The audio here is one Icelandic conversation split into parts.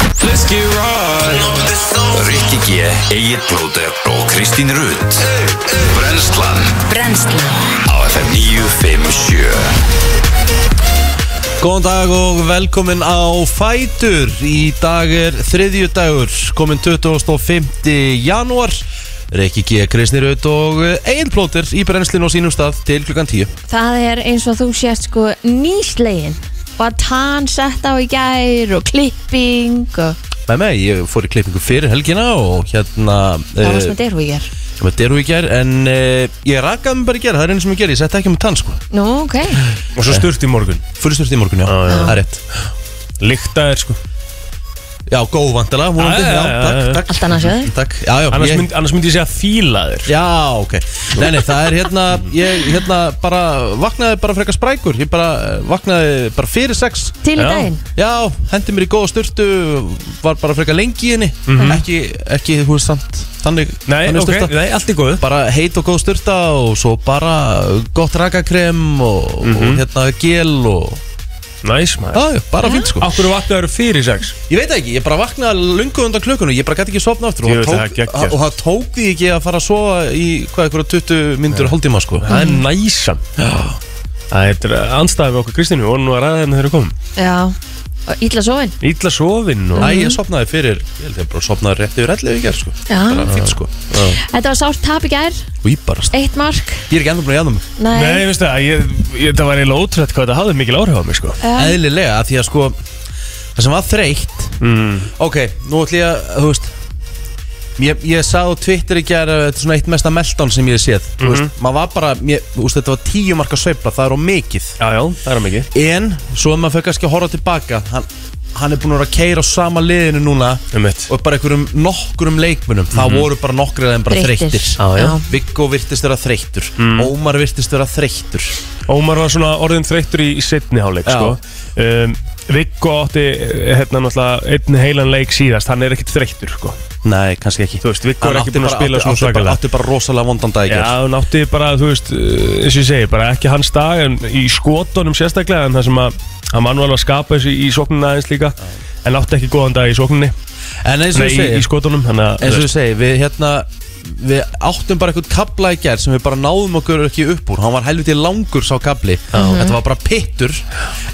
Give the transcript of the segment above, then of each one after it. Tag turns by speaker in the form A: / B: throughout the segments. A: Rikki Rai
B: Rikki G, Egil Blóter og Kristín Rutt Brenslan
C: Brennslan
B: á FM 957
A: Góðan dag og velkomin á Fætur Í dag er þriðju dagur, komin 25. janúar Rikki G, Kristín Rutt og Egil Blóter í brennslinu á sínum stað til klukkan 10
D: Það er eins og þú sést sko nýslegin og að tann sett á í gær og klipping og
A: Með mig, ég fór í klippingu fyrir helgina og hérna
D: það var sem þetta er hún í gær
A: sem þetta eru í ger En uh, ég rakaði mig bara í ger, það er einu sem ég ger, ég setti ekki með tann sko
D: Nú, ok,
E: Og svo sturt í morgun
A: Fyrsturst í morgun, já,
E: já.
A: það er rétt
E: Líkta er sko
A: Já, góð vandilega, vonandi,
E: Já, já,
A: já,
E: já,
A: takk,
E: já.
A: takk
D: Allt annað sjáðu.
A: Takk, já, já,
E: Annars,
A: ég-
E: mynd, annars myndi ég segja fílaður
A: Já, ok Nei, nei, það er hérna Ég hérna bara vaknaði bara frekar sprækur Ég bara eh, vaknaði bara fyrir sex
D: til í
E: Já.
D: daginn
A: Já, hendi mér í góða sturtu Var bara frekar lengi í henni Ekki, ekki, þú veist samt Þannig,
E: Mhm. Nei,
A: þannig
E: ok, nei, allt er góð
A: Bara heit og góð sturta Og svo bara gott rakakrem Og, og hérna gel og
E: Næs Mhm. maður
A: Já, já, bara fínt sko
E: Akkur vatnaður fyrir sex
A: Ég veit það ekki, ég bara vaknaði lungu undan klukkunum Ég bara gæti ekki sofna aftur og,
E: Jú,
A: það
E: það er
A: tók,
E: geggjað.
A: og það tók því ekki að fara að sofa Í hvað, einhverja 20 myndur hálftíma sko
E: Það er næsan Það er anstæðið við okkur Kristínu og nú að ræða henni þegar við komum
D: Já, og illa sofin
E: Ítla sofin og
A: Æ, ég sopnaði fyrir, ég held ég bara sopnaði rétt yfir ellið í gerð, sko.
D: Já.
A: Bara fínt, sko.
D: Þetta var sárt tap í gær,
A: Og ég bara, st-
D: eitt mark
A: ég er ekki enda búin að jæða mig.
D: Nei,
E: Nei, veistu það, ég, ég, það var eiginlega ótrúlegt hvað þetta hafði mikil áhrif á mig sko
D: Já,
A: Eðlilega, af því að, sko, það sem var þreytt,
E: mm.
A: ok, nú ætlum ég að, þú veist, ég, ég sá á Twitter í gerð, þetta er svona eitt mesta meltdown sem ég hef séð, þú
E: Mhm.
A: veist, maður var bara, ég, þú veist, þetta var tíu marka sveifla, það er á mikið.
E: Já, já, það er mikið
A: En, svo ef maður fyrir kannski að horfa tilbaka, hann, hann er búin að vera að keira á sama liðinu núna
E: Um mitt
A: og bara einhverjum nokkurum leikmunum
E: Mhm.
A: það voru bara nokkur af þeim bara
D: Þreyttir.
A: þreyttir
D: Já, já.
A: Viggo virtist vera þreyttur Ómar virtist vera þreyttur
E: Mm. Ómar var svona orðin þreyttur í setni háleik
A: Já.
E: sko. um, Viggo átti eh, hérna náttúrulega einn heilan leik síðast hann er ekkert þreyttur sko.
A: Nei, kannski ekki
E: Þú veist, Viggo er
A: Hann
E: ekki
A: átti
E: búinn að
A: bara-
E: spila
A: átti-
E: svona
A: átti bara-
E: svakalega.
A: Átti bara rosalega vondan dag í
E: Já,
A: gerð
E: hann átti bara, þú veist, eh, eins og ég segi, bara ekki hans dag en í skotunum sérstaklega en það sem að hann var nú alveg að skapa þessu í sóknuna aðeins líka en átti ekki góðan dag í sóknunni
A: En eins og
E: Nei,
A: ég
E: í, í
A: segi
E: skotunum þannig að
A: eins og
E: þú
A: ég
E: veist,
A: segi, við hérna við áttum bara eitthvað kabla í gerð sem við bara náðum okkur ekki upp úr hann var helviti langur sá kabli
D: Mhm.
A: þetta var bara pittur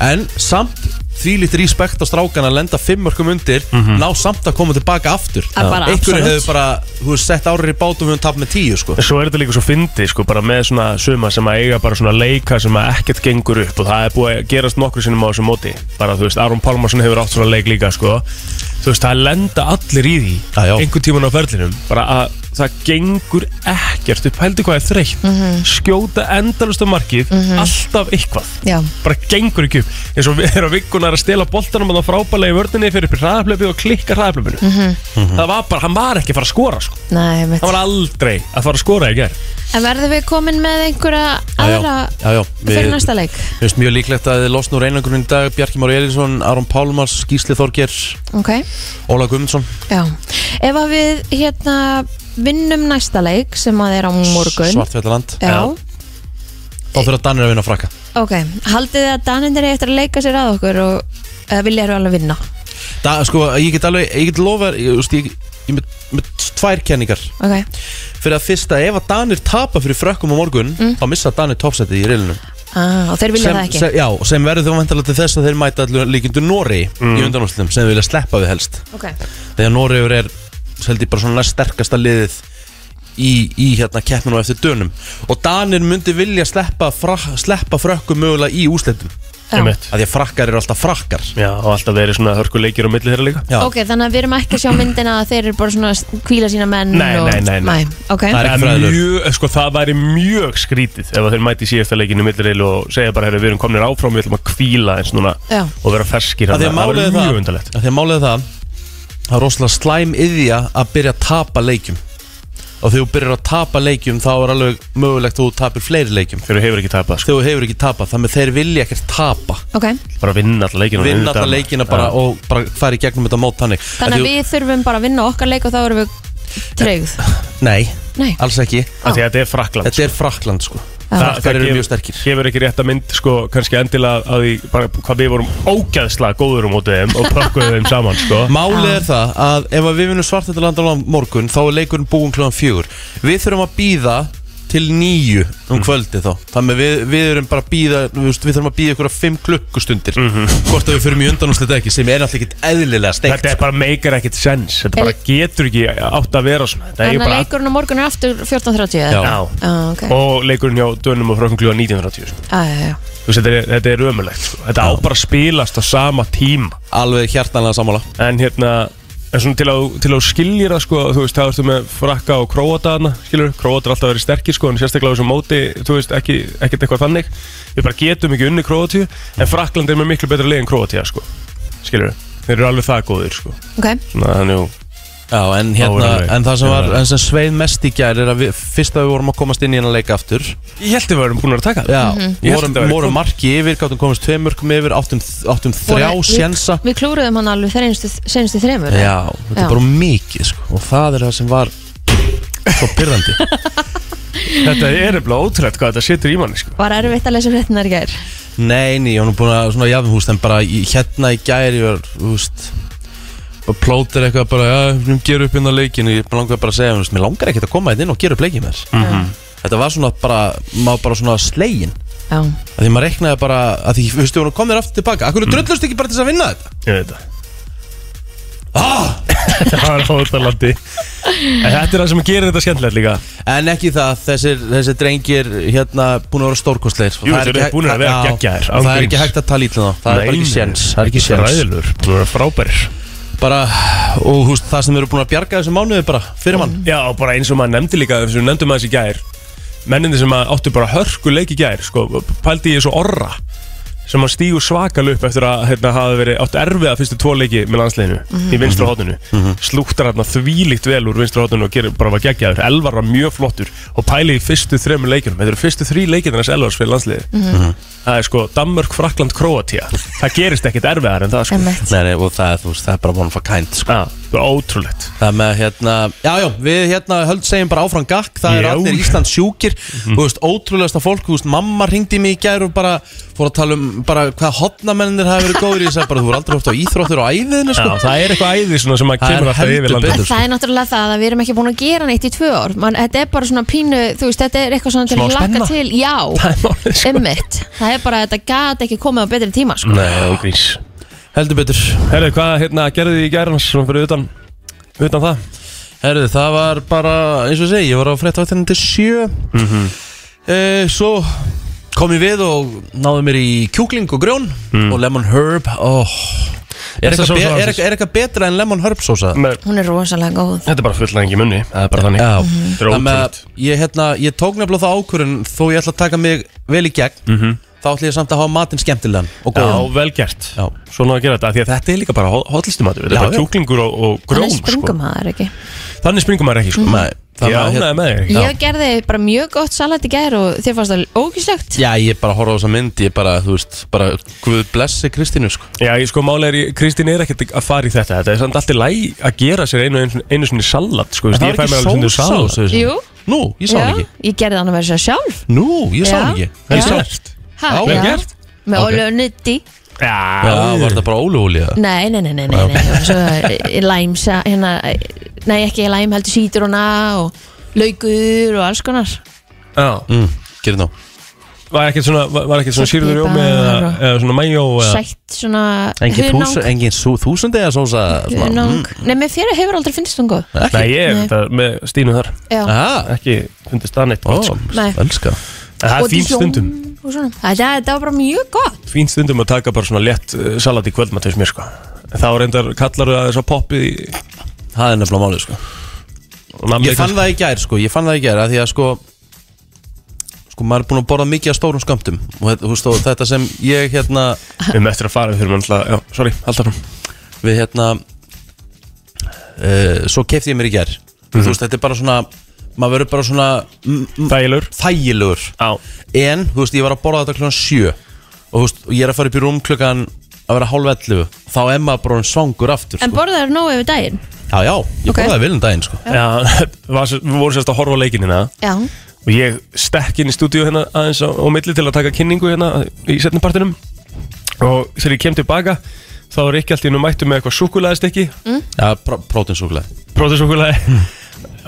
A: en samt þvílitt respekt á strákan að lenda fimmörkum undir
E: Mhm.
A: ná samt að koma tilbaka aftur
D: Að bara
A: einhverju
D: absolutt.
A: hefur bara, þú veist, sett árið í bátum við höfum tappt með tíu sko
E: en svo er þetta líka svo fyndið sko, bara með svona suma sem að eiga bara svona leika sem að ekkert gengur upp og það er búið að gerast nokkru sinnum á þessu móti bara þú veist, Aron Pálmarsson hefur átt svona leik líka sko. þú veist, það lenda allir í því
A: Já, já.
E: einhvern tíman á ferlinum bara að það gengur ekkert upp heldur hvað er þreytt
D: Mhm.
E: skjóta endalust á markið alltaf eitthvað
D: já,
E: bara gengur ekki upp eins og við erum vikunar að stela boltanum og það frábælega í vörninni fyrir upp í hraðaflöpi og klikka hraðaflöpinu
D: Mhm.
E: það var bara, hann var ekki að fara að skora sko.
D: nei, mitt
E: hann var aldrei að fara að skora í gerð
D: En verðum við komin með einhverja
A: já,
D: aðra
A: já, já,
D: fyrir næsta leik?
A: Mér finnst mjög líklegt að þið losnur einangurinn í dag Bjarki Már Elísson, Aron Pálmars, Gísli Þorger
D: Ok,
A: Óla Guðmundsson
D: já Ef að við hérna vinnum næsta leik sem að er á morgun
A: Svartfjallaland
D: Já,
A: Þá þurfa Danir að vinna frakka
D: ok, haldið þið að Danindir er eftir að leika sér að okkur og uh, vilja eru alveg vinna
A: da, Sko, ég get alveg, ég get lofa Ég, þú veist, ég, ég með, með tvær kenningar
D: ok,
A: Fyrir að fyrsta, ef að Danir tapa fyrir frökkum á morgun Þá missa Danir toppsetið í reilinu
D: ah, og Mm. þeir vilja
A: sem,
D: það ekki
A: sem, Já, sem verður þau vantalega til þess að þeir mæta allir líkindu Nóri Í undanústum, sem þau vilja sleppa við helst
D: Ok,
A: Þegar Noregur er seldi bara svona næst sterkasta liðið í, í hérna keppinu og eftir dönum og Danir myndi vilja sleppa, fra, sleppa frökkum mögulega í úsleitum
D: já.
A: af því að frakkar eru alltaf frakkar
E: Já, og alltaf verið svona hörkuleikir á milli þeirra líka
A: Já,
D: ok, þannig að við erum ekki að sjá myndina að þeir eru bara svona að kvíla sína menn
E: Nei,
D: og...
E: nei, nei, nei.
D: Ok,
A: Það er ekki
E: Það,
A: fræðilegur.
E: mjög, sko, það væri mjög skrítið ef að þeir mæti í síðasta leikinu milliril og segja bara, herru, við erum komnir áfram, við ætlum að kvíla eins núna
D: Já.
E: og vera ferskir
A: af því að
E: það
A: máliði
E: væri
A: það
E: mjög undarlegt
A: af því að máliði það það er rosalega slæm yðja að byrja að tapa leikjum og þegar þú byrjar að tapa leikjum þá er alveg mögulegt að þú tapir fleiri leikjum
E: Þeir hefur ekki tapað, sko,
A: þegar þú hefur ekki tapað, þannig að þeir vilja ekkert tapa
D: ok
E: bara vinna alltaf leikina og
A: vinna
E: auðvitað-
A: alla leikina bara
E: Já.
A: og bara fara í gegnum þetta mót þannig
D: Þannig
A: Af
D: að
A: því-
D: við þurfum bara að vinna okkar leik og þá erum við treyð
A: Nei,
D: Nei,
A: alls ekki
E: Af Því að þetta er Frakland
A: Þetta er Frakland sko
E: það,
A: Krakkar eru
E: Ah. gefur-
A: mjög sterkir.
E: gefur ekki rétt að mynd sko, kannski endilega að því bara, hvað við vorum ógæðslega góður á mótið þeim og pakkuðum þeim saman sko.
A: Málið er það að ef að við vinnum svartættalanda á morgun þá er leikurinn búin kljóðan fjögur Við þurfum að býða til nýju
E: Mhm.
A: um kvöldi þá Þannig að við, við erum bara að býða, við þurfum að býða ykkur að fimm klukkustundir Hvort að við förum í undanúslega ekki sem er náttúrulega ekkit eðlilega steikt
E: Mhm.
A: sko.
E: þetta er bara meikar ekkit sens þetta bara getur ekki átt að vera svona þetta er
D: Þannig að
E: bara
D: leikurinn á morgun er aftur 14.30
A: Já.
D: eða?
E: Já.
D: Já, ok
E: og leikurinn hjá Dönum og Frökkum klúa 1930 sko.
D: Já, já, já.
E: Þú veist, þetta er, þetta er ömulegt sko. þetta á bara að spilast á sama tíma
A: Alveg hjartanlega sammála
E: en hérna en svona til að, þú- til að þú skiljir það sko, þú veist, það ertu með frakka og króata hana, skilur, króata er alltaf verið sterkir sko, en sérstaklega á þessum móti, þú veist, ekki, ekkert eitthvað þannig, við bara getum ekki unni króatíu, en Frakland er með miklu betra leið en króatíu, sko, skilur, þeir eru alveg það góðir, sko,
D: Ok,
E: svona, þannig, að-
A: Já, en, hérna,
E: Óverðanleg.
A: en það sem, var,
E: Óverðanleg.
A: en sem sveið mest í gær er að við, fyrst að við vorum að komast inn í hennar leika aftur
E: ég held að við erum búin að taka það,
A: Já,
E: Ég held
A: vorum,
E: þetta væri
A: vorum
E: komið.
A: marki yfir, gáttum komast tveim mörgum yfir, áttum, áttum þrjá
D: Voru- við-
A: sjensa
D: Við klúruðum hann alveg þeir einstu, senstu þremur eða?
A: Já, þetta
D: Já.
A: er bara mikið sko. og það er það sem var svo pyrrandi
E: þetta er eða ótrætt hvað þetta setur í manni, sko,
D: Var erfitt að lesa fréttinar í gær
A: Nei, nei, ég var nú búin að svona jafn húst en bara í, hérna í gæri var, þú veist bara plótir eitthvað bara, já, við gerum upp inn á leikinu ég bara langar bara að segja, þú veist, mér langar ekkert að koma hérna inn og gera upp leikinu þess
E: Mhm.
A: mm Þetta var svona bara, maður bara svona slegin
D: Já,
A: að því maður reknaði bara, að því, þú veist, hún kom þér aftur tilbaka, akkur mm. drullust ekki bara til þess að vinna þetta Ah!
E: ég veit það. Það er ótalandi En þetta er það sem gerir þetta skemmtilegt líka
A: En ekki það, þessir, þessir drengir hérna búin að vera stórkostleir
E: Jú, þeir eru búnir að vera geggjaðir, án
A: Það er ekki
E: gríns.
A: hægt að tala ítla þá, það er bara ekki séns Það er ekki séns
E: Ræðilur, þú er frábærir
A: Bara, og húst, það sem eru búin að bjarga þessu mánuði bara, fyrir mann
E: Já, bara eins og maður nefndi líka eins og við nefndum að þessi gær menninni sem að áttu bara hörku leik í gær sko, pældi ég svo orra sem að stígu svakal upp eftir að hérna, hafa verið átt erfiða fyrstu tvo leiki með landsleginu
A: Mhm.
E: í vinstra hóttinu slúttar hérna þvílíkt vel úr vinstra hóttinu og gerir bara var geggjaður, Elvar var mjög flottur og pæli í fyrstu þremur leikinum þetta eru fyrstu þrý leikinn hans Elvars fyrir landsliði það er sko Danmörk, Frakland, Kroatia það gerist ekkit erfiðar en það sko
D: emmitt
A: Nei, nei, og það, er, þú veist, það er bara one of a kind sko.
E: Já, það er ótrúlegt
A: Það með, hérna, já, já, við hérna höld segjum bara áfram gakk, það er
E: Já. Mhm.
A: allir Íslands sjúkir Þú veist, ótrúlegasta fólk, þú veist, mamma ringdi mig í gær og bara fór að tala um bara hvað hotnamennir hafa verið góðir í þess að bara þú voru aldrei hótt á íþróttir og æðinu, sko
E: Já, það er eitthvað æði svona sem að
A: Það er
E: kemur alltaf yfir
A: heldur
E: landið
A: betur. sko.
D: Það er náttúrulega það að við erum ekki búin að gera neitt í tvö ár Man, Þetta er bara svona pínu, þú veist, þetta er eitthvað svona til
E: Smá
D: að laka
E: spenna.
D: til Já,
E: Það er málið sko
D: emmitt Það er bara að þetta gat ekki komið á betri tíma sko.
E: Nei, ángrís
A: Heldur betur
E: Herðu, hvað hérna, gerðu þið í gærna sem fyrir utan, utan það?
A: Herðu, það var bara, eins og ég segi, ég var á fréttavaktinni til sjö mm
C: Mhm.
A: Eh, Svo kom ég við og náði mér í kjúkling og grjón og lemon herb oh. er,
E: Mm. Besta
A: eitthvað
E: sósa
A: be- er,
E: landsins.
A: eitthvað- er eitthvað betra en lemon herb sósa?
E: Með,
D: Hún er rosalega góð
E: þetta er bara fullan ekki munni, það er bara þannig
A: Já,
E: Þetta er
A: þannig að
E: ótrúlegt.
A: ég, hérna, ég tók nefnilega það ákvörun þó ég ætla að taka mig vel í gegn
E: Mhm.
A: þá ætla ég samt að hafa matinn skemmtilegan og
E: Já,
A: góðan
E: vel gert
A: Já.
E: Svona að gera þetta, af því að þetta er líka bara hotlistumatur Þetta
A: Já,
E: er bara
A: já.
E: kjúklingur og, og
D: Þannig
E: grón
D: springum sko. ekki
E: sko. Þannig springum maður ekki sko.
A: Nei, þannig
E: Ég
A: að hérna-
E: ánæði með þér
A: Já.
D: Ég gerði bara mjög gott salat í gær og þér fannst það ógíslegt
A: Já, ég bara horfa á þessa mynd, ég bara, þú veist, bara Guð blessi Kristínu, sko
E: Já, ég sko málega er, ég- Kristín er ekkert að fara í þetta Þetta er samt alltaf læg að gera sér einu, einu, einu svona salat sko.
A: En það var ekki sósa á þessu
D: Jú.
A: Nú, ég sá hann ekki
D: Ég gerði hann að vera sér sjálf
A: Nú, ég sá hann
D: Já.
A: ekki
E: Vel
D: Já.
E: gert
D: ha,
A: Já, vel
D: já.
E: gert.
D: Með
A: Ok.
D: okay. og nutti
E: Já,
A: Já, var þetta bara ólegúlega
D: Nei, nei, nei, nei, nei, nei. Og Svo eh, læmsa hérna, eh, Nei, ekki læm, heldur sítruna og laukur og alls konar
E: Já.
A: mm, Gerið ná
E: Var ekkert svona, var, var ekkert svona
D: Salt og
E: sírður rjómi
D: pipar
E: eða,
D: og-
E: eða svona mæjó eða-
D: Sætt svona
A: Engin,
D: hunang,
A: þús, engin sú, þúsundi eða sósa svona,
D: hunang. Nei, mér fyrir hefur aldrei finnst hún góð
E: Nei,
A: Ekki
E: ég er
D: Nei.
E: þetta með Stínu þar
D: Já,
A: Aha,
E: Ekki fundist það neitt
A: ó,
E: gott sko.
D: Nei.
A: elska
E: En Það
D: Og
E: er fín
D: dijón
E: stundum
D: og svona. Þetta þetta var bara mjög gott
E: Fín stundum að taka bara svona létt uh, salat í kvöldmatt Þess mér sko En Þá reyndar kallar það þess að poppi
A: Það er nefnilega málið, sko Ég fann það í gær, sko, ég fann það í gær að Því að, sko Sko, maður er búin að borða mikið af stórum skamtum Og þetta- þú veist, og þetta sem ég, hérna
E: Við erum eftir að fara við þurfum alltaf Já, sorry, alltaf fram
A: við hérna uh, svo kefti ég mér í ger
E: Mhm.
A: þú veist, þetta er bara svona maður verður bara svona mm, mm,
E: Þægilegur
A: þægilegur
E: Já
A: en, þú veist, ég var að borða þetta klukkan sjö og þú veist, og ég er að fara upp í rúm klukkan að vera hálf 11 þá er maður bara orðinn svangur aftur
D: En
A: sko.
D: borðaður nóg yfir daginn
A: já, já, ég
D: Ok.
A: borðaði vel um daginn sko.
E: Já, var, við vorum sérst að horfa á hérna. leikinina
D: Já,
E: Við og ég stekk inn í stúdíu hérna aðeins á, á milli til að taka kynningu hérna í setnipartinum og þegar ég kem tilbaka þá var ekki allt í nú mættu með eitthvað súkulæðistekki
D: Mm. Mhm.
A: Já, pró prótinsúkulega
E: prótinsúkulæði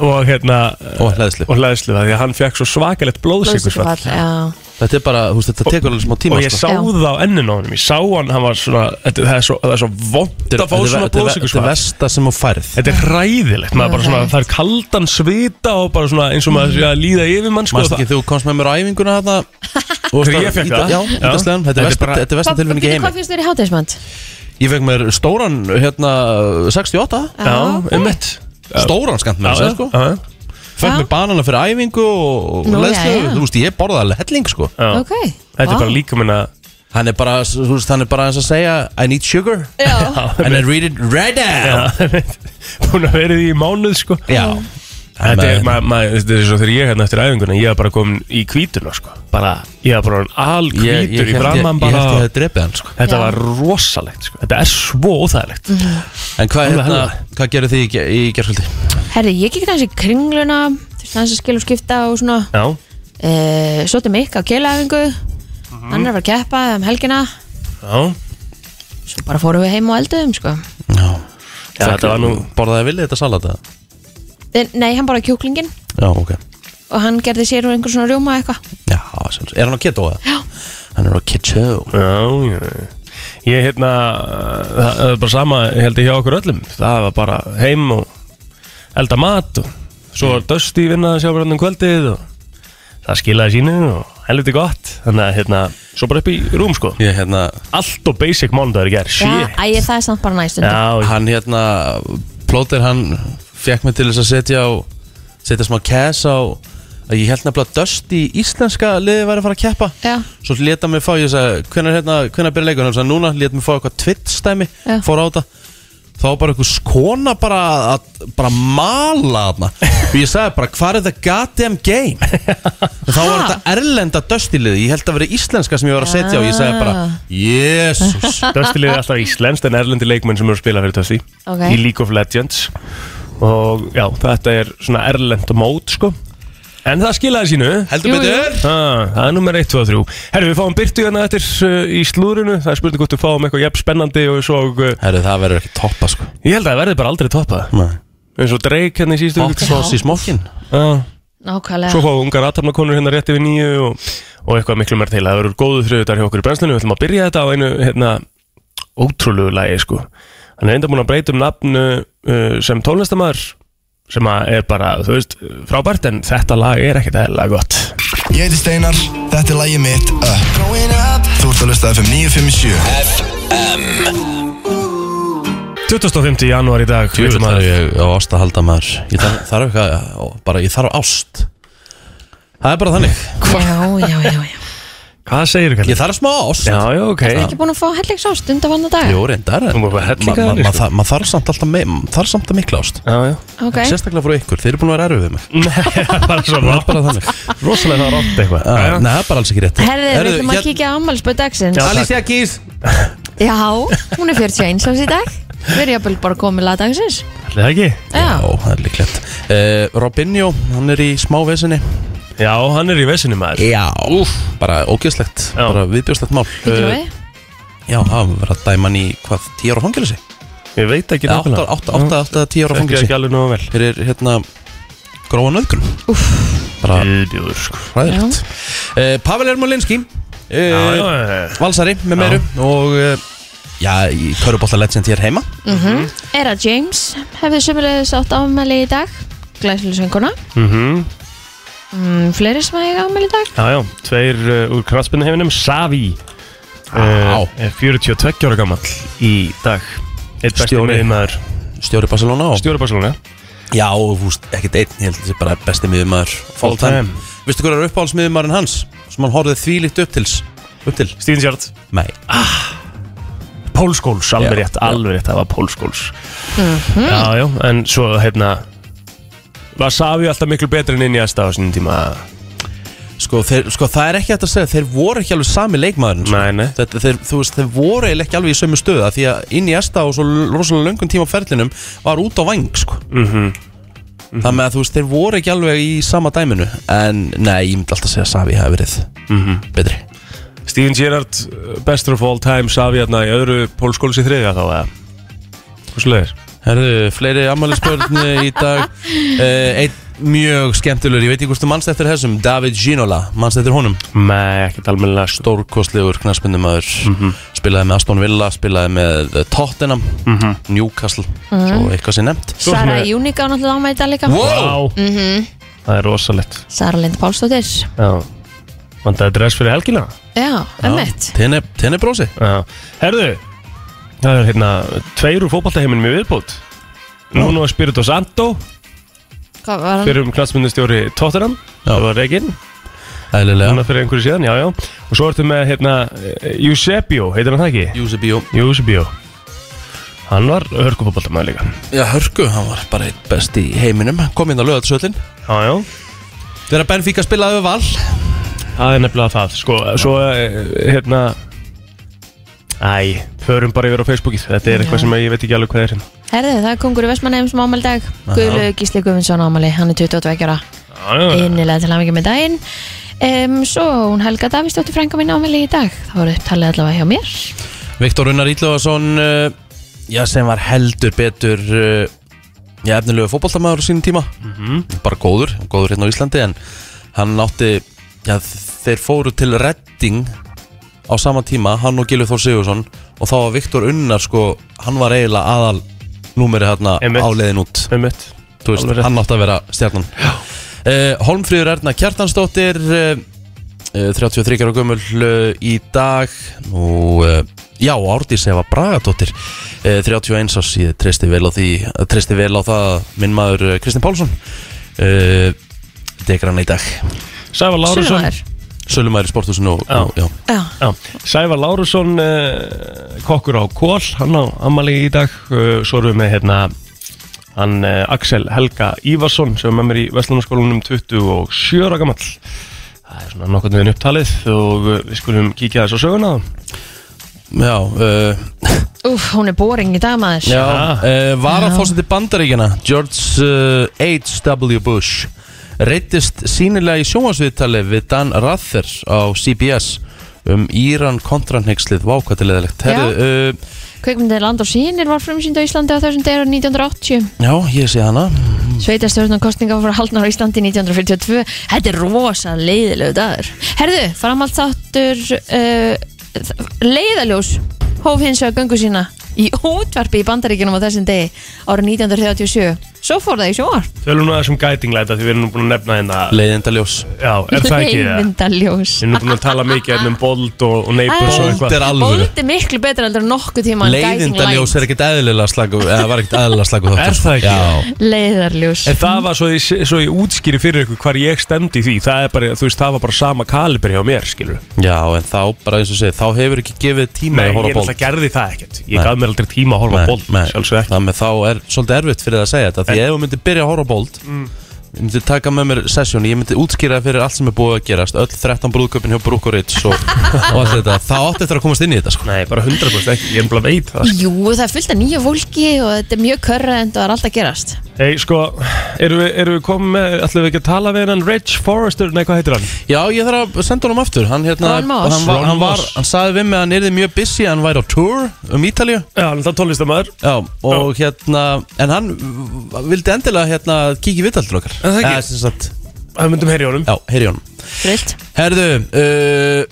E: og hérna
A: Og hleðslu.
E: og hleðslu því að hann fekk svo svakalegt blóðsíkursvall
D: Blóðsykurfall, já.
A: Þetta er bara, þú veist, þetta tekur alveg smá tíma
E: og ég
A: sko.
E: sá
D: Já.
E: það á enninu á honum ég sá hann, hann var svona þetta, það, er svo, það er svo vond
A: Þetta
E: að fá
A: er-
E: svona
A: þetta er- Þetta er
E: blóðsíkursvall
A: versta sem þú færð
E: þetta er hræðilegt maður bara svona, það er kaldan svita og bara svona eins og maður sé að líða yfir mann sko,
A: Manst
E: það-
A: Mm. ekki þú komst með mér á æfinguna þarna og varst
E: Þegar
A: að
E: ég fékk
A: ýta-
E: það?
A: Já,
E: Já.
A: ítaslegan, þetta
E: Þetta
A: er
E: er
A: versta-
E: bara-
A: þetta er versta
D: Hvað-
A: tilfinning í
D: býttu,
A: heimi
D: Hvað finnst þér í hátægismand?
A: Ég fekk mér stóran, hérna, 68
E: já, einmitt
A: Stóran skant með
E: Já,
A: þessu, sko
E: já.
A: Fekk mér banana fyrir æfingu og
D: Nú,
A: leðslu
D: jæja.
A: Þú veist, ég borðaði alveg helling, sko
E: Já.
D: Ok
E: Þetta er
D: vá.
E: bara líka minna
A: Hann er bara, þú veist, hann er bara eins að segja I need sugar
D: Já,
A: and I read it right out
E: Búin að vera í því í mánuð sko
A: Já
E: Þetta er,
A: Nei.
E: ma, ma, þetta er svo þegar ég hérna eftir æfinguna Ég var bara komin í kvítuna sko bara, Ég var bara al
A: Ég, ég,
E: kvítur í
A: held ég,
E: framann
A: ég
E: bara
A: held ég hefði drepið hann, sko
E: Þetta
D: Já.
E: var rosalegt sko Þetta er svo óþægilegt
A: En hvað,
E: Alveg
A: hérna,
E: helviti.
A: hvað gerðu þið í, ge- í gerskvöldi?
D: herri, ég gekk aðeins í kringluna Þurfti aðeins að skilja og skipta og svona
E: Já,
D: uh, Sotum mikk á keilaðingu
A: Mhm.
D: Hann er að fara að keppa um helgina
E: já,
D: Svo bara fórum við heim og elduðum sko
A: Já,
E: já Þetta var nú
A: Borðaði Vili þetta salata?
D: En- Nei, hann bara kjúklingin
A: Já, ok
D: Og hann gerði sér úr einhver svona rjóma eða eitthvað
A: Já, sjálfs- er hann á keto? Já Hann er á keto
E: Já, já Ég hérna Það það er bara sama held ég hjá okkur öllum Það var bara heim og elda mat og svo var Dusty vinnaði sjá bara um kvöldið og það skilaði sínu og helviti gott þannig að hérna, svo bara upp í rúm sko
A: Ég hérna,
E: allt og basic mánudagur gerð, shit
D: Já, æ, það er samt bara næstum
E: Já,
A: hann hérna Plóter hann fekk mig til þess að setja á setja smá cash á að ég held nefnilega að döst í íslenska liði væri að fara að keppa
D: Já.
A: svo leta mig fá, ég sagði, hvenær hérna hvenær byrja leikur, hann sagði núna, leta mig fá eitthvað tvittstæmi,
D: Já.
A: fór á þetta þá var bara einhvers kona bara að bara mala þarna og ég sagði bara, hvað er þetta goddamn game og þá var
D: Ha?
A: þetta erlenda döst í liði, ég held að vera íslenska sem ég var að setja á, ég sagði bara, jésus
E: Dusty liðið er alltaf íslenskt en erlendi leikmenn sem eru að spila fyrir Dusty
D: Ok.
E: í League of Legends og já, þetta er svona erlend mót sko en það skilaði sínu
A: heldur
D: Jú, jú.
A: betur
E: Ah, það er nummer 1, 2 og 3 Herru, við fáum Byrtu hérna eftir uh, í slúrinu Það er spurning hvort við fáum eitthvað jafn spennandi og svo uh,
A: Herru, það verður ekki toppa sko
E: Ég held að það verði bara aldrei toppað eins og Drake hérna í síðustu
A: Hot sauce í smokkin
E: viku. ah,
D: Nákvæmlega
E: Svo fáum ungar aðtapnakonur hérna rétt yfir nýju og, og eitthvað miklu mér til Það verður góðu þriðutar hjá okkur í brennslunni Við ætlum að byrja þetta á einu hérna, ótrúlegu lagi sko. Hann er enda búin að breyta um nafnu uh, sem tónlistamæður sem að er bara, þú veist, frábært en þetta lag er ekkert eðlilega gott
C: Ég heiti Steinar, þetta er lagið mitt Up Growing up Þú ert að lusta FM 957
E: 25. janúar í dag
A: Ég
E: vitum
A: þarf
E: að-
A: ég á ást að halda maður Ég þarf, þarf eitthvað, bara ég þarf ást Það er bara þannig
D: Já, já, já, já
E: Hvað segir þú,
A: Ég þarf smá ást
E: Já, já, ok
D: Ekki búin að fá hellegs ást undanfanna dag
A: Jó, reyndar en
E: Þú mátt bara hellinga
A: ma- ma-
E: þér,
A: ma-
E: sko.
A: þa- Maður þarf samt alltaf me- maður þarf samt að mikla ást
E: Já, já
D: Ok
A: Sérstaklega frá ykkur, þeir eru búin að vera erfið við mig
E: Nei, það var svo
A: Það er bara þannig
E: Rosalega það rátt eitthvað
A: Já, Nei, það er bara alls ekki rétt
D: Herði, við ætlum að
A: hér-
D: kíkja á ammálspöð dagsins
E: Já, takk.
A: Alicia Keys
D: Já, hún er 41 árs í dag Við erum jafnvel bara komið laga dagsins
E: Ætli það ekki
A: Já,
D: Já,
A: það er líklegt uh, Robinho, hann er í smá vesinni
E: Já, hann er í vesinni maður
A: Já Úf, bara ógeðslegt
E: Já.
A: Bara viðbjóðslegt mál
D: býtum
A: Eh,
D: við
A: Já, það var að dæma hann í hvað, 10 ára fangilsi?
E: Ég veit ekki
A: 8 ára, 10 ára
E: Ekki
A: fangilsi
E: ekki alveg nógu vel
A: Fyrir hérna gróa nöðgrun Bara
E: Íðbjóður sko
A: hræðilegt uh, Pavel Ermolinski
E: Já, já,
A: uh,
E: já.
A: Valsari með meiru Og uh, já, í Körubolta Legend hér heima
D: Mhm. Era James hefði sömulegis átt ámæli í dag Glæsileg sönguna
E: Mhm.
D: mm, Fleiri sem hefði ámæli í dag
E: Já, já, tveir uh, úr kraspinu hefinum Savi
A: Já.
E: uh, er 42 ára gammal í dag Eitt besti
A: Stjóri.
E: miðmaður
A: Stjóri Barcelona og
E: Stjóri Barcelona
A: Já, og þú veist, ekkert einn, ég held að þetta er bara besti miðumæður
E: All time.
A: Vistu hvað er uppáhaldsmiðumæðurinn hans? Sem hann horfið þvílíkt upp til Upp til?
E: Stíðin Sjörð
A: Nei,
E: Ah. Pólskóls, alveg
A: Já,
E: rétt,
A: já.
E: alveg rétt, það var Pólskóls
F: Hmm.
D: Mhm.
E: Já, já, en svo hérna Var Savi alltaf miklu betri en inn í aðstaf á sínum tíma
A: Sko, þeir, sko það er ekki hægt að segja Þeir voru ekki alveg sami leikmaðurinn sko.
E: Nei, nei.
A: Þetta, þeir, Þú veist, þeir voru eiginlega ekki alveg í sömu stöða Því að inn í esta og svo rosalega löngum tíma á ferlinum Var út á vang sko.
E: mm
A: Þannig að þú veist, þeir voru ekki alveg í sama dæminu En nei, ég myndi alltaf segja að Savi hafi verið
E: Mhm.
A: betri
E: Steven Gerrard, bestur of all time Savi hérna í öðru pólskólis í þriðja þá eða Hversu leiðir?
A: Herðu, fleiri ammælisbörn í dag uh, Einn mjög skemmtilegur, ég veit ekki hvort þú mannst eftir þessum David Ginola, mannst eftir honum
E: Nei, ekkert almennilega Mhm. stór
A: Stórkostlegur knarspindumöður Spilaði með Aston Villa, spilaði með eh, Tottenham,
E: Mhm.
A: Newcastle
D: Mm.
A: Svo eitthvað sem nefnt
D: Mhm. Sara
E: með-
D: Júnika á náttúrulega ámæði þetta líka Mhm.
E: Vá, það er rosalegt
D: Sara Lind Pálsdóttir
E: Já Vandaði dress fyrir helgina
D: Já, ömmett
A: Tenni, tenni brósi
E: Já Herðu, það er hérna Tveir úr fótballtaheiminum í viðbútt Nuno Espirito Santo
D: Hvað var hann?
E: Fyrir um knatsmyndustjóri Tottenham
A: Já.
E: Það var Reginn
A: Ælilega
E: Núna fyrir einhverju síðan, já, já Og svo ertu með, hérna, Eusebio, heitir hann það ekki?
A: Júsebíó
E: Eusebio Hann var hörkufótballtamaður líka
A: Já, Hörgu, hann var bara einn best í heiminum Kom inn á lögatsöllin
E: Já, já
A: Þegar Benfica spilaði við Val
E: Það er nefnilega það, sko, svo, eh, hérna Æ, förum bara yfir á Facebookið Þetta er eitthvað
D: Já.
E: sem ég veit ekki alveg hvað er hérna
D: Herðu, það er kongur í Vestmannheim sem ámæli dag Guðlu Gísli Guðvinsson ámæli, hann er 22 ára
E: Já, já,
D: Innilega til hafingi með daginn um, Svo hún Helga Davíðsdóttir frænga mín ámæli í dag Það voru upptalið allavega hjá mér
A: Viktor Unnar Ítlaugason uh, Já, sem var heldur betur uh, Já, efnilegu fótboltamaður á sínum tíma
E: Mhm.
A: Bara góður, góður hérna á Íslandi En hann átti Já, þeir fóru til Redding Á sama tíma, hann og Gilur Þór Sigursson Og þá var Viktor Unnar, sko Hann var eiginlega aðal Númeri hérna
E: Einmitt.
A: á leiðin út
E: með mitt
A: Þú veist,
E: Alveg rétt.
A: hann átti að vera stjarnan uh, Holmfríður Erna Kjartansdóttir uh, uh, 33 ára gömul uh, í dag og uh, já, Árdís hefa Bragadóttir uh, 31 árs, ég treysti vel á því treysti vel á það að minn maður uh, Kristinn Pálsson uh, dekar hann í dag
E: Sævar Lárusson
D: Sunnumæður
A: Sölumæri sporthúsinu og,
E: Já.
A: og, já.
D: Já,
E: Já, Sævar Lárusson eh, kokkur á Kól, hann á Amali í dag Eh, svo erum við með hérna hann eh, Axel Helga Ívarsson sem er með mér í Vestlunarskólanum 27 ára gamall það er svona nokkurn veginn upptalið og eh, við skulum kíkja þess á söguna
A: Já, uh,
D: úf, hún er boring í dag maður
A: já
E: Ah.
A: uh, Varafósandi bandaríkjana George uh, H.W. Bush reytist sínilega í sjónvarsviðtali við Dan Rather á CBS um Íran kontranhegslið vákvætilegilegt
D: Já.
A: Herðu, uh,
D: Kveikmyndið Land og sínir var frumsýnd á Íslandi á þessum degur 1980
A: já, ég sé hana
D: Sveitarstjórnum kostninga voru haldnar á Íslandi 1942 Þetta er rosa leiðilegu dagur Herðu, framhald þáttur uh, leiðaljós hóf hins vegar göngu sína í útvarpi í bandaríkjunum á þessum degi árið 1937 Svo fór það í sjóar
E: Tölum nú þessum gætinglæta því við erum nú búin að nefna hérna
A: leiðindaljós
E: Já, er það ekki það?
D: Einmyndaljós
E: Við erum nú búin að tala mikið hérna um bold og, og neighbors og
D: Æ.
E: eitthvað
A: Þetta er alvöru
D: Bóndi miklu betra heldur en nokkuð tíma
A: leiðindaljós er ekkert eðlilega slagu eða var ekkert eðlilega slagu þáttur
E: Er það ekki?
A: Já,
D: Leiðarljós
E: En það var svo ég, svo ég útskýri fyrir ykkur hvar ég stemdi í því Það er bara, þú veist, það var bara sama kalibri hjá mér, skilur
A: já, en þá bara eins og segi þá hefur ekki gefið tíma
E: Nei,
A: að
E: ég
A: horfa á bólt
E: náttúrulega gerði það ekkert Ég
A: Nei.
E: gaf mér aldrei tíma að horfa á bolt, sjálfsög ekki
A: Þannig þá er svolítið erfitt fyrir það að segja þetta Því ef þú myndir byrja að horfa á bolt Ég myndi taka með mér sessjón Ég myndi útskýra það fyrir allt sem er búið að gerast Öll 13 brúðköpin hjá Brúk og Ritz og, og allt þetta Þá átti eftir að komast inn í þetta sko.
E: Nei, bara 100% ekki, ég er bara veit það sko.
D: Jú, það er fullt af nýju fólki og þetta er mjög körrend og það er alltaf að gerast
E: Hei, sko, erum við, erum við komið með, ætlum við ekki að tala við hennan Rich Forrester, nei, hvað heitir hann?
A: Já, ég þarf að senda honum aftur Hann, hérna,
D: Ron Moss.
A: hann, var,
E: Ron
A: hann, var,
E: Moss.
A: hann saði við mig að hann yrði mjög busy Hann væri á tour um Ítalíu
E: Já, hann er það tónlistamæður
A: Já, og hérna En hann v- vildi endilega hérna, kíkja í vitaldur okkar
E: En það ekki?
A: Eða, sem sagt,
E: Það myndum heyri honum
A: Já, heyri honum
D: Frillt
A: Herðu, uh,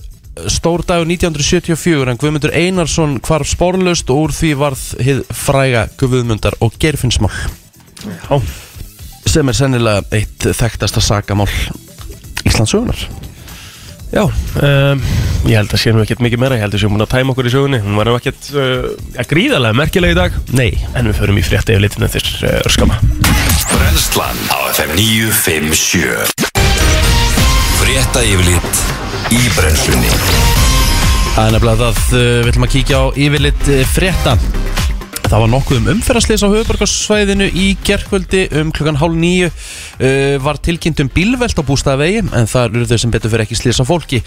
A: stór dagur 1974 en Guðmundur Einarsson hvarf spórlaust og úr því varð hið fræga Guðmundar og Gerfinnsmál
E: Já,
A: sem er sennilega eitt þekktasta sakamál Íslandsugunar
E: já um, Ég held að sé nú ekkert mikið meira, ég held að sé múin að tæma okkur í sögunni Hún var nú ekkert, uh, ja, gríðarlega merkilega í dag
A: Nei
E: En við förum í frétta yfir litinu þess uh, örskama
B: Brennslan á FM 957 Frétta yfirlit í brennslunni
A: Það er nefnilega það, uh, við ætlum að kíkja á yfirlit uh, frétta Það var nokkuð um umferðarslis á höfuborgarsvæðinu í gerkvöldi um klukkan hálf nýju uh, var tilkynnt um bílvelt á bústaðvegi en það eru þau sem betur fyrir ekki slisa fólki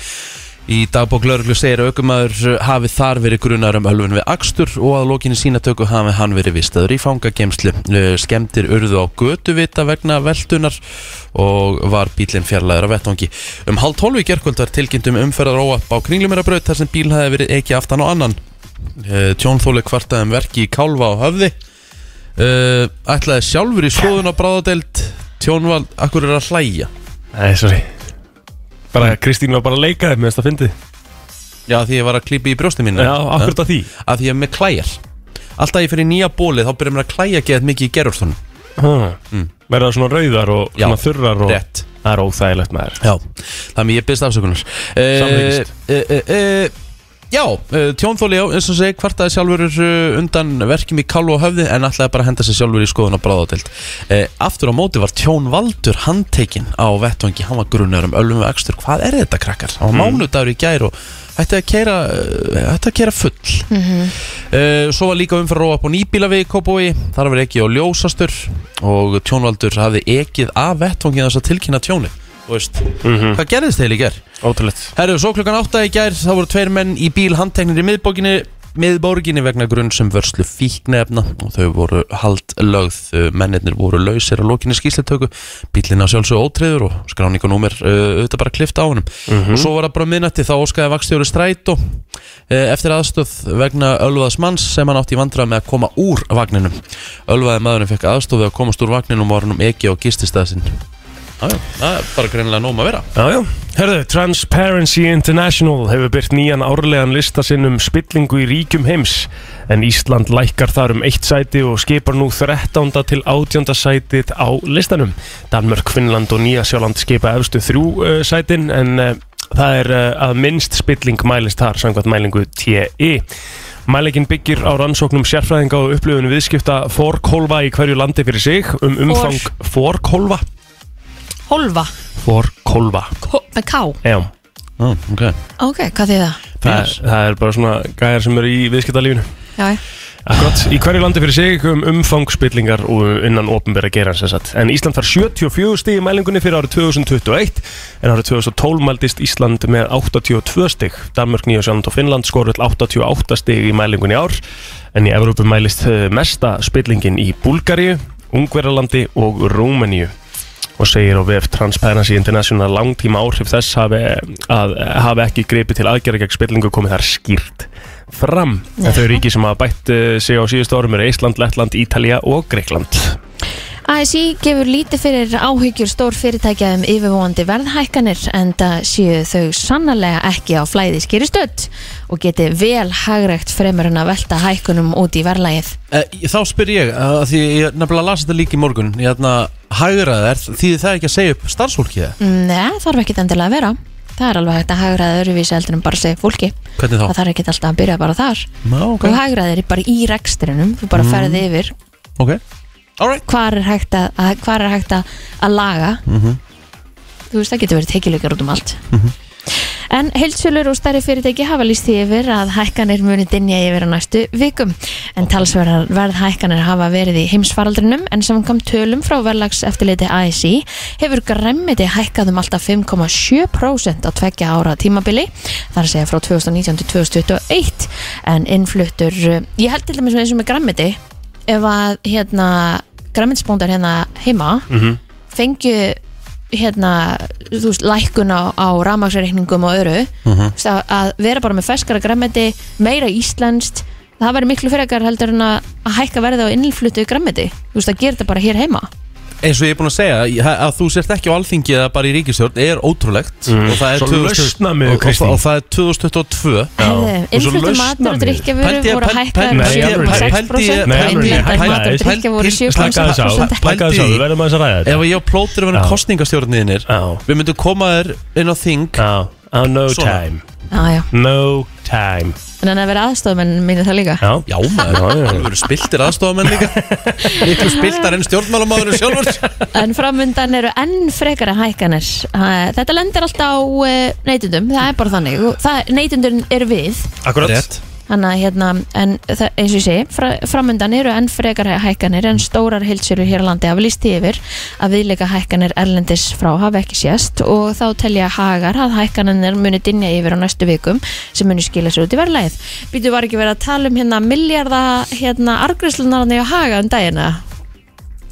A: Í dagbók lauruglu segir að aukumæður hafi þar verið grunar um ölfun við akstur og að lokinni sínatöku hafi hann verið vistaður í fangagemslu. Eh, Skemmtir urðu á götuvita vegna veltunar og var bílinn fjarlæður af vettvangi. Um halv tólfi gerkvöldar tilkynntum umferðar óapp um á kringlumerabraut þar sem bíl hafi verið ekki aftan á annan. Eh, Tjónþóli kvartaðum verki í kálfa á höfði. Eh, Ætlaði sjálfur í skoðun á bráðadeild. Tjónvald, akkur er að hlæja?
E: Nei, sorry Bara Kristín var bara að leika þér með þetta fyndi
A: Já, því ég var að klípa í brjósti mínu
E: Já, akkur þetta því
A: að því ég er með klæjar Alltaf ég fyrir nýja bóli þá byrjar mér að klæja geðað mikið í gerurstun
E: Ha. Verða það svona rauðar og
A: Já,
E: svona þurrar og
A: rétt.
E: Það er óþægilegt maður
A: Já, þannig ég byrst afsökunar
E: Samþykkist.
A: e, e, e, Já, e, tjónþóli, já, eins og segi kvartaði sjálfur eh, undan verkjum í kallu og höfði en ætlaði bara að henda sig sjálfur í skoðun og bráðatild e, Aftur á móti var tjón Valdur handtekinn á vettvangi, hann var grunnar um ölfum og ekstur, hvað er þetta krakkar? Hann
E: Mm.
A: var mánudagur í gær og hætti að keira, hætti að keira full Uh, svo var líka umfra róa upp á nýbílavegi í Kópói, þar var ekki á ljósastur og tjónvaldur hafði ekið af vettvangin þess að tilkynna tjóni Þú veist, hvað gerðist þeir í gær?
E: Ótrúlegt
A: Herru, svo klukkan átta í gær þá voru tveir menn í bíl handteknir í miðbókinni miðborginni vegna grunn sem vörslu fíknefna og þau voru hald lögð, eh, mennirnir voru lausir á lokinni skýsletöku, bílina sjálfsög ótreyður og skráning og númer uh, auðvitað bara klift á honum og svo var það bara minnati þá óskaði vakstjóri strætó eh, eftir aðstöð vegna ölvaðs manns sem hann átti í vandrað með að koma úr vagninum ölvaði maðurinn fekk aðstöð við að komast úr vagninum og var hann um ekki á gististæðsinn Það er bara greinilega nóg um að vera
E: Já, já. Herðu, Transparency International hefur byrt nýjan árlegan lista sinn um spillingu í ríkjum heims en Ísland lækkar þar um eitt sæti og skipar nú 13. til 18. sætið á listanum. Danmörk, Finnland og Nýja Sjáland skipa efstu þrjú uh, sætin en uh, það er uh, að minnst spilling mælist þar samkvæmt mælingu TE. Mælingin byggir á rannsóknum sérfræðinga og upplifun viðskipta fórkólva í hverju landi fyrir sig um umfang fórkólva
D: Hólfa,
E: fórkólva,
D: Hó- með K
E: já
A: ah, okay.
D: Ok, hvað þið það?
E: Það er, það er bara svona gæjar sem eru í viðskiptalífinu
D: Já, já.
E: Akkurat, í hverju landi fyrir sig um umfangspillingar og innan ofnbæra gerans þessat. En Ísland þarf 74 stig í mælingunni fyrir árið 2021 en árið 2012 mældist Ísland með 82 stig. Danmörk, Nýjásjóland og Finnland skorull 88 stig í mælingunni í ár en í Evrópu mælist eh, mesta spillingin í Búlgaríu, Ungverjalandi og Rúmeníu og segir á VF Transparency International að langtíma áhrif þess hafi, að hafi ekki greipið til aðgerða gegn spillingu komið þar skýrt fram en þau ríki sem hafa bætt eh, sig á síðustu árum eru Ísland, Lettland, Ítalja og Greikland
D: ASI gefur lítið fyrir áhyggjur stór fyrirtækja um yfirvóandi verðhækkanir en það séu þau sannarlega ekki á flæði skýri stödd og geti vel hagrægt fremur en að velta hækkunum út í verðlægið.
A: Eh, Þá spyr ég, að því ég nefnilega las þetta líka í morgun Ég hérna, ætla hægraði þær, því það ekki að segja upp starfsfólkið það
D: Nei, þarf ekki endilega að vera. Það er alveg hægt að hagræða öðruvísi heldur en bara að segja fólki.
A: Hvernig
D: Það
A: þá?
D: þarf ekki alltaf að byrja bara þar.
A: Má, ok, Mm.
D: Þú hagræðir bara í rekstrinum, þú bara ferði yfir
A: ok Alright
D: hvar er hægt að, að, hvar er hægt að, að laga
A: mhm.
D: þú veist það getur verið tekileikar út um allt En heilsölur og stærri fyrirtæki hafa líst því yfir að hækkanir muni dinja yfir á næstu vikum. En talsverðar verðhækkanir hafa verið í heimsfaraldrinum en samkvæmt tölum frá verðlags eftirliti ASI hefur græmmiti hækkað um alltaf 5,7% á tveggja ára tímabili, þar að segja frá 2019 til 2021 en innfluttur, ég held til dæmis eins og með græmmiti, ef að hérna græmmitisbóndar hérna heima
A: Mhm.
D: fengju hérna, þú veist, lækkun á, á rafmagsreikningum og öðru uh
E: Mhm.
D: -huh. að vera bara með ferskara græmeti meira íslenskt, það væri miklu frekar heldur en að að hækka verðið á innflutu græmeti, þú veist, að gera þetta bara hér heima
A: Eins og ég er búin að segja, ég- að þú sért ekki á alþingi eða bara í ríkistjórn er ótrúlegt og það er
E: Mhm. Svo
A: 2000 og-
E: lausnamiðuð,
A: og-
E: Kristín.
A: Og það er 2022
D: Herðu,
E: og svo
D: innflutu
E: lausna
D: matur og
E: mér.
A: Pældi
D: drikkjafuru
A: ég-
D: voru
A: pæl-
D: hækkaður
A: pæl-
D: um
E: pældi ég-
D: 7,6%
E: pældi
D: og innlendar
E: ég- pældi ég-
D: matur og drikkja voru
A: pældi-
E: Slaka þess á,
D: 7,6%
E: slaka þess á,
A: Pældi-
E: við verðum aðeins að ræða
A: Ef
E: þetta
A: ég og plótur verðum
E: Já.
A: kostningastjórninir
E: Já.
A: Við myndum koma þér inn á þing
E: Já, á no
A: Svona.
E: time
D: Já, já.
E: No time
D: En þannig að vera aðstofamenn minni það líka
E: Já,
A: Já maður,
E: Já, já.
A: það eru spiltir aðstofamenn líka Miklu spiltar en stjórnmálamæður sjálfur
D: En framundan eru enn frekara hækkanir Ha, Þetta lendir alltaf á eh, neytendum, það er bara þannig Og það- Neytendur eru við
E: akkurat
A: Rétt.
D: Ha, Þannig að hérna, en það, eins og ég segi, fra, framundan eru enn frekar hækkanir en stórar heilsölu hér á landi hafa lísti yfir að viðleika hækkanir erlendis frá hafa ekki sést og þá telja hagar að hækkanir muni dinja yfir á næstu vikum sem muni skila sér út í verðlæð. Býtu var ekki verið að tala um hérna milljarða hérna argrislunarni á haga um dagina?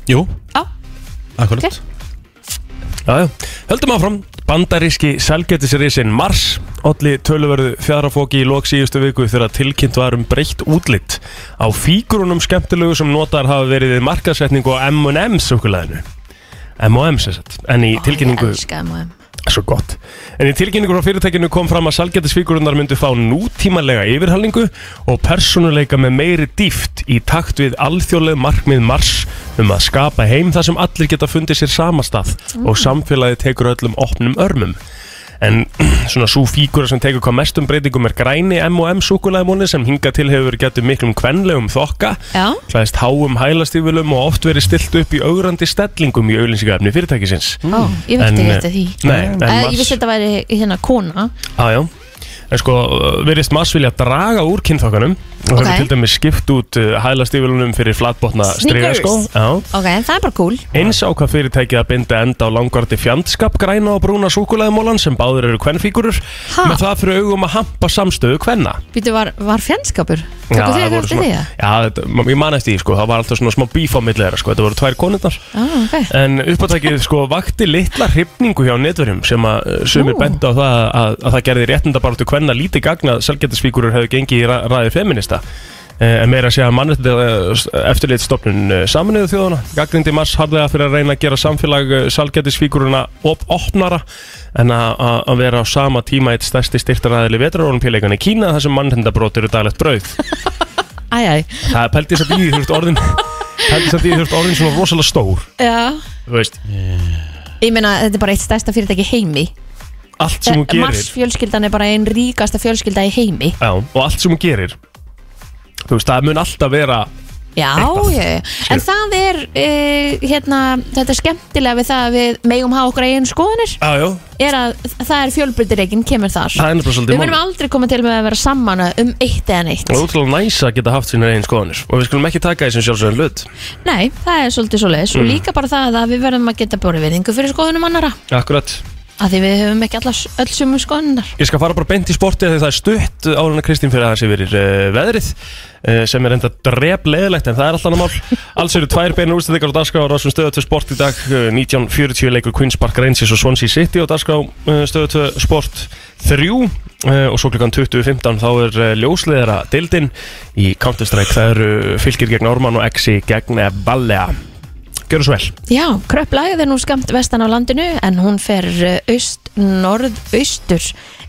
A: Jú,
D: Já,
A: akkurat
D: Ok.
E: Já, já. Höldum áfram, bandaríski selgetisrisin Mars Olli töluverðu fjárafóki í lok síðustu viku þegar tilkynnt var um breytt útlitt á fígrunum skemmtilegu sem notar hafa verið við markasetningu á M&M's okkurleðinu M&M's sem sagt, en í tilkynningu
D: Ég elska MOM.
E: Svo gott. En í tilkynningu frá fyrirtækinu kom fram að salgætisfíkurunar myndu fá nútímalega yfirhalningu og persónuleika með meiri dýft í takt við alþjóðleg markmið Mars um að skapa heim þar sem allir geta fundið sér samastað og samfélagið tekur öllum opnum örmum. En svona svo fígura sem tekur hvað mestum breytingum er græni M&M súkulæðmóni sem hinga til hefur getur miklum kvenlegum þokka
D: Já.
E: klæðist háum hælastífulum og oft verið stilt upp í augrandi stellingum í auðlinsingafni fyrirtækisins
D: Ó, ég veit
E: En, eh,
D: ekki þetta því.
E: Nei, en
D: Eh,
E: Mars
D: Ég vissi þetta væri hérna kona.
E: Já, já En sko, veriðst Mars vilja draga úr kynþokkanum og
D: Ok.
E: hefur til dæmis skipt út uh, hælastífilunum fyrir flatbotna striga
D: Sneakers.
E: sko. Já.
D: Ok, það er bara cool.
E: Eins á hvað fyrirtækið að binda enda á langvarti fjandskap græna og brúna súkulæðumólan sem báður eru kvennfígurur
D: Ha?
E: með það fyrir augum að hampa samstöðu kvenna
D: Býtu var, var fjandskapur?
E: Já,
D: Tökum þið
E: það
D: ekki
E: voru
D: eftir því
E: svona-
D: það?
E: Já, þetta, ég man eftir því sko, það var alltaf svona smá bíf á milli þeirra sko, þetta voru tvær konundar
D: Ah, okay.
E: En uppátækið sko vakti litla hrifningu hjá netverjum sem að uh, sumir
D: Nú.
E: benda á það að, að það gerði réttindabartu hvenna lítið gagna að selgættisfígurur hefðu gengið í ra ræði feminista. Eh, En meira að segja eh, mannréttið eftirleitt stopnun saminuðu þjóðuna. Gagnindi Mars harðlega fyrir að reyna að gera samfélag salgættisfíguruna op opnara en að- að að vera á sama tíma eitt stærsti styrtaræðili vetrarólumpíleikan í Kína þar sem mannréttindabrót eru daglegt brauð.
D: Æ, æ,
E: Það er pældið samt í því, þú ert orðin, pældi samt í því, þú ert orðin svona rosalega stór.
D: já
E: Þú veist,
D: Ég meina, þetta er bara eitt stærsta fyrirtæki í heimi
E: allt sem hún gerir
D: Eh, Mars fjölskyldan er bara einn ríkasta fjölskylda í heimi
E: Já, og allt sem hún gerir Þú veist, það mun alltaf vera
D: Já,
E: Eitthvað.
D: ég En það er, e, hérna, þetta er skemmtilega við það að við megum hafa okkur eigin skoðanir
E: Já, já
D: er að það er fjölbreytireikin kemur þar
E: Það er nefnilega svolítið
D: Við munum
E: málið.
D: aldrei koma til með að vera saman um eitt eða neitt
E: Það er útrúlega næs að geta haft sínar eigin skoðanir Og við skulum ekki taka því sem sjálfsögðan hlut
D: Nei, það er svolítið svoleiðis
E: Mm.
D: og líka bara það að við verðum að geta borðið viðingu fyrir skoðunum annara
E: Akkurat
D: að því við höfum ekki allar, öll sumu skoðunar
E: Ég skal fara bara beint í sportið þegar það er stutt álunar Kristín fyrir aðeins yfir uh, veðrið uh, sem er enda drep leðilegt en það er alltaf annar mál. Alls eru tvær beinu úrstæðikar á dagskrá á Rásum stöðu 2 sport í dag uh, 1940 leikur Queen's Park Rangers og Swansea City á dagskrá uh, stöðu 2 sport 3 uh, og svo klukkan 20.15 þá er uh, ljósleðara dildin í Counter-Strike það eru fylgir gegn Orman og Exi gegn Vallea. Gjör svo vel.
D: Já, kröpplægð er nú skamt vestan á landinu en hún fer öst, norðaustur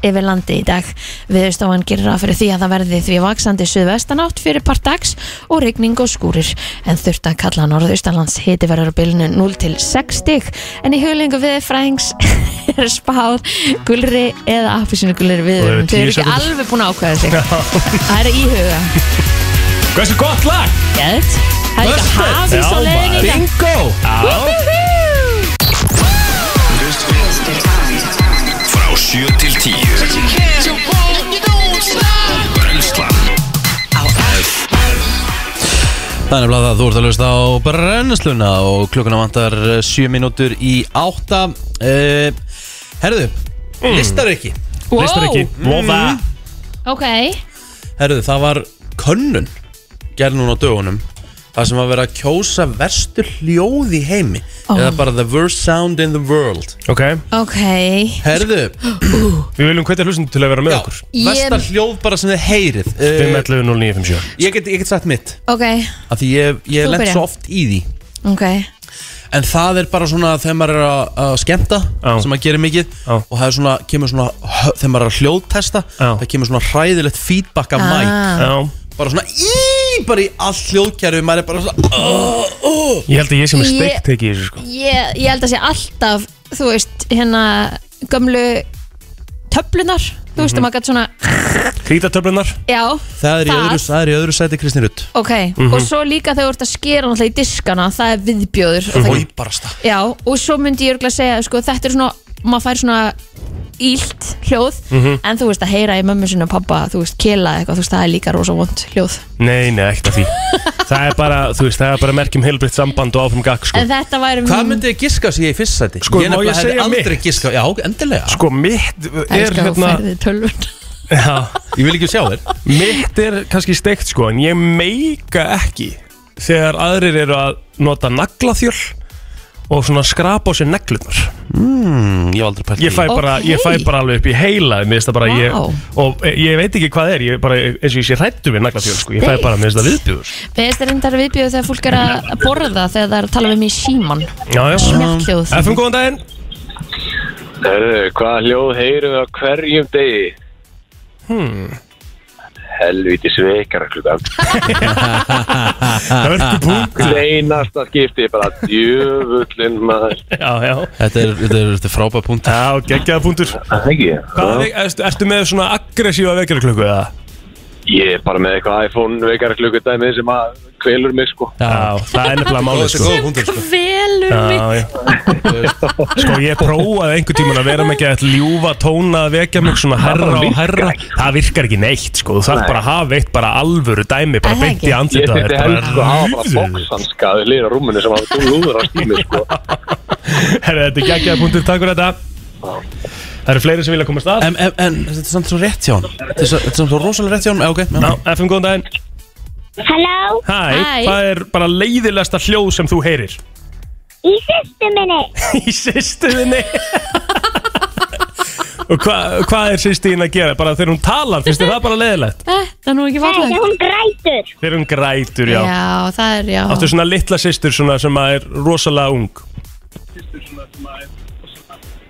D: yfir landi í dag. Viðstofan gerir ráð fyrir því að það verði því vaksandi suðvestanátt fyrir part dags og rigning og skúrir. En þurft að kalla norðaustalands hiti verður á bylnu 0 til 6 stig en í huglingu við fræðings er spáð gulri eða appelsinu gulri
E: Og
D: viðurum.
E: það
D: Þau
E: eru
D: eru
E: 10
D: ekki alveg búin að ákveða sig. Það er að íhuga.
E: Hversu gott lag?
D: Gæðt. Það er ekki
E: Blessaður.
D: hafið
E: Já,
D: svo leiðin í dag.
A: Bingo!
B: Frá 7 til 10 Brennslan
A: Það er nefnilega það, þú ert að hlusta á brennsluna og klukkuna vantar 7 mínútur í 8 uh, Herðu, mm. listar ekki Mm.
D: Wow. Mm-hmm.
E: Listar ekki. Voða.
D: Ok,
A: Herðu, það var könnun gerð núna á dögunum Það sem var verið að kjósa verstu hljóð í heimi
D: Ó.
A: Eða bara the worst sound in the world
E: Ok,
D: ok
A: Herðu,
E: við viljum hvetja hlustum til að vera með
A: já,
E: okkur.
D: Ég-
A: versta hljóð bara sem þið heyrið uh,
E: 511 0957
A: ég, get, ég get sagt mitt
D: Ok,
A: Af því ég, ég
D: Þú
A: lent
D: byrja.
A: svo oft í því
D: ok
A: En það er bara svona þegar maður er að, að skemmta
E: Já.
A: sem maður gerir mikið
E: Já.
A: og það er svona, kemur svona hö- þegar maður er að hljóðtesta
E: Já.
A: það kemur svona hræðilegt feedback af mæk
D: Ah.
E: Já,
A: bara svona í, bara í allt hljóðkerfi maður er bara svona oh, oh.
E: ég held að ég sem er
D: Ég-
E: steikt ekki í þessu sko
D: Ég, ég held að sé alltaf Þú veist, hérna Gömlu töflunar Þú veist, mm
E: Mhm.
D: -hmm. maður gætt svona
E: Krítatöflunar
D: Já,
A: það, er í öðru, það er í öðru sæti Kristín Rutt
D: ok Og svo líka þegar þú ert að skera náttúrulega í diskana Það er
E: Mhm.
D: viðbjóður og það,
A: Hýbarasta
D: Já, og svo myndi ég örgulega segja sko, Þetta er svona, maður fær svona ílt hljóð
E: Mhm.
D: en þú veist að heyra í mömmu sinni og pappa þú veist kela eitthvað, þú veist það er líka rosa vond hljóð
E: Nei, nei, ekkert af því Það er bara, þú veist, það er bara merkjum heilbritt samband og áfram gag, sko
D: en þetta væri
A: Hvað myndið þið giska sig í fyrst sæti?
E: Sko, má
A: nefnilega
E: ég
A: hefði
E: segja
A: aldrei
E: mitt?
A: giskað Já, endilega
E: Sko, mitt er
D: Elskar þú
E: hérna
D: færði tölvun
E: já,
A: Ég vil ekki sjá þér
E: Mitt er kannski steikt, sko, en ég meika ekki Þegar aðrir eru að nota naglaþjöl og svona skrapa á sér neglunar
A: mm, Ég hef aldrei pælt
E: ég fæ, bara, ég fæ
D: Ókei.
E: bara alveg upp í heila mér finnst það bara, ég,
D: Vá.
E: og e, ég veit ekki hvað er ég bara, eins og ég sé hrættu við naglatjón sko. ég fæ bara, mér finnst það viðbjúður
D: Við veist er endar viðbjöðu þegar fólk er að borða þegar það er að tala við mig í síman
E: já, já.
D: Smjallhljóð
E: FM, góðan daginn
G: Herðu, hvaða hljóð heyrum við á hverjum degi? Hmm. Helviti sveikar klukkan. Ah,
E: Hörgubú
G: Leinasta skipti, bara djöfullin maður.
E: já, já,
A: Þetta er, þetta er, þetta er frábæð punkt
E: já, geggjaða punktur
G: Það er ekki.
E: Hvað, er- ertu, ertu með svona aggressíva vekjarklöku eða?
G: Ég er bara með eitthvað iPhone veikar klukku dæmið sem að kvelur mig sko.
E: Já, það er nefnilega máli
A: Þetta er
E: sko
A: góð punktur sko
D: Velur mig
E: Já, já. sko ég prófaði einhvern tíman að vera með ekki að ljúfa tóna að vekja mig svona herra og herra það virkar ekki neitt sko þú þarf bara að hafa eitt bara alvöru dæmi bara
D: Er það
E: beint í
D: ekki?
G: Ég
E: andlita
G: þurfti helst sko að hafa bara bóksanskaði lýra rúminu sem hafa dúður á stími sko.
E: Herra, þetta er geggjaða punktur, takk fyrir þetta Það eru fleiri sem vilja komast að
A: En, en, en þetta er samt svo rétt hjá hann Þetta er svo- þetta er samt svo rosalega rétt hjá hann Já, ok
E: Ná,
A: já.
E: FM, góðan daginn
H: Halló,
E: Hæ,
D: Hæ.
E: hvað er bara leiðilegasta hljóð sem þú heyrir?
H: í sýstu minni.
E: Í sýstuðinni Og hva, hvað er sýstuðin að gera? Bara þegar hún talar, finnst þið það bara leiðilegt?
D: Þetta er nú ekki
H: Þegar
D: fallið
H: hún grætur.
E: Þegar hún grætur, já,
D: Já, það er já
E: Áttu svona litla sýstur svona sem að er rosalega ung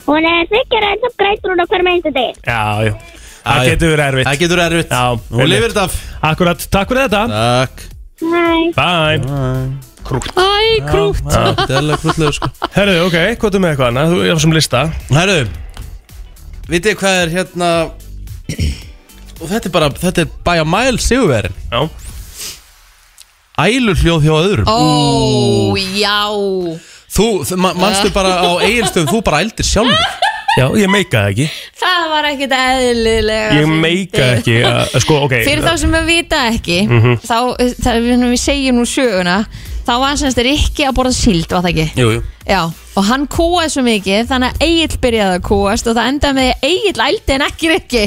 H: Hún er þykjur að þú grætur hún á hverjum einstu degi.
E: Já, já
A: Já,
E: Það
A: já.
E: getur verið erfitt
A: Það getur erfitt
E: Já,
A: Hún lifir þetta af
E: Akkurat, takk fyrir þetta
A: Takk
H: Næ.
E: Bæ
D: Æ, krútt
A: Þetta er alveg krulluður sko
E: Herðu, ok, hvað er með eitthvað annað? Þú er sem lista
A: Herru Vitið þið hvað er hérna Og þetta er bara Þetta er bæja mæl sigurverin
E: Já
A: Ælur hljóð hjá öðrum
D: Ó, já
A: Þú, þ- ma manstu bara á eigilstöðum Þú bara ældir sjálfur
E: Já, ég meika það ekki
D: Það var ekkit eðlilega
E: Ég meika
D: fyndið.
E: það ekki Mhm. að, að Sko, ok
D: Fyrir þá sem við vita ekki þá, það, við, við segjum nú söguna þá var semst Rikki að borða síld var það ekki?
A: Jú, jú
D: Já, og hann kúaði svo mikið þannig að Egil byrjaði að kúast og það endaði með því að Egil ældi en ekki Rikki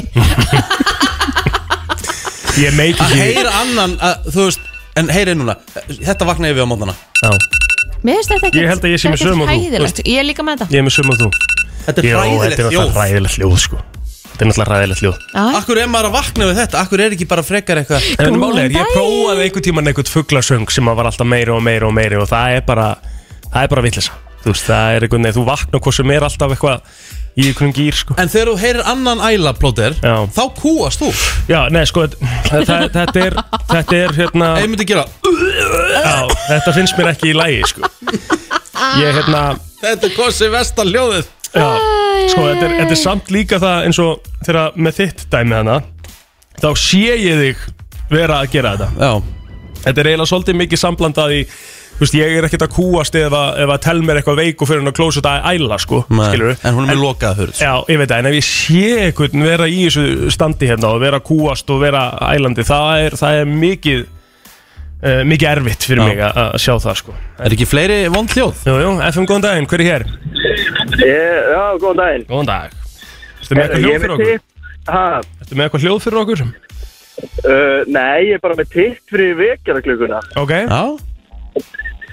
E: Ég
A: Að
E: meika ekki
A: heyra annan að, Þú veist En heyri núna Þetta vakna ég við á mótana
E: Já
D: Mér finnst þetta ekki
E: Ég held að ég sé með sömu og þú,
D: Ég er líka með þetta
E: Ég er með sum og þú
A: Þetta er
E: Jó, þetta er
A: fræðilegt
E: náttúrulega
A: hljóð
E: ræðilegt hljóð, sko Þetta er náttúrulega ræðilegt hljóð
D: Já,
A: Akkur er maður að vakna við þetta Akkur er ekki bara frekar eitthvað
E: En
D: Góðan
E: máli er, ég
D: daginn.
E: prófaði einhvern tíman einhvern fugglasöng sem að var alltaf meiri og meiri og meiri og það er bara, það er bara vitlisa þú veist, það er einhvern veginn, þú vakna hvort sem er alltaf eitthvað í einhvern gýr sko.
A: En þegar þú heyrir annan æla plóter
E: Já.
A: Þá kúast þú
E: Já, nei, sko, þetta, þetta- þetta er þetta er hérna,
A: Ef ég myndi gera
E: já, þetta finnst mér ekki í lægi, sko ég hérna,
A: Þetta er kosi vestan hljóðið
E: já, sko þetta er, þetta er samt líka það eins og þegar með þitt dæmi hana þá sé ég þig vera að gera þetta
A: Já
E: Þetta er eiginlega svolítið mikið samblandað í Þú veist, ég er ekkert að kúast ef að, ef að tel mér eitthvað veik og fyrir hann að klósa þetta að æla, sko,
A: Nei,
E: skilurðu.
A: En hún er með lokað hurð
E: Já, ég veit það, en ef ég sé einhvern vera í þessu standi hérna og vera að kúast og vera ælandi, það er, það er mikið, uh, mikið erfitt fyrir
A: Já.
E: mig að að sjá það, sko.
A: Er ekki fleiri vond hljóð?
E: Jú, jú, FM, góðan daginn, hver er hér?
G: Ég, já, góðan daginn. Eh,
E: Góðan dag. Ertu með eitthvað hljóð fyrir okkur?
G: Ha,
E: Ertu með eitthvað hljóð fyrir okkur?
G: uh, nei, ég er bara með titt fyrir vekjara klukkuna.
E: Ok,
A: Já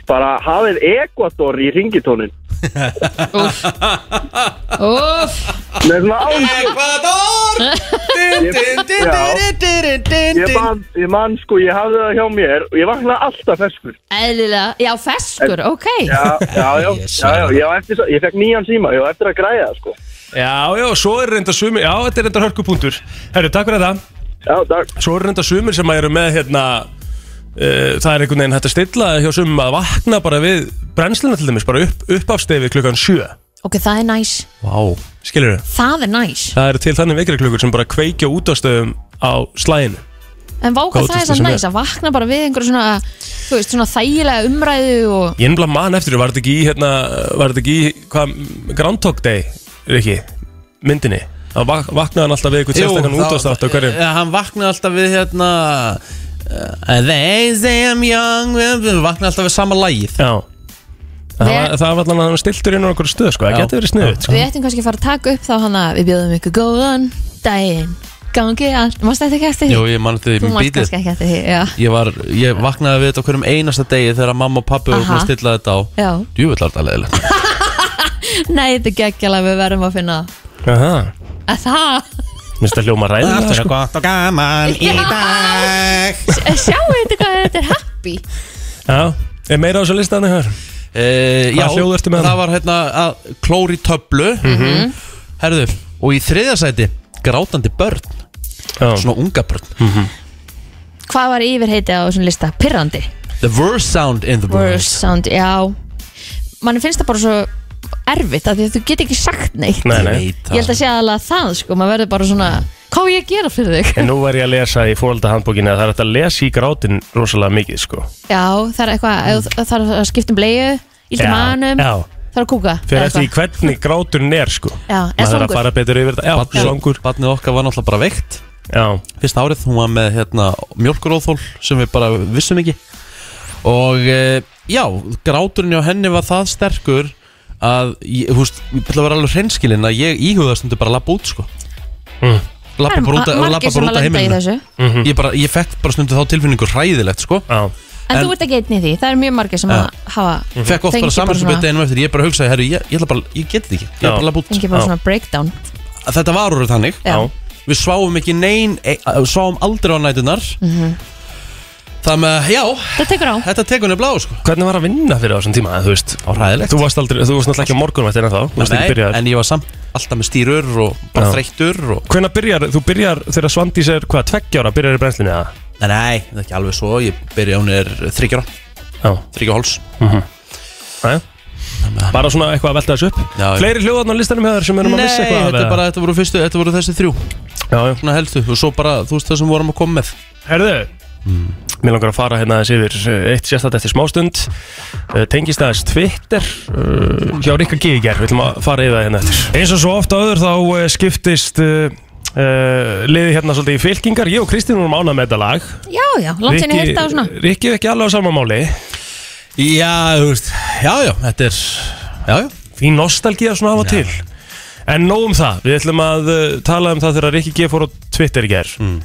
G: Bara hafið Ekvator í ringitónin.
D: Úff,
G: Með svona án
A: Ekvador
G: Ég man, ég man sko, ég hafði það hjá mér og ég vaknaði alltaf feskur.
D: eðlilega, já feskur, ok
G: Já, já, já,
A: Ég
G: já, já, já eftir, svo- ég fekk nýjan síma, ég var eftir að græja það sko.
E: já, já, svo er reynda sumi, já, þetta er reynda hörkupunktur. Herru, takk fyrir það.
G: Já, takk.
E: Svo eru reynda sumir sem eru með hérna uh, Það er einhvern veginn hægt að stilla hjá sumum að vakna bara við brennsluna til dæmis bara upp, uppafstefi klukkan 7
D: Ok, það er næs,
A: Vá
E: Skilur þau?
D: það er næs
E: Það eru til þannig vekri klukkur sem bara kveikja útafstöfum á slæðinu
D: En váka það
E: Hvað
D: er
E: óttastu
D: sann
E: sem
D: næs að vakna bara við einhverju svona, þú veist, svona þægilega umræðu og
E: Ég ennbla man eftir, var þetta ekki í hérna, var þetta ekki í hvað, Groundhog Day, Riki, myndinni Hann vak- vaknaði hann alltaf við eitthvað sérstakann útastátt á hverju
A: Ja, hann vaknaði alltaf við hérna uh, They say I'm young Hann vaknaði alltaf við sama lagið
E: Já Það
D: Við-
E: var, það var allan að hann var stiltur inn á einhverju stöð sko, það
A: Já.
E: getur verið sniðut sko.
D: Við ættum kannski að fara að taka upp þá hana Við bjóðum ykkur góðan daginn Gangi allt, mást þetta ekki eftir því?
A: Jú, ég mann þetta
D: Þú
A: í
D: mást
A: bítið
D: kannski ekki eftir því, já
A: Ég, var, ég vaknaði við þetta á hverjum einasta degi þegar mamma og pappi voru
D: Aha.
A: búin að stilla þetta á
D: Já,
A: Djúvill var þetta leðilegt
D: nei, þetta er geggjala, við verðum að finna
E: Aha,
D: að það,
E: Mér finnst það hljóma ræðilega sko.
A: gott og gaman í dag
D: sjáu þetta hvað þetta er happy
E: Já, er meira á þessu listanum hér
A: Uh, já,
E: Hvaða hljóð ertu með
A: það
E: hana?
A: var hérna að klóri töflu Herðu, og í þriðja sæti grátandi börn,
E: Já, Mhm.
A: svona unga börn
D: Hvað var yfirheiti á þessum lista? Pirrandi
A: The worst sound in the world
D: Worst sound, já Mann finnst það bara svo erfitt af Því að þú get ekki sagt neitt
E: nei, nei
A: Ég veit
D: Ég held að
A: það.
D: sé aðalega það, sko Maður verður bara svona, hvað á ég að gera fyrir þig?
E: En nú var ég að lesa í fóröldahandbókinu að það er hægt að lesa í grátin rosalega mikið sko.
D: Já, það er eitthvað, ef þú- það er að skipta um bleiu Ílda
E: Já,
D: manum,
E: já.
D: það er að kúka
E: Fyrir
D: eða
E: eftir í
D: eitthvað.
E: hvernig gráturinn er sko.
D: Já, er
E: Maður þarf að
D: svangur.
E: fara betur yfir þetta Já,
A: Barnið-
E: svangur
A: Barnið okkar var náttúrulega bara veikt
E: Já,
A: Fyrsta árið, hún var með hérna, mjölkuróðþól sem við bara vissum ekki Og uh, já, gráturinn hjá henni var það sterkur að, ég- þú veist, ég ætla að vera alveg hreinskilinn að ég íhugaðastundu bara að labba út sko
E: Mm.
D: Það
A: Labba
D: eru
A: bara út að-
D: margir
A: labba
D: sem
A: bara
D: að
A: út að
D: lenda í
A: heimilinu
D: þessu.
A: ég, bara, ég fekk bara stundu þá tilfinningu hræðilegt sko
E: Mhm. já
D: En,
A: En-
D: þú ert ekki einn í því, það eru mjög margir sem að hafa
E: Mhm.
A: fekk oft
D: fengi
A: bara samhengsbyrti
D: svona-
A: einum eftir ég bara hugsaði, herru, ég, ég, ætla bara, ég get þetta ekki ég er
E: Já.
A: bara labba út
D: Fengi bara
E: Já.
D: svona breakdown
A: þetta var orður þannig
D: Já.
E: Já.
A: við sváum ekki nein e, að- sváum aldrei á nætunar mm
D: Mhm.
A: þannig að já
D: Það tekur á
A: þetta tekur nefnilega á sko
E: Hvernig var að vinna fyrir á þessum tíma, þú veist
A: Á hræðilegt.
E: Þú varst aldrei, þú varst náttúrulega ekki á morgunvættina þá Þú varst ekki
A: Nei,
E: byrjaður
A: en ég var samt alltaf með stýrur og bara
E: Já.
A: þreyttur og
E: Hvernig byrjar, þú byrjar þegar Svandís er, hvað, tveggjára, byrjar í brennslinu eða?
A: nei, nei, það er ekki alveg svo ég byrja hún er þryggjara
E: Já,
A: þryggja háls
E: aðja Bara svona eitthvað að velta þessu upp
A: Já, já.
E: Fleiri hljóðarn á listanum hefur sem erum að
A: nei,
E: missa eitthvað af,
A: þetta, er
E: eða?
A: bara, þetta, voru fyrstu, þetta voru þessi þrjú
E: Já, já
A: svona helstu og svo bara þú veist það sem vorum að koma með
E: Herðu Mér langar að fara hérna aðeins yfir eh, eitt sérstætt eftir smástund Eh, Tengist aðeins Twitter eh, hjá Rikka G. í gær Við ætlum að fara yfir það hérna eftir Eins og svo ofta öður þá eh, skiptist uh, uh, liði hérna svolítið í fylkingar Ég og Kristín vorum ánað með þetta lag
D: Já, já, langt sinni
E: Rikki-
D: hérta á svona
E: Rikki er ekki alveg á sama máli
A: já, þú veist, já, já, þetta er já, já
E: Því nostalgía svona af og til En nóg um það, við ætlum að uh, tala um það þegar Rikki G. fór á Twitter í gær
A: Mm.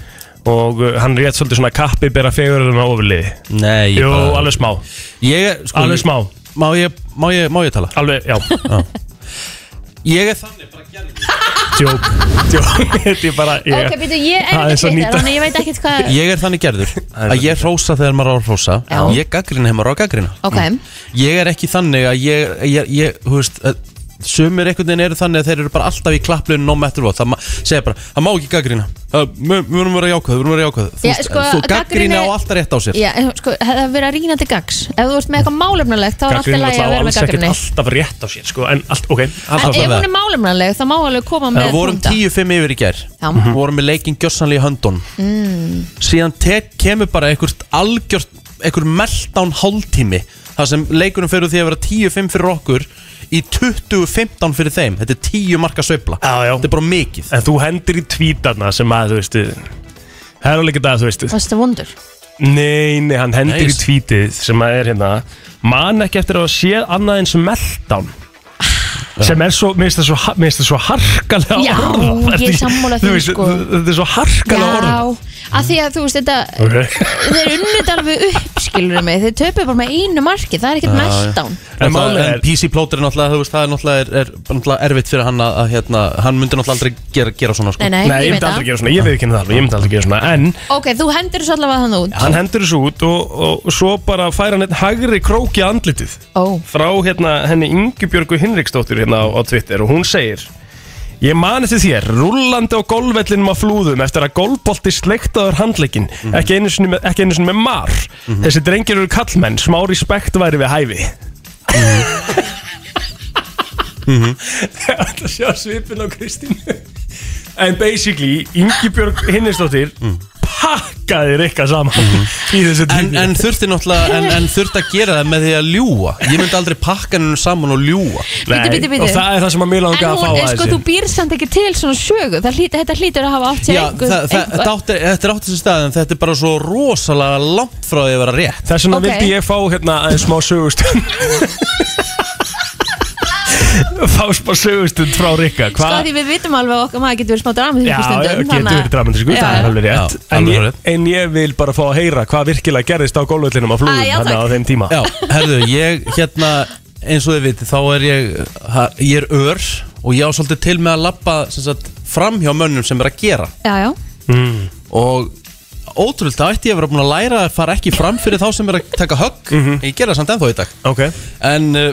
E: Og uh, hann rétt svolítið svona kappi bera fegurinn á ofurliði
A: Nei, ég
E: Jú,
A: bara-
E: alveg smá,
A: ég, sko,
E: alveg smá
A: má ég, má, ég, má ég tala?
E: Alveg, já
A: Ég er þannig bara gerð
E: Djók, djók, þetta er bara ég,
D: Ok, býtu, ég er
E: Það er
D: ekki
E: svo
D: Twitter,
E: nýta.
D: þannig að ég veit ekkert hvað
A: Ég er þannig gerður að ég hrósa þegar maður á að hrósa
D: Já.
A: Ég gaggrina þegar maður á að gaggrina
D: Ok,
A: Ég er ekki þannig að ég, ég, ég hú veist að Sumir einhvern veginn eru þannig að þeir eru bara alltaf í klapplun no matter what, það ma- segja bara það má ekki gaggrina, það- við við vorum að vera jákvæð við vorum að vera jákvæð, þú
D: Já,
A: veist,
D: sko,
A: þú gaggrina
D: gagnrýni-
A: á alltaf rétt á sér
D: já, en sko, hefði það verið að rýna til gags Ef þú ert með eitthvað málefnulegt, þá er alltaf
E: Gagnrýnin
D: lægi að
E: náttúrulega
D: vera
E: alls
D: með
E: ekkert
D: gaggrinni
E: alltaf rétt á sér, sko, en allt, ok
D: En
A: alltaf
D: ef
A: með.
D: hún er málefnuleg, þá má alveg koma með
A: Við vorum
D: punkta.
A: 10-5 yfir í gær
D: Já.
A: Við
E: Mhm.
A: vorum með leikinn gjössanlega í höndun
D: Mm.
A: Síðan tek, kemur bara einhvert algjört, einhver meltdown hálftími Það sem leikunum fyrir því að vera 10-5 fyrir okkur Í 20-15 fyrir þeim Þetta er 10 marka sveifla
E: Já, já.
A: Þetta er bara mikið
E: En þú hendir í tvítarna sem að, þú veistu Það er alveg ekki það, þú veistu
D: Fannst það vondur?
E: Nei, nei, hann
A: Nei,
E: hendir í tvítið sem að er hérna Man ekki eftir að sé annað eins meltdown sem er svo, mér finnst það svo, ha- mér finnst það svo harkalega
D: Já,
E: orða
D: ég er sammála því, sko.
E: Þetta er svo harkalega orða
D: Já, af því að þú veist, þetta
E: okay.
D: Þeir unnit alveg upp, skilur mig Þeir töpuðu bara með einu marki, það er ekkert meltdown
E: En
A: En, það,
E: málið
A: en
E: er,
A: PC plóter er náttúrulega, þú veist, það er náttúrulega, er, er, náttúrulega erfitt fyrir hann að, að hérna, hann myndi náttúrulega aldrei gera, gera svona sko.
D: Nei, nei,
E: nei,
D: ég
E: ég myndi
D: veit
E: aldrei
D: það
E: gera svona, ég veit ekki það alveg, ég myndi aldrei gera svona En
D: Ok, þú hendur þessu allavega þannig út
E: hann hendur þessu út og, og svo bara fær hann einn hægri króki í andlitið
D: Ó,
E: frá hérna henni Ingebjörgu Hinriksdóttir hérna á, á Twitter og hún segir Ég man eftir þér, rullandi á golfvellinum að flúðum eftir að golfbolti sleiktaður handleikin,
D: Mhm.
E: ekki, einu sinni með, ekki einu sinni með mar. Þessi drengir eru kallmenn, smá respekt væri við hæfi.
D: Mhm.
E: Það er alltaf að sjá svipin á Kristínu. En basically, Ingebjörg Hinnisdóttir, pakk pakkaði Rikka saman í þessu
A: Mm. Mhm. En,
E: tími
A: en þurfti náttúrulega, en, en þurfti að gera það með því að ljúa Ég myndi aldrei pakka hennu saman og ljúa
D: Bíddu, bíddu, bíddu.
E: Og það er það sem að mér langa
D: En
E: að fá
D: hún,
E: að
D: sko, þú býr samt ekki til svona sögu Það hlýtur, þetta hlýtur að hafa átt sér
A: Já,
D: einhver-
A: það, það,
D: einhver-
A: þetta átti- þetta er átti sér stað en þetta er bara svo rosalega langt frá því að vera rétt
E: Þess vegna
D: Ok.
E: vildi ég fá hérna aðeins smá sögustund Fá smá sögustund frá Rikka
D: Sko því við vitum alveg að okkar maður getur verið smá dramatísku
E: Já,
D: stundum
E: getur verið dramatísku, það er alveg rétt
A: Já,
E: en,
A: alveg
E: ég,
A: rétt.
E: en ég vil bara fá að heyra hvað virkilega gerðist á gólvöllinum á flugum
D: Æ, já,
E: hann á
D: takk.
E: þeim tíma
A: Já, herðu, ég hérna eins og þið viti, þá er ég ha, ég er ör og ég á svolítið til með að labba sem sagt, fram hjá mönnum sem er að gera
D: Já, já,
A: og ótrúlega, þá ætti ég að vera búin að læra að fara ekki fram fyrir þá sem er að taka högg ég gera það samt ennþá í dag
E: Ok,
A: en uh,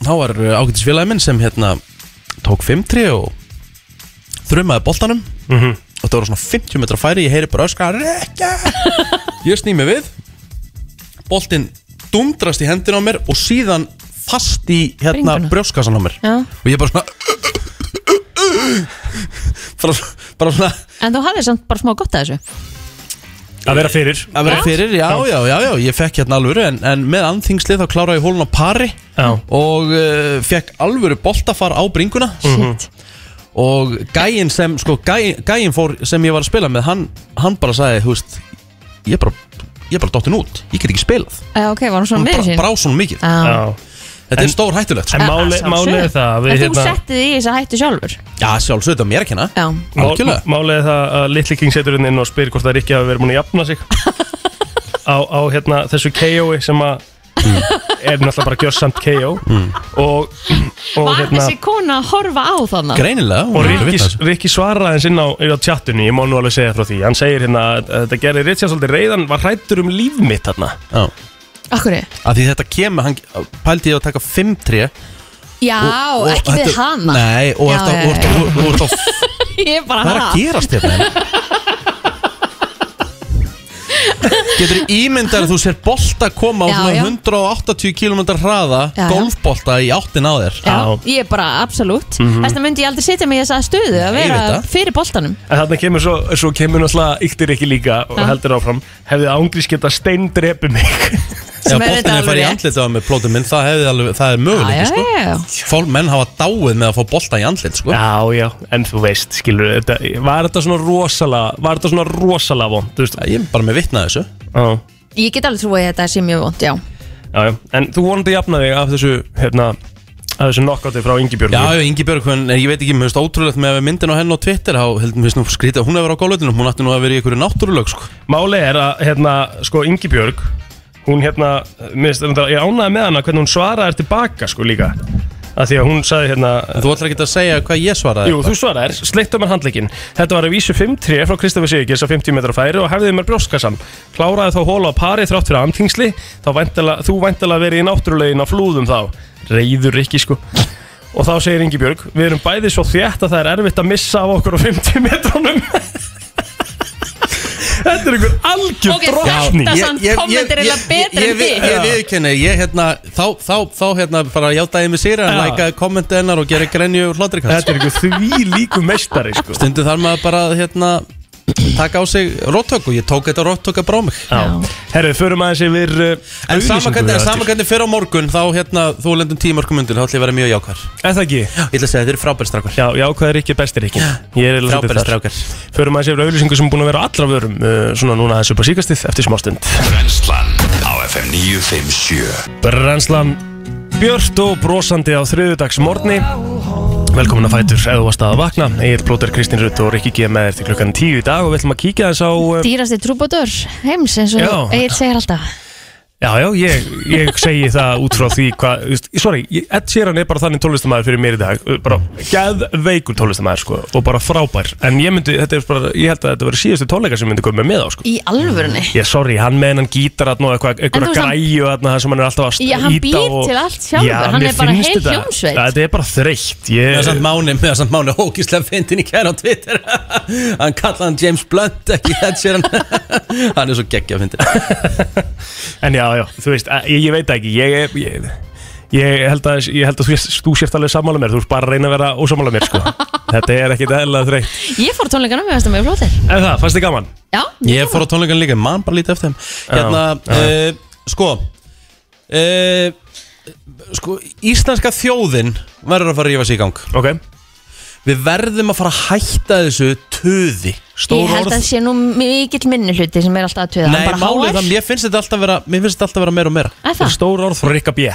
A: þá var uh, ágætisfélagi minn sem hérna tók 5-3 og þrumaði boltanum og það voru svona 50 metra færi ég heyri bara öskar Rekka! ég sný mig við boltin dundrast í hendina á mér og síðan fast í hérna
D: Bringuna.
A: brjóskassan á mér
D: Já.
A: og ég bara svona bara, bara svona
D: en þú hafðir samt bara smá gott að þessu
E: að vera fyrir
A: að vera fyrir, já, já, já, já, ég fekk hérna alvöru en, en með anþingslið þá kláraði ég hólun á pari
E: Já.
A: og uh, fekk alvöru boltafar á bringuna
E: Mhm.
D: Shit,
A: og gæinn sem sko, gæ, gæinn fór sem ég var að spila með hann, hann bara sagði, þú veist ég er bara, ég er bara dottin út ég get ekki spilað,
D: Eh, ok, var hún svona
A: hún bara
D: meður sín?
A: brá svona mikið
D: Já.
E: Já.
A: þetta er stór hættulegt, sko.
E: En máli- málið er það að við
D: En þú
E: hérna-
D: settið þig í þess að hættu sjálfur
A: já sjálfsögðu þetta er mér ekki hana
D: Já,
A: algjörlega,
E: Málið er það að Little King setur hérna inn og spyr hvort það er ekki að vera múin að jafna sig á, á hérna, þessu KO-i sem að er náttúrulega bara gjörsamt KO
A: Hmm.
E: og, og
D: var
E: hérna
D: þessi kona að horfa á þannig?
A: greinilega hún
E: Og
A: er að vita þessu.
E: Rikki, Rikki svaraði hans inn á, á chatinu, ég má nú alveg segja frá því Hann segir hérna að þetta gerði Richard svolítið reyðan Var hrættur um líf mitt hérna
A: Já.
D: Akkur
A: Af því þetta kemur, hann pældi ég að taka 5-3
D: Já,
A: og- og
D: ekki við
A: þetta-
D: hana
A: Nei, og
D: Já,
A: þetta
D: já,
A: og þetta- og- og þetta-
D: Ég er bara
A: Hvað er að
D: hana
A: gerast hérna? Getur ímyndar að þú sér bolta koma á
D: Já,
A: svona
D: já.
A: 180 km hraða
D: Já, já.
A: golfbolta í áttin á þér
D: Já,
E: Já.
D: ég er bara absolutt mm
E: Mhm.
D: -hmm. Þessna myndi ég aldrei setja mig í þessa stöðu að
A: Ég veit
D: vera
A: það.
D: fyrir boltanum
E: En þarna kemur svo, svo kemur náttúrulega yktir ekki líka Og
D: Ha?
E: heldur áfram Hefði ángrís geta steindrepi mig
A: Ef
D: Sem er
A: boltin
D: þetta
A: er
D: alveg
A: farið í
D: rétt.
A: andlit á með plótum minn það, hefði alveg, það er
D: Já, já,
A: möguleik sko.
D: já, já.
A: Fólk menn hafa dáið með að fá bolta í andlit sko.
E: Já, já, en þú veist, skilur þetta, Var þetta svona rosalega Var þetta svona rosalega vond, þú veist
A: Ég er bara með vitnað þessu
E: Já,
D: Ég get alveg trúið að þetta sé mjög vond, já
E: já, já En þú vonandi jafna þig af þessu, hérna Af þessu knockouti frá Ingi Björn
A: Já, já, Ingi Björg, hún, ég veit ekki, mér finnst ótrúlegt með að við myndin á henn á Twitter þá heldum við snú skrítið að hún hefur verið á gólvöldinu hún ætti nú að vera í einhverju náttúrulög sko.
E: Máli er að, hérna, sko, Ingibjörg Hún, hérna, mist, ég ánaði með hana hvernig hún svaraði tilbaka, sko, líka að Því að hún sagði, hérna
A: En Þú ætlar ekki að segja hvað ég svaraði
E: Jú, þú svaraðir, sleittu mér handleikin Þetta var að vísu 5-3 frá Kristofi Sigurgis á 50 metra færi og hefðið mér brjóskassan Kláraði þá hóla á pari þrátt fyrir amtingsli þá væntalega, þú væntalega verið í náttúrulegin á flúðum þá Reyður ekki, sko Og þá segir Ingibjörg, við erum bæði svo þétt að það er erfitt að missa af okkur á 50 metrónum Þetta er einhver algjör
D: Ok,
E: okay,
D: þetta-
E: drottning
D: Þetta samt komment er eiginlega betra
A: ég,
D: en
A: ég,
D: þitt.
A: ég, ég viðkenni, ég hérna þá, þá, þá hérna bara játaði mig sér en
E: Já.
A: lækaði kommenti hennar og gerði grenju og hlátri
E: Þetta
A: kannski
E: er einhver því líku meistari, sko
A: stundu þar maður bara að, hérna taka á sig róttök og ég tók þetta róttöka brá mig
E: Já. Herru, förum aðeins yfir uh,
A: en
E: auglýsingu
A: samankandi,
E: á eftir.
A: samankandi fyrir á morgun þá hérna, þú lendum tímörkum undir þá ætlum ég að vera mjög jákar
E: Er það ekki?
A: ég ætla að segja, þetta er frábæri strákar
E: Já, já, hvað er ekki bestir ekki? Ég er eiginlega svolítið
A: frábæri
E: þar.
A: strákar
E: Förum aðeins yfir auðlýsingu sem er búin að vera á allra vörum uh, Svona núna þessu upp á síkastið eftir smástund
B: Brennslan á FM 957
E: Brennslan Björt og brosandi á þriðudags morgni Velkomin að fætur eða varst að vakna Egil Plóter, Kristín Rutt og Rikki G með þér til klukkan 10 í dag og við ætlum að kíkja þess á uh,
D: Dýrasti trúbótur heims eins
E: Já.
D: og Egil segir alltaf
E: Já, já, ég, ég segi það út frá því hvað, þú veist, sorry, ég- Ed Sheeran er bara þannig tónlistamæður fyrir mér í dag, uh, bara geðveikur tónlistamæður, sko, og bara frábær en ég myndi, þetta er bara, ég held að þetta verið síðustu tónleika sem myndi koma með á, sko
D: Í alvörunni
E: Já, sorry, hann með hennan gítar hann og eitthvað,
D: þú
E: eitthvað
D: veist, hann-
E: græju hann það sem hann er alltaf að
D: Já, hann
E: ýta
D: býr til allt sjálfur, hann
E: mér
D: er bara
E: finnst
D: heil
E: þetta-
D: hljómsveit.
E: Já, Þetta er bara þreytt
A: Meðan
E: ég,
A: samt Máni, meðan samt Máni hókislega fyndin í kæra á Twitter Hann kallaði hann James Blunt, ekki þetta sér hann Hann er svo geggja fyndin
E: En já, já, þú veist, að- ég, ég veit það ekki ég, er- ég, ég, held að, ég held að þú, sért- þú sért alveg sammála mér, þú ert bara að reyna að vera ósammála mér sko. Þetta er ekkit eðlilega þreytt
D: Ég fór á tónleikana, mér finnst það mjög flóttir
E: En það, fannst þið gaman?
D: Já,
A: Ég fór á tónleikan líka, mann bara lítið eftir þeim Hérna,
E: já.
A: uh, sko uh, Sko, íslenska þjóðin verður að fara að rífa sig í gang
E: Ok
A: Við verðum að fara að hætta þessu töði
D: ég
E: Stór
D: held að
E: orð
D: það sé nú mikill minni hluti sem er alltaf að tuða
A: Nei,
D: Hann bara
A: málið er
D: háar.
A: það, mér finnst þetta alltaf vera Mér finnst þetta alltaf vera meira og meira
D: Er það?
E: Stór orð frá Rikka B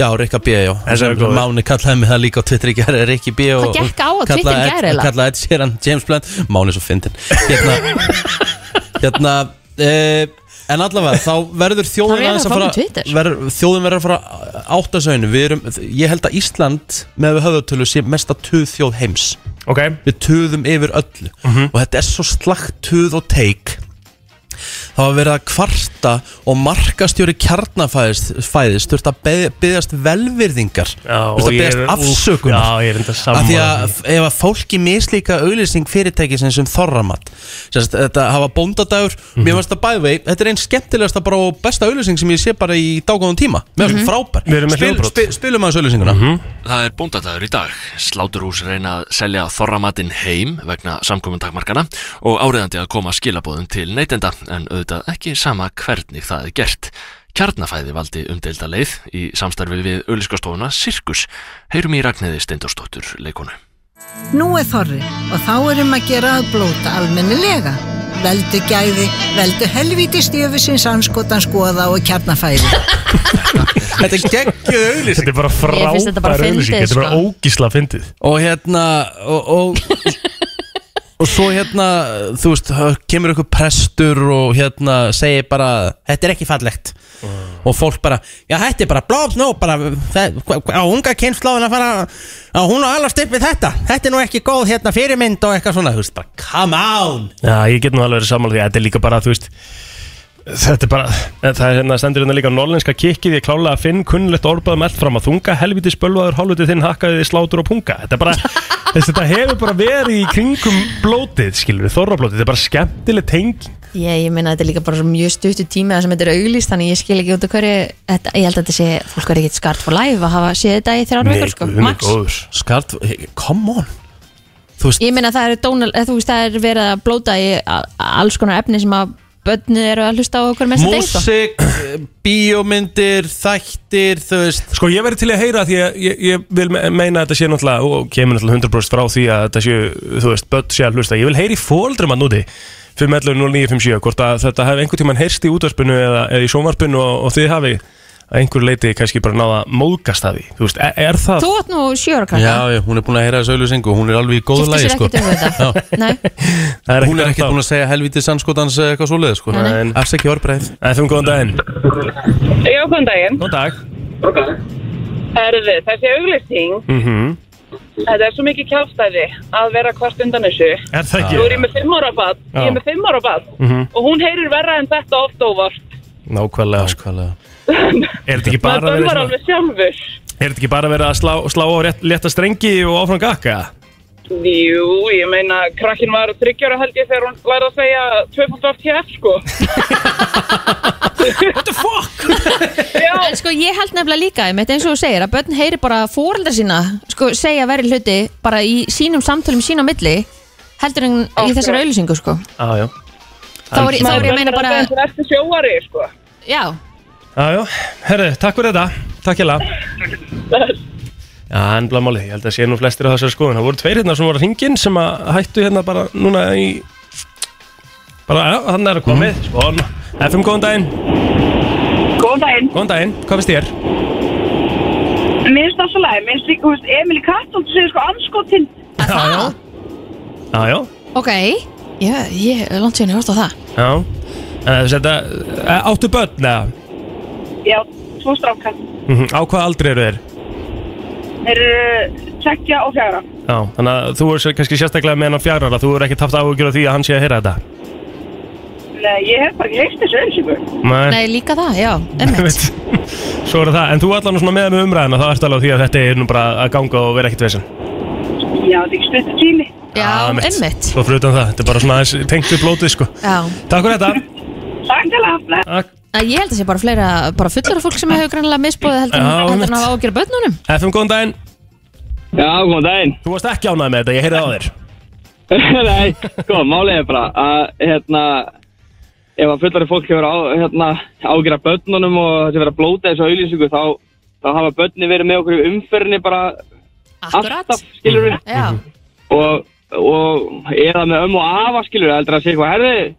A: Já, Rikka B, já
E: Þessi er góður.
A: Máni kallaði mig það líka á Twitter í gæri Rikki B og,
D: Hvað gekk á á Twitter í gær
A: kallaði Ed-
D: eiginlega?
A: Kallaði Ed Sheeran James Blunt Máni er svo fyndin Hérna Hérna e, En allavega, þá verður
D: Þá
A: þjóðin
D: réð
A: aðeins
D: hann
A: að
D: fram í
A: fara
D: Twitter.
A: verður, Þjóðin verður að fara áttasögnu Við erum, ég held að Ísland með við höfðatölu sé mesta tuð þjóð heims
E: Ok Mhm.
A: Við tuðum yfir öllu Og þetta er svo slagt tuð og teik Það var verið að kvarta og markastjóri kjarnafæðis þurft að be- biðjast velvirðingar þurft að biðjast afsökunar
E: Já, ég er enda
A: af
E: saman
A: því að f- ef að fólki mislíka auðlýsing fyrirtækisins um þorramat Sérst, þetta hafa bóndadagur
E: Mhm.
A: mér finnst það bæði vei, þetta er einn skemmtilegasta bara og besta auðlýsing sem ég sé bara í dágóðan tíma mér finnst mm
E: Mhm. Við
A: frábær,
E: erum með
A: Spil,
E: hljóðbrot. Mhm.
A: spi, spilum aðeins auðlýsinguna
F: Það er bóndadagur í dag. Sláturhús reyna að selja þorramatinn heim vegna samkomintakmarkana og áriðandi að koma skilabóðum til neytenda en auðvitað ekki sama hvernig það er gert. Kjarnafæði valdi umdeilda leið í samstarfi við auðliskastofuna Sirkus. Heyrum í Ragnæði Steindorsdóttur leikonu.
I: Nú er þorri og þá erum að gera að blóta almennilega. Veldu gæði, veldu helvíti stjöfusins anskotan skoða og kjarnafæði.
A: þetta er geggjöð auðlýsing
E: Þetta er bara
D: Ég finnst þetta bara
E: frábær
D: fyndið,
E: auðlýsing Þetta er bara
D: sko.
E: ógísla fyndið
A: og hérna og, og, og svo hérna þú veist, það kemur einhver prestur og hérna segir bara þetta er ekki fallegt og fólk bara, já þetta er bara blóð nú bara, það, á unga kynnslóðin að fara á hún og allast upp við þetta þetta er nú ekki góð hérna fyrirmynd og eitthvað svona, þú veist, bara come on
E: Já, ég get nú alveg verið sammála því að þetta er líka bara, þú veist Þetta er bara, það er hérna stendur hérna líka Norlenska kikkið, ég klálega að finn kunnlegt orðbæðum allt fram að þunga, helviti spölvaður hálfutið þinn hakkaði þið slátur og punga Þetta er bara, þess, þetta hefur bara verið í kringum blótið, skilur við, þorrablótið Þetta er bara skemmtileg tenging
D: Ég, ég meina þetta er líka bara mjög stuttu tími það sem þetta er auglýst, þannig ég skil ekki út af hverju þetta, ég held að þetta sé, fólk er ekkit skart for life að hafa séð þetta í þrjár vikur sko,
E: guð minn
D: max
E: góður.
A: skart, come on
D: Ég meina það er, Donald, eða, þú veist, það er verið að blóta í a- alls konar efni sem að börnu eru að hlusta á okkur mest deg sko.
A: músik, Eh, bíómyndir þættir, þú veist
E: Sko ég verið til að heyra því að ég, ég vil me- meina að þetta sé náttúrulega og kemur náttúrulega 100% frá því að þetta sé, þú veist, börn sé að hlusta Ég vil heyri fóldrum að núti 5.11.09.57 hvort að þetta hef einhvern tíman heyrst í útvarpinu eða, eða í sjónvarpinu og, og þið hafi að einhver leiti kannski bara náða móðgast að því Þú veist, e-, er, er það
D: Þú átt nú sjöra krakka
A: já, hún er búin að heyra þessu auðlýsingu hún er alveg í sko.
D: Gifti sér ekkert um þetta Nei,
E: það er
A: Hún er ekkert
E: ennþá.
A: búin að segja helvítið sannskotans eh, eitthvað svoleiðið sko
E: nei.
A: Afsækja orðbreið
E: En þú góðan daginn
J: Já, góðan daginn.
E: Góðan dag
J: Herðu, þessi auglýsting,
E: mm
J: þetta er svo mikið kjálstæði að vera hvort undan þessu.
E: Er það
J: Nú er
E: ekki?
J: ég með fimm ára bad, ég
E: Já.
J: er með fimm ára bad
E: mhm.
J: og hún heyrir verra en þetta oft óvart.
E: Nákvæmlega sko.
A: Nákvæmlega
E: Er þetta ekki
J: Maður
E: bara verið,
J: dömar
E: svona,
J: alveg sjálfur.
E: er þetta ekki bara verið að slá, slá á rétt, létta strengi og áfram gakka?
J: Jú, ég meina, krakkin var þryggjára held ég þegar hún lærði að segja 2.8 sko.
E: What the fuck?
D: en sko ég held nefnilega líka einmitt, eins og þú segir að börn heyri bara fóreldra sína sko, segja verið hluti bara í sínum samtölum sína á milli heldur en í þessari auðlýsingu sko.
E: Ah, já,
D: þá er þá er ég meina bara
J: Það er eftir sjóari sko.
D: já,
E: Já, já, herru, takk fyrir þetta, takk hjá Já, en blá málið, ég held að sé nú flestir á þessari skoðun Það voru tveir hérna sem voru hringin sem að hættu hérna bara núna í Bara, já, hann er að komið, mm. svona FM, góðan daginn,
J: Góðan daginn.
E: góðan daginn, hvað finnst þér?
J: Mér finnst það svo læg, mér finnst líka, þú veist, Emil Kattóld segir sko anskotinn.
E: Já, já Já, já,
D: ok já, ég er langt síðan ég hórst á það
E: já En þess að þetta, eh, áttu börn, eða?
J: Já, tvo strákar.
E: Mhm, Á hvað aldri eru þér?
J: Þeir eru eh, tveggja og fjara.
E: Já, þannig að þú er kannski sérstaklega með hennan fjárara Þú er ekkert haft áhugjur á því að hann sé að heyra þetta
J: Nei, ég hef bara ekki heist þessu ölsingu.
D: nei líka það, já, emmitt
E: Einmitt. Svo er það, en þú allan svona með með umræðina þá ertu alveg á því að þetta er nú bara að ganga og vera ekkert vesen
J: Já, þetta er ekki stuttur tími.
D: já,
E: Ah,
D: emmitt
E: Svo fyrir utan það, þetta er bara svona aðeins tengt við blótið sko
D: já.
E: Takk fyrir þetta
J: Takk alveg að blæða.
E: Takk.
D: Að Ég held að sé bara fleira, bara fullara fólk sem hefur grannlega misbóðið heldur en
E: Já,
D: heldur en
E: einmitt.
D: að hafa ágjör börnunum
E: FM, góðan daginn
K: Já, góðan daginn
E: Þú varst ekki ánægð með þetta, ég heyrði á þér
K: Nei, sko, málið er bara að, hérna, ef að fullari fólk hefur á, hérna, ágjara börnunum og þessi verið að blóta þessu auðlýsingu, þá, þá hafa börni verið með okkur í umferðinni bara alltaf, skilur við.
D: Já.
K: Og, og er það með ömmu og afa, skilur við, heldur að segja eitthvað, herði,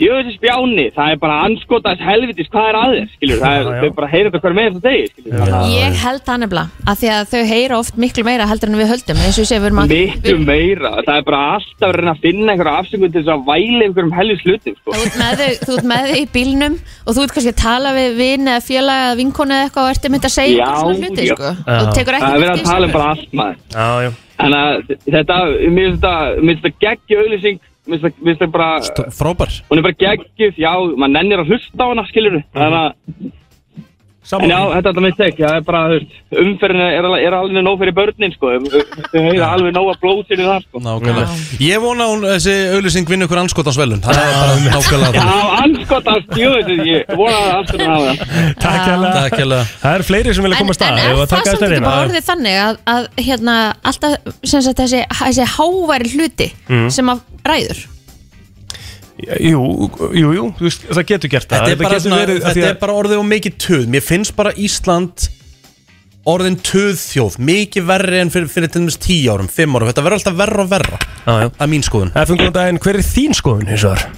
K: jú, þessi spjáni, það er bara anskotaðis helvitis, hvað er aðeins, skilur við, það er, þau bara heyrir þetta hver með þess að degi, skilur við. Þannig að-
D: Ég held það nefnilega, af því að þau heyra oft miklu meira heldur en við höldum, eins og ég segi, við erum að...
K: Miklu meira, það er bara alltaf að reyna að finna einhverja afsökun til þess að væli einhverjum helvis hlutum sko.
D: Þú ert með þau, þú ert með þau í bílnum og þú ert kannski að tala við vinn eða félag eða vinkonu eða eitthvað og ertu mynd að segja
K: Já,
D: einhver svona hluti,
K: já.
D: sko.
K: Já.
D: Og tekur ekki
K: Það er verið
D: eftir
K: að tala um
D: þessu.
K: bara allt maður
E: Já, já
K: Þannig að þetta, mér finnst þetta, mér finnst þetta geggju auðlýsing Mér finnst þetta- mér finnst þetta bara
A: Frábær
K: Hún er bara geggjuð, já, maður nennir að hlusta á hana, skilur
E: Mhm.
K: Þannig að En já, þetta er alltaf mitt tek, það er bara, þú veist, umferðin er, al- er alveg nóg fyrir börnin, sko Þau hefur alveg nóg að blóðsir í það, sko
A: Nákvæmlega Ég vona að hún, þessi auðlýsing vinni ykkur anskotansvelun Það er bara nákvæmlega
K: Já,
A: það
K: anskotast, jú, þetta ég vona að anskotast hafa það
E: Takk hérlega
A: Takk hérlega
E: Það eru fleiri sem vilja koma að stað
D: En er það samt ekki bara orðið þannig að, að hérna, alltaf sem sagt þessi, þessi háværi hluti
E: Mm.
D: sem að ræður?
E: Jú, jú, jú, þú veist, það getur gert það
A: Þetta er bara,
E: getur
A: svona,
E: verið- af því
A: þetta
E: að-
A: er bara orðið og mikið töð Mér finnst bara Ísland orðin töðþjóð Mikið verri en fyrir, fyrir til dæmis 10 árum, 5 árum Þetta verður alltaf verra og verra
E: Já, já.
A: Það er mín skoðun
E: FM, góðan daginn, hver er þín skoðun hins vegar?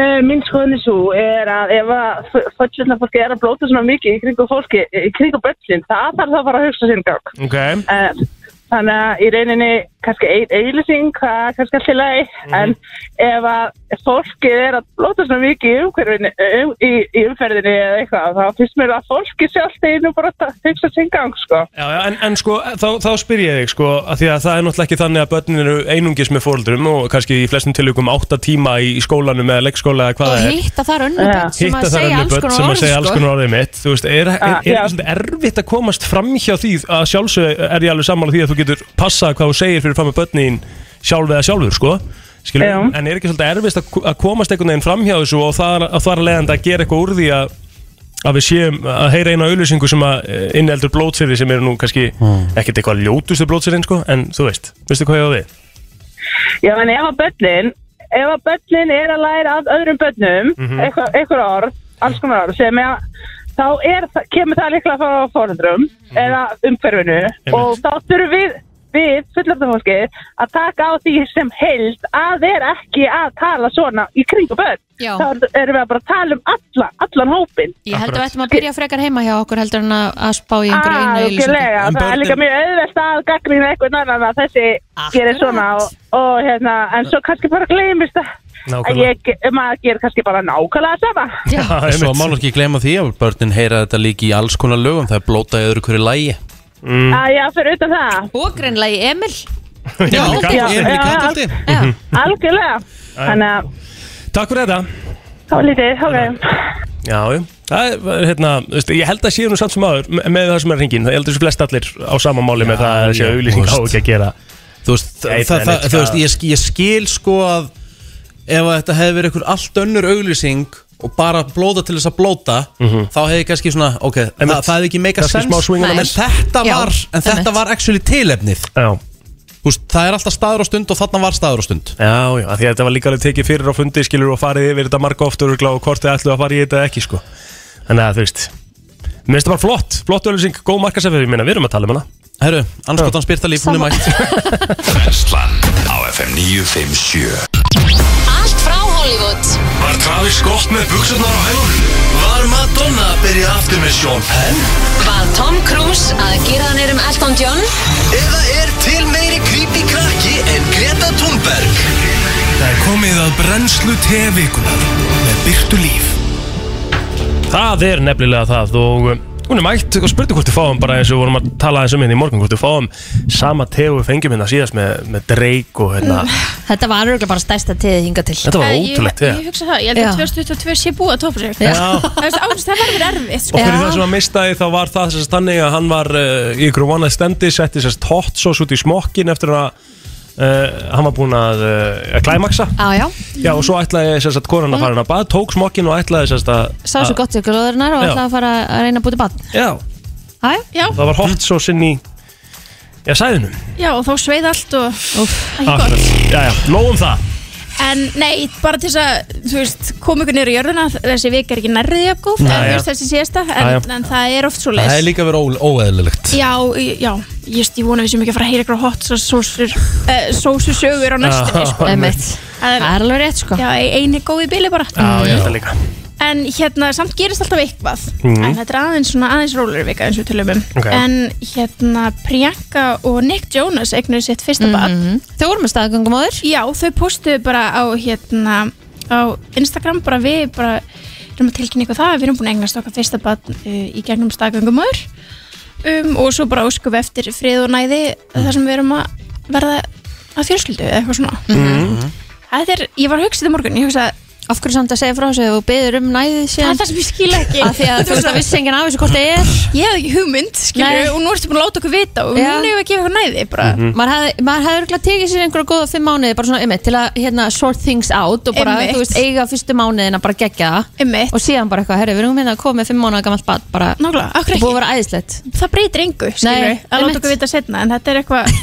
L: Eh, Mín skoðin er svo er að ef að föllurna fólki er að blóta svona mikið í kringu fólki, í kringu börnsin, það þarf það bara að hugsa sinn gang.
E: Ok
L: Eh, Þannig að í rauninni kannski ein eilising, það er kannski allir lagi, en ef að fólkið er að blóta svona mikið í, umhverfinu- um, í, í umferðinni eða eitthvað, þá finnst mér að fólkið sjálft er nú bara að hugsa sinn gang, sko.
E: Já, já, en, en sko, þá, þá spyr ég þig sko, að því að það er náttúrulega ekki þannig að börnin eru einungis með fóldrum og kannski í flestum tilvikum átta tíma í, í skólanum eða leikskóla eða hvað
D: Og
E: það er
D: hitta þar önnu börn sem
E: Hitta
D: að
E: þar
D: segja
E: önnur
D: alls
E: börn sem
D: konar
E: að segja
D: orð,
E: alls
D: sko.
E: konar orðið mitt Þú veist, er, er,
D: Ah,
E: er,
D: já.
E: er svolítið erfitt að komast fram hjá því að sjálfsög er ég alveg sammála því að þú getur passað hvað þú segir fyrir fram að börnin sjálf eða sjálfur, sko Skilur,
L: Já.
E: en er ekki svolítið erfitt að, að komast einhvern veginn fram hjá þessu og það, að það er leiðandi að gera eitthvað úr því að að við séum að heyra eina auðlýsingu sem að eh, inniheldur blótsýri sem eru nú kannski
D: Hmm.
E: ekkert eitthvað ljótustu blótsýrin sko, en þú veist, veistu hvað ég á við?
L: Já, en ef að börnin, ef að börnin er að læra af öðrum börnum, mm
E: Mhm.
L: eitthvað, eitthvað orð, alls konar orð, sem er að þá er, það- kemur það líklega frá fórundrum eða umhverfinu og þá þurfum við, við fullöfnumfólkið að taka á því sem heild að vera ekki að tala svona í kringu börn.
D: Já.
L: Þá erum við að bara tala um alla, allan hópin.
D: Ég held að við ættum að byrja frekar heima hjá okkur heldur en að, að spá í einhverju
K: Ah,
D: einu
L: Algjörlega, Ah, það er líka mjög auðvelt að gagnrýna eitthvað annan að þessi gerir svona og, og hérna, en svo kannski bara gleymist að að
A: Nákvæmlega.
L: ég, maður gerir kannski bara nákvæmlega sama
A: Svo má nú ekki gleyma því að börnin heyra þetta líka í alls konar lögum Það er blótað í öðru hverju lægi
E: mm.
L: að já, fyrir utan það
D: Og greinlega í Emil
A: Já,
L: já,
A: Emil í
L: já,
A: Kattholti.
L: al- Algjörlega Þannig að
E: Takk fyrir þetta
L: þá er lítið, ok
E: Já, já. það er, var, hérna, þú veist, ég held að séu nú samt sem áður me- með það sem er hringin, það heldur þessu flest allir á sama máli með það að séu auðlýsing á ekki að gera
A: Þú veist, það, það, það, þú veist ég, sk- ég skil sko að ef að þetta hefði verið einhver allt önnur auglýsing og bara blóta til þess að blóta þá hefði kannski svona, ok, það, það hefði ekki meika
E: kannski
A: sens
E: smá swing and a
A: en
E: miss.
A: þetta
E: Já,
A: var, en þetta
E: einmitt.
A: var actually tilefnið
E: Já
A: Veist, það er alltaf staður á stund og þarna var staður á stund
E: Já, já, af því að þetta var líka alveg tekið fyrir á fundi skilur og farið yfir þetta marga oftur og hvort þið ætlu að fara í þetta eða ekki sko. Þannig að þú veist, mér finnst það bara flott flott auðlýsing, góð markasefið, ég meina við erum að tala um hana
A: Herru, anskotan spyrta líf, hún er mætt
B: Brennslan á FM 957
M: Allt frá Hollywood
B: Var Travis Scott með buksunar á hælunum? Var Madonna að byrja aftur með Sean Penn?
M: Var Tom Cruise að gera hann erum Elton John? Eða er til meiri creepy krakki en Greta Thunberg?
C: Það er komið að brennslu tevikunar með byrtu líf
E: Það er nefnilega það og um, hún er mætt og spurði hvort við fáum bara eins og við vorum að tala eins um hérna í morgun hvort við fáum sama tegu við fengjum hérna síðast með, með Drake og hérna
D: Mm, Þetta var örgulega bara stærsta teðið hinga til
E: Þetta var Eh, ég- ótrúlegt, ég-
N: Ég hugsa það, ég held
D: Já.
N: að 2022 sé búið að topa sig
E: Já.
N: Það veist, ágúst, það verður erfitt
E: Og
N: sko.
E: fyrir það sem að mistaði þá var það sérst þannig að hann var uh, í ykkur one night standi setti sérst hot sauce út í smokkin eftir að uh, hann var búinn að, uh, að klæmaksa
D: Já, já.
E: Já og svo ætlaði sérst að konan að fara hann að bað tók smokkin og ætlaði sérst að
D: Sá svo gott ykkur loðurinnar og
E: Já.
D: ætlaði að fara að reyna að búti bann
E: Já,
D: Hæ? Já
E: það var hot sauce inn í Já, sæðinu
N: Já, og þá sveið allt og Úf, ekki gott
E: Akkurat, já, já, nóg um það
N: En nei, bara til þess að, þú veist, koma ykkur niður í jörðuna Þessi vik er ekki nærrið jafn góð
A: Nei,
N: en,
A: já.
N: þú veist, Þessi síðasta, en,
A: Já, já.
N: en það er oft svo
A: Það er líka verið ó- óeðlilegt
N: Já, í- já, ég, veist, ég vona við sem ekki að fara að heyra ykkur hot sósusögur uh, sósusögur á næstunni
A: Já,
N: sko.
A: einmitt.
N: Það er alveg rétt sko Já, eini góði bíli bara
E: það líka
N: En hérna, samt gerist alltaf eitthvað
E: Mhm.
N: En þetta er aðeins svona aðeins róleri vika eins og við tölum um
D: Ok.
N: En hérna, Priyanka og Nick Jonas eignuðu sitt fyrsta mm
D: Mhm. Þau voru með staðgöngum á þér?
N: Já, þau postuðu bara á hérna á Instagram bara við bara erum að tilkynna ykkur það við erum búin að eignast okkar fyrsta barn uh, í gegnum staðgöngumöður um, og svo bara óskum við eftir frið og næði þar sem við erum að verða að fjölskyldu eða eitthvað svona Þetta er, ég var að hugsa þetta í morgun, ég hugsa
D: Af hverju samt að segja frá þessu og beður um næðið
N: Það
D: síðan?
N: er það sem ég skil ekki
D: Af því að þú veist að vissi enginn af þessu hvort það er
N: Ég hafði ekki hugmynd, skilur,
D: Nei.
N: og nú ertu búin að láta okkur vita og
D: Já.
N: núna hefur við að gefa okkur næði bara.
D: Mhm. Maður hefði maður hefði örugglega tekið sér einhverja góða fimm mánuði bara svona einmitt til að hérna, sort things out og bara,
N: Einmitt.
D: þú veist, eiga fyrstu mánuðina bara gegja það
N: einmitt.
D: og síðan bara eitthvað, herru, við erum hérna að koma með fimm mánuða gamalt bad bara,
N: Nákvæmlega, akkur
D: búið að vera æðislegt
N: Það breytir engu, skilur,
D: Nei,
N: að
D: einmitt.
N: láta okkur vita setna en þetta er eitthvað,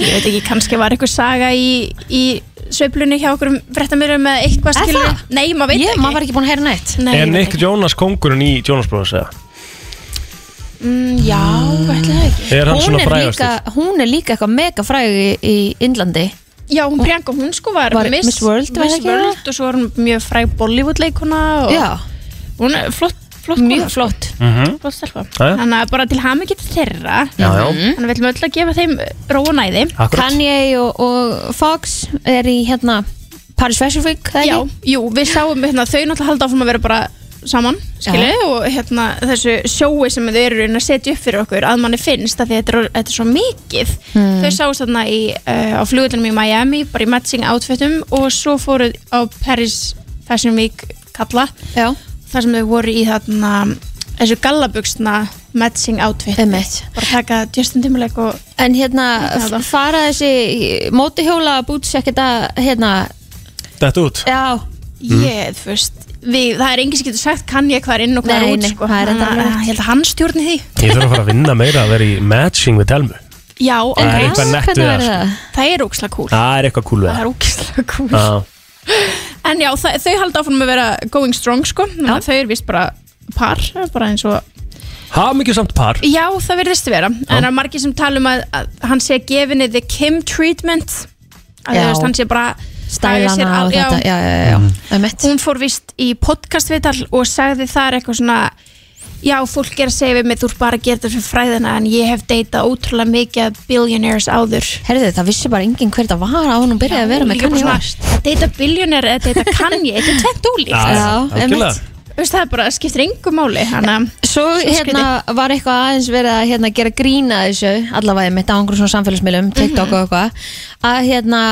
N: ég veit ekki, kannski var eitthvað saga í, í sveiflunni hjá okkur fréttamöðurum með eitthvað
D: Er
N: skilur
D: það?
N: Nei, maður veit
D: Ég-
N: ekki
D: maður var ekki búin að heyra nætt
N: Nei,
E: Er
N: ég veit
E: Nick Jonas kongurinn í Jonas Brothers eða?
N: ekki. mm, Já, ætli það ekki
E: Er hann
D: Hún
E: svona
D: er
E: frægastur?
D: líka- Hún er líka eitthvað mega fræg í, í Indlandi
N: Já, hún Priyanka, hún sko var,
D: Var Miss World, var
N: Miss
D: það ekki það?
N: World og svo var hún mjög fræg Bollywood leikuna og
D: Já.
N: hún er flott, flott
D: Mjög
N: kona, sko.
D: flott.
E: Mhm.
N: Flott stelpa.
E: Já, já.
N: Þannig að bara til hami getur þeirra Mhm.
E: Já, já.
N: Þannig að við ætlum öll að gefa þeim ró og næði
E: Akkurat.
D: Kanye og, og Fox er í hérna Paris Fashion Week, það
N: Já,
D: ekki?
N: jú, við sáum hérna, þau náttúrulega halda áfram að vera bara saman skilu,
D: Já.
N: og hérna, þessu sjói sem þau eru að setja upp fyrir okkur að manni finnst að þetta er, þetta er svo mikið
D: Hmm.
N: þau sáum þarna í, uh, á flugullinum í Miami bara í matching outfitum og svo fóruð á Paris Fashion Week kalla
D: Já.
N: þar sem þau voru í þarna þessu gallabugsna matching outfit
D: Einmitt.
N: bara taka Justin Timberlake og
D: En hérna, f- fara þessi mótihjóla búts ekkert að hérna,
E: Þetta út
D: já
E: Mhm.
N: ég, þú veist við, það er enginn sem getur sagt kann ég hvað er inn og hvað
D: Nei,
N: er út
D: nei,
N: sko.
D: það er
N: Þannig
D: þetta
N: að
D: alveg
N: ég held að hann stjórni því
E: Ég þarf að fara að vinna meira að vera í matching við Telmu
N: já,
E: Það er eitthvað nett við það, sko.
N: það er óksla kúl
E: Það er eitthvað cool við
N: það er óksla kúl
E: Já.
N: en já, það, þau halda áfram að vera going strong sko. Þannig að þau eru vist bara par bara eins og
E: Hafa mikið samt par
N: já, það verðist vera en það er margir sem tala um að, að hann sé gefinni the Kim treatment að
D: Já.
N: þú veist, hann sé bara haga sér
D: dælana
N: al-
D: og þetta, já, já, já, já.
N: Mm. hún fór vist í podcastvital og sagði þar eitthvað svona já, fólk er að segja við mig, þú ert bara að gera þetta fyrir fræðina en ég hef deytað ótrúlega mikið af billionaires áður
D: Herðu, það vissi bara enginn hver það var á hún og byrjaði að vera með Kanye West
N: að deyta billionaire eða deyta Kanye þetta er tvent ólíkt
D: Já, Já, algjörlega. einmitt.
N: Þú veist, það er bara skiptir engu máli hana,
D: Svo hérna var eitthvað aðeins verið að hérna, gera grína þessu, allavega mitt á einhverjum svona
N: Mhm.
D: samfélagsmiðlum, TikTok og eitthvað að hérna,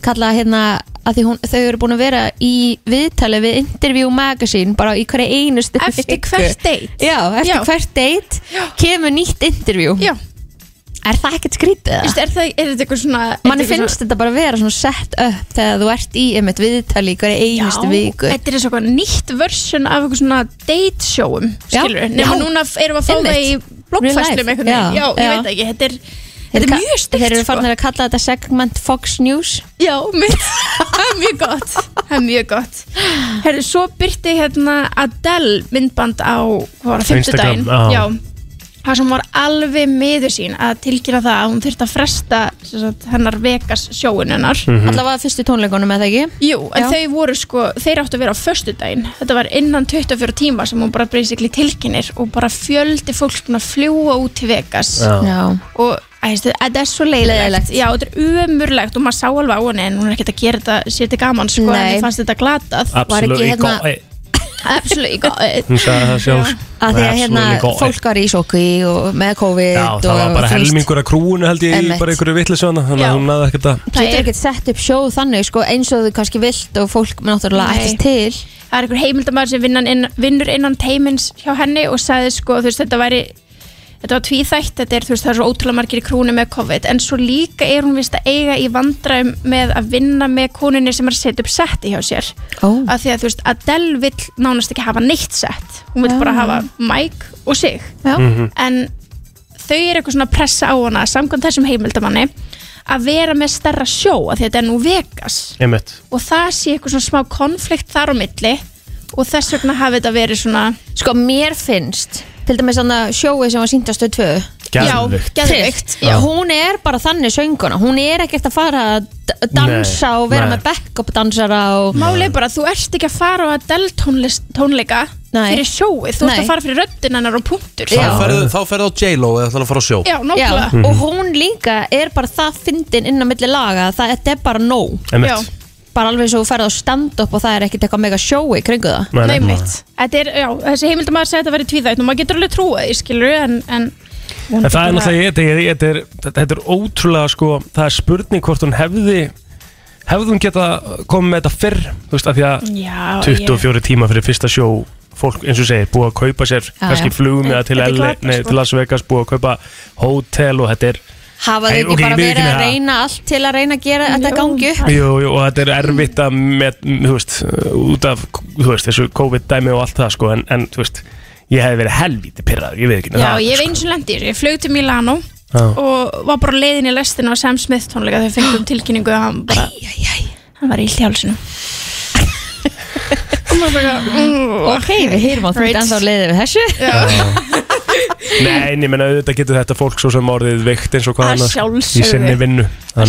D: kalla hérna að því hún, þau eru búin að vera í viðtali við Interview Magazine bara í hverja einustu
N: Eftir
D: viku.
N: hvert date.
D: Já, eftir
N: Já.
D: hvert date kemur nýtt interview
N: Já
D: Er það ekkert skrítið?
N: Vist, er, það, er þetta eitthvað svona
D: Manni finnst þetta bara vera svona sett upp þegar þú ert í einmitt viðtali í hverja einustu viku
N: þetta er eins og eitthvað nýtt versjón af eitthvað svona date showum skilur, nema
D: Já.
N: núna f- erum við að fá það í
D: Einmitt. Real
N: bloggfæslum
D: life.
N: eitthvað já,
D: Já,
N: já, ég
D: já.
N: veit ekki, þetta er Þetta er mjög sko. styrkt
D: Þeir eru farin að kalla þetta segment Fox News
N: Já, mjög, það er mjög gott Það er mjög gott Herru, svo byrti hérna Adele myndband á, hvað var það,
E: Instagram,
N: fimmtudaginn
E: já.
N: Já, það sem var alveg miður sín að tilkynna það að hún þurfti að fresta sem sagt, hennar Vegas sjóun hennar
D: Mhm. Allavega fyrstu tónleikunum eða ekki
N: Jú, en
D: Já.
N: þau voru sko, þeir áttu að vera á föstudaginn Þetta var innan 24 tíma sem hún bara basically tilkynir og bara fjöldi fólk búin að fljúa út til Vegas
D: Já. Já.
N: og æst, þetta er svo leiðilegt Já, þetta er umurlegt og maður sá alveg á henni en hún er ekkert að gera þetta sér til gaman sko, en
D: Nei.
N: ég fannst þetta glatað
E: Absolutely
N: hérna
E: got it.
N: Absolutely got it
E: Hún sagði það sjálf sko.
D: að því að hérna
E: Absolutely got it.
D: fólk var í sóki og með COVID
E: Já, það var
D: og
E: bara
D: þú veist,
E: helmingur af krúinu held ég í
D: Einmitt.
E: bara einhverju vittlisöðana þannig að hún naði ekkert að
D: þú getur ekkert sett upp sjóð þannig sko, eins og þú kannski vilt og fólk með náttúrulega ættist til
N: Það er einhver heimildamæður sem vinnan inn, vinnur innan teimins hjá henni og sagði sko, þú veist, þetta væri þetta var tvíþætt, þetta er, þú veist, það er svo ótrúlega margir í krúnu með COVID, en svo líka er hún vist að eiga í vandræðum með að vinna með konunni sem er að setja upp setti hjá sér
D: oh.
N: að því að, þú veist, Adele vill nánast ekki hafa neitt sett, hún vill
D: Já.
N: bara hafa Mike og sig
D: Já. Mhm.
N: en þau eru eitthvað svona að pressa á hana samkvæmt þessum heimildamanni að vera með stærra sjó að þetta er nú Vegas
E: einmitt
N: og það sé eitthvað svona smá konflikt þar á milli og þess vegna hafi þetta verið svona
D: Sko mér finnst til dæmis þannig að sjóið sem var síndastu tvö
E: Geðveikt.
D: Já, geðveikt
E: Já.
D: Hún er bara þannig sönguna Hún er ekkert að fara að d- dansa
N: Nei,
D: og vera
N: nei.
D: með backup dansara og...
N: Málið er bara að þú ert ekki að fara á Adele tónlist, tónleika fyrir sjóið, þú ert
D: Nei.
N: að fara fyrir röddinn hennar og punktur
A: Þá ferðu- Þá ferðu á J-Lo eða ætlar að fara á sjó
N: Já, nákvæmlega.
D: Já, Og hún líka er bara það fyndin inn á milli laga að það þetta er bara nóg
A: Einmitt. Já.
D: Bara alveg eins og þú ferð á stand-up og það er ekkert eitthvað mega sjói kringu það
N: Nei, mitt Þetta er, já, þessi heimildamæður segði að þetta verið tvíðætt og maður getur alveg trúið, því, skilur en, en
E: En það er náttúrulega, þetta er, þetta er, þetta- þetta er ótrúlega sko, það er spurning hvort hún hefði, hefði hún geta komið með þetta fyrr, þú veist, af því að
N: Já,
E: 24 tíma fyrir fyrsta sjó, fólk, eins og segir, búið að kaupa sér,
D: Já,
E: kannski
D: já.
E: flugum eða til,
D: Þetta er
E: LA,
D: glatað,
E: nei,
D: sko.
E: til Las Vegas, búið að kaupa hótel og þetta er,
D: Hafa þau
E: Nei,
D: ekki
E: ok,
D: bara
E: ég viðurkenni
D: verið að
E: það.
D: reyna allt til að reyna að gera þetta gangi upp
E: jú, jú, og þetta er erfitt að með, þú veist, út af, þú veist, þessu COVID-dæmi og allt það, sko, en, en þú veist, ég hefði verið helvítið pyrraður, ég veit ekki,
N: Já, ég hef eins og lendi, ég flög til Milano
E: Já.
N: og var bara á leiðin í lestina á Sam Smith tónleika þegar fengum tilkynningu að hann bara, hann var illt í hálsinu og maður bara mm,
D: Ok, við heyrum á því
N: Right.
D: ennþá leiðið við þessu
E: Nei, en ég menna auðvitað getur þetta fólk svo sem orðið veikt eins og hvað
N: Að
E: annars
N: sjálfsögðu.
E: í sinni vinnu
N: Þannig
E: að-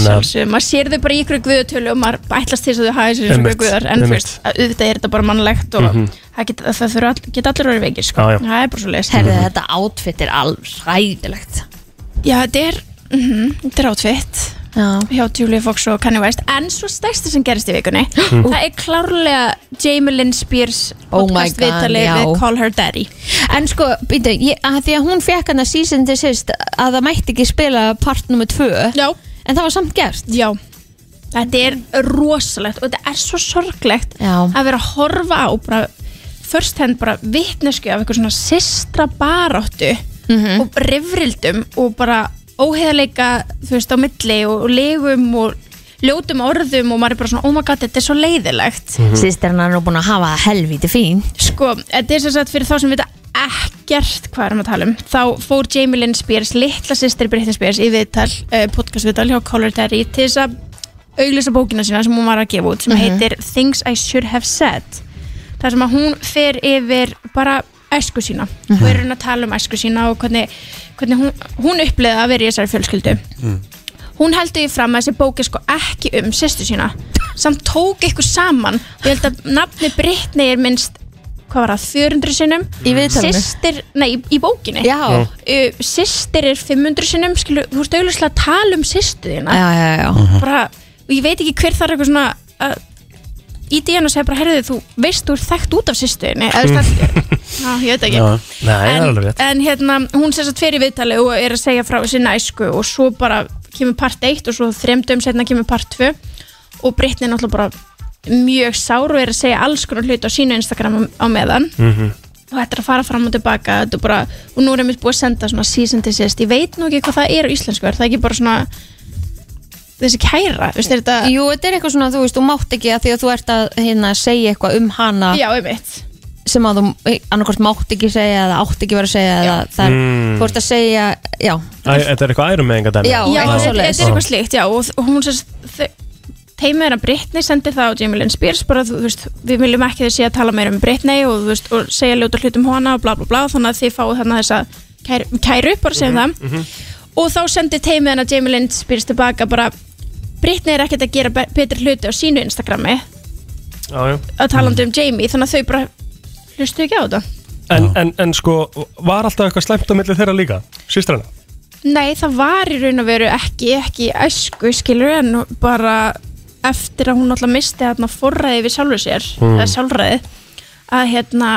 N: að maður sér þau bara í ykkur guðutölu og maður ætlast til þess að þau hafi sér í ykkur
E: Einmitt,
N: guðar en þú
E: einmitt.
N: veist, að auðvitað er þetta bara mannlegt og
E: Mhm.
N: það geta, það þurfa all, geta allir orðið veikir sko.
E: Já, já.
N: það er bara Mhm. svo leiðis
D: Herðu, þetta outfit er alveg ræðilegt
N: Já, þetta er, mm þetta er átfitt hjá Julia Fox og Kanye West en svo stærsta sem gerist í vikunni
D: Mhm.
N: það er klárlega Jamie Lynn Spears
D: Oh my
N: podcast
D: God,
N: viðtalið
D: já.
N: við Call Her Daddy
D: En sko, býtu, ég, að því að hún fekk hann að season til sýst að það mætti ekki spila part nummer 2
N: Já
D: En það var samt gert
N: Já Þetta er rosalegt og þetta er svo sorglegt
D: Já.
N: að vera að horfa á bara first hand bara vitnesku af eitthvað svona systra baráttu
D: Mhm.
N: og rifrildum og bara óheðleika þú veist á milli og, og legum og ljótum orðum og maður er bara svona oh my god þetta er svo leiðilegt
D: Mhm. Systir hennar er nú búin að hafa það helvíti fín
N: Sko, þetta er sem sagt fyrir þá sem vita ekkert hvað erum að tala um þá fór Jamie Lynn Spears, litla systir Britta Spears í viðtal, uh, podcastviðtal hjá Color Terry til þess að auglýsa bókina sína sem hún var að gefa út sem
D: Mhm.
N: heitir Things I Should Have Said þar sem að hún fer yfir bara æsku sína
D: Mhm.
N: og er hún að tala um æsku sína og hvernig, hvernig hún, hún uppleði að vera í þessari fjölskyldu
A: Mm,
N: hún heldur í fram að þessi bók er sko ekki um sýstu sína samt tók ykkur saman og ég held að nafni Brittany er minnst hvað var það, 400 sinnum
D: Í viðtalinu?
N: Systir, nei, í, í bókinni
D: Já. Já.
N: uh, Systir er 500 sinnum skilur, þú veist auðvitað að tala um sýstu
O: Hérna.
N: þína
D: Já, já, já
N: bara, og ég veit ekki hver þar eitthvað svona að í díðan og segja bara, herðu þú veist þú er þekkt út af sýstu þíni eða þú veist það, já, ég veit ekki
E: Nei, það er alveg rétt
N: en hérna, hún sér satt fyrir viðtali og er að segja frá sinna æsku og svo bara kemur part 1 og svo þremdum setna kemur part 2 og Brittany er náttúrulega bara mjög sár og er að segja alls konar hlut á sínu Instagram á á meðan
E: Mhm.
N: og þetta er að fara fram og tilbaka þetta er bara, og nú er einmitt búið að senda svona season to sist, ég veit nú ekki hvað það er á íslensku er það ekki bara svona þessi kæra, veist er þetta
D: Jú, þetta er eitthvað svona, þú veist, þú mátt ekki að því að þú ert að hérna, segja eitthvað um hana
N: Já, einmitt
D: sem að þú annarkort mátt ekki segja eða átt ekki vera að segja eða það er,
E: Mm.
D: þú ert að segja, já
E: Æ, Þetta er eitthvað ærum með enga dæmi
D: Já,
N: já
D: eitthvað
N: þetta
D: svoleiðis.
N: þetta er eitthvað slíkt já, og og hún sérst teimið hennar Brittany sendir það á Jamie Lynn Spears bara þú þú veist, við viljum ekki þessi að tala meira um Brittany og, þú veist, og segja ljóta hlut um hana og bla bla bla þannig að þið fáu þannig þessa kæru, kæru bara
D: Mhm.
N: segjum það og þá sendir teimið hennar Jamie Lynn Spears tilbaka bara Brittany er ekkert að gera be- betri hluti á sínu Instagrami
E: Já, já.
N: að talandi um Jamie þannig að þau bara hlustu ekki á þetta
E: En, en, en sko, var alltaf eitthvað slæmt á milli þeirra líka, sýstrana?
N: Nei, það var í raun og veru ekki, ekki í æsku, skilur en bara eftir að hún alltaf misti þarna forræði við sjálfu sér,
D: Mm.
N: eða sjálfræði, að hérna,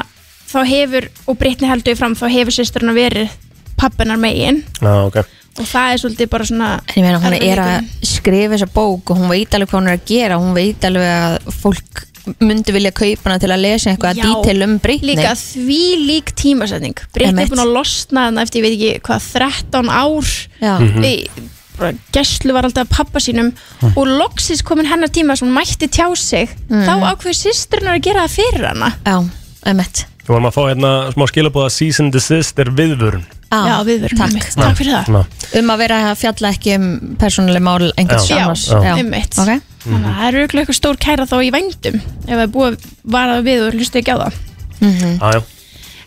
N: þá hefur, og Brittany heldur í fram, þá hefur sýsturna verið pappinar megin
E: Já, ok
N: og það er svolítið bara svona...
D: En ég meina, hún er að
N: erfiðleikurinn.
D: skrifa þessa bók og hún veit alveg hvað hún er að gera hún veit alveg að fólk myndi vilja kaupa hana til að lesa
N: Já,
D: eitthvað að dítil um Britney
N: Líka því lík tímasetning, Brittany
D: Einmitt.
N: er búin að losna þarna eftir, ég veit ekki hvað, 13 ár
D: Já.
N: mm -hmm. gæslu var alltaf pappa sínum og loksins komin hennar tíma sem hún mætti tjá sig
D: Mhm.
N: þá ákveður sýsturinnar að gera það fyrir hana
D: Já, emmett
E: Við vorum að fá hérna smá skilabóða Season Desist er viðvörun
D: Já, við verum Ah, Takk,
E: Takk fyrir það.
D: Um að vera að fjalla ekki um persónuleg mál einhvers
N: Já,
D: annars
N: já, einmitt
D: Ok.
N: Þannig að það eru eitthvað stór kæra þá í vændum ef það er búið að vara við og hlusta ekki á það
D: Mhm.
E: Jájá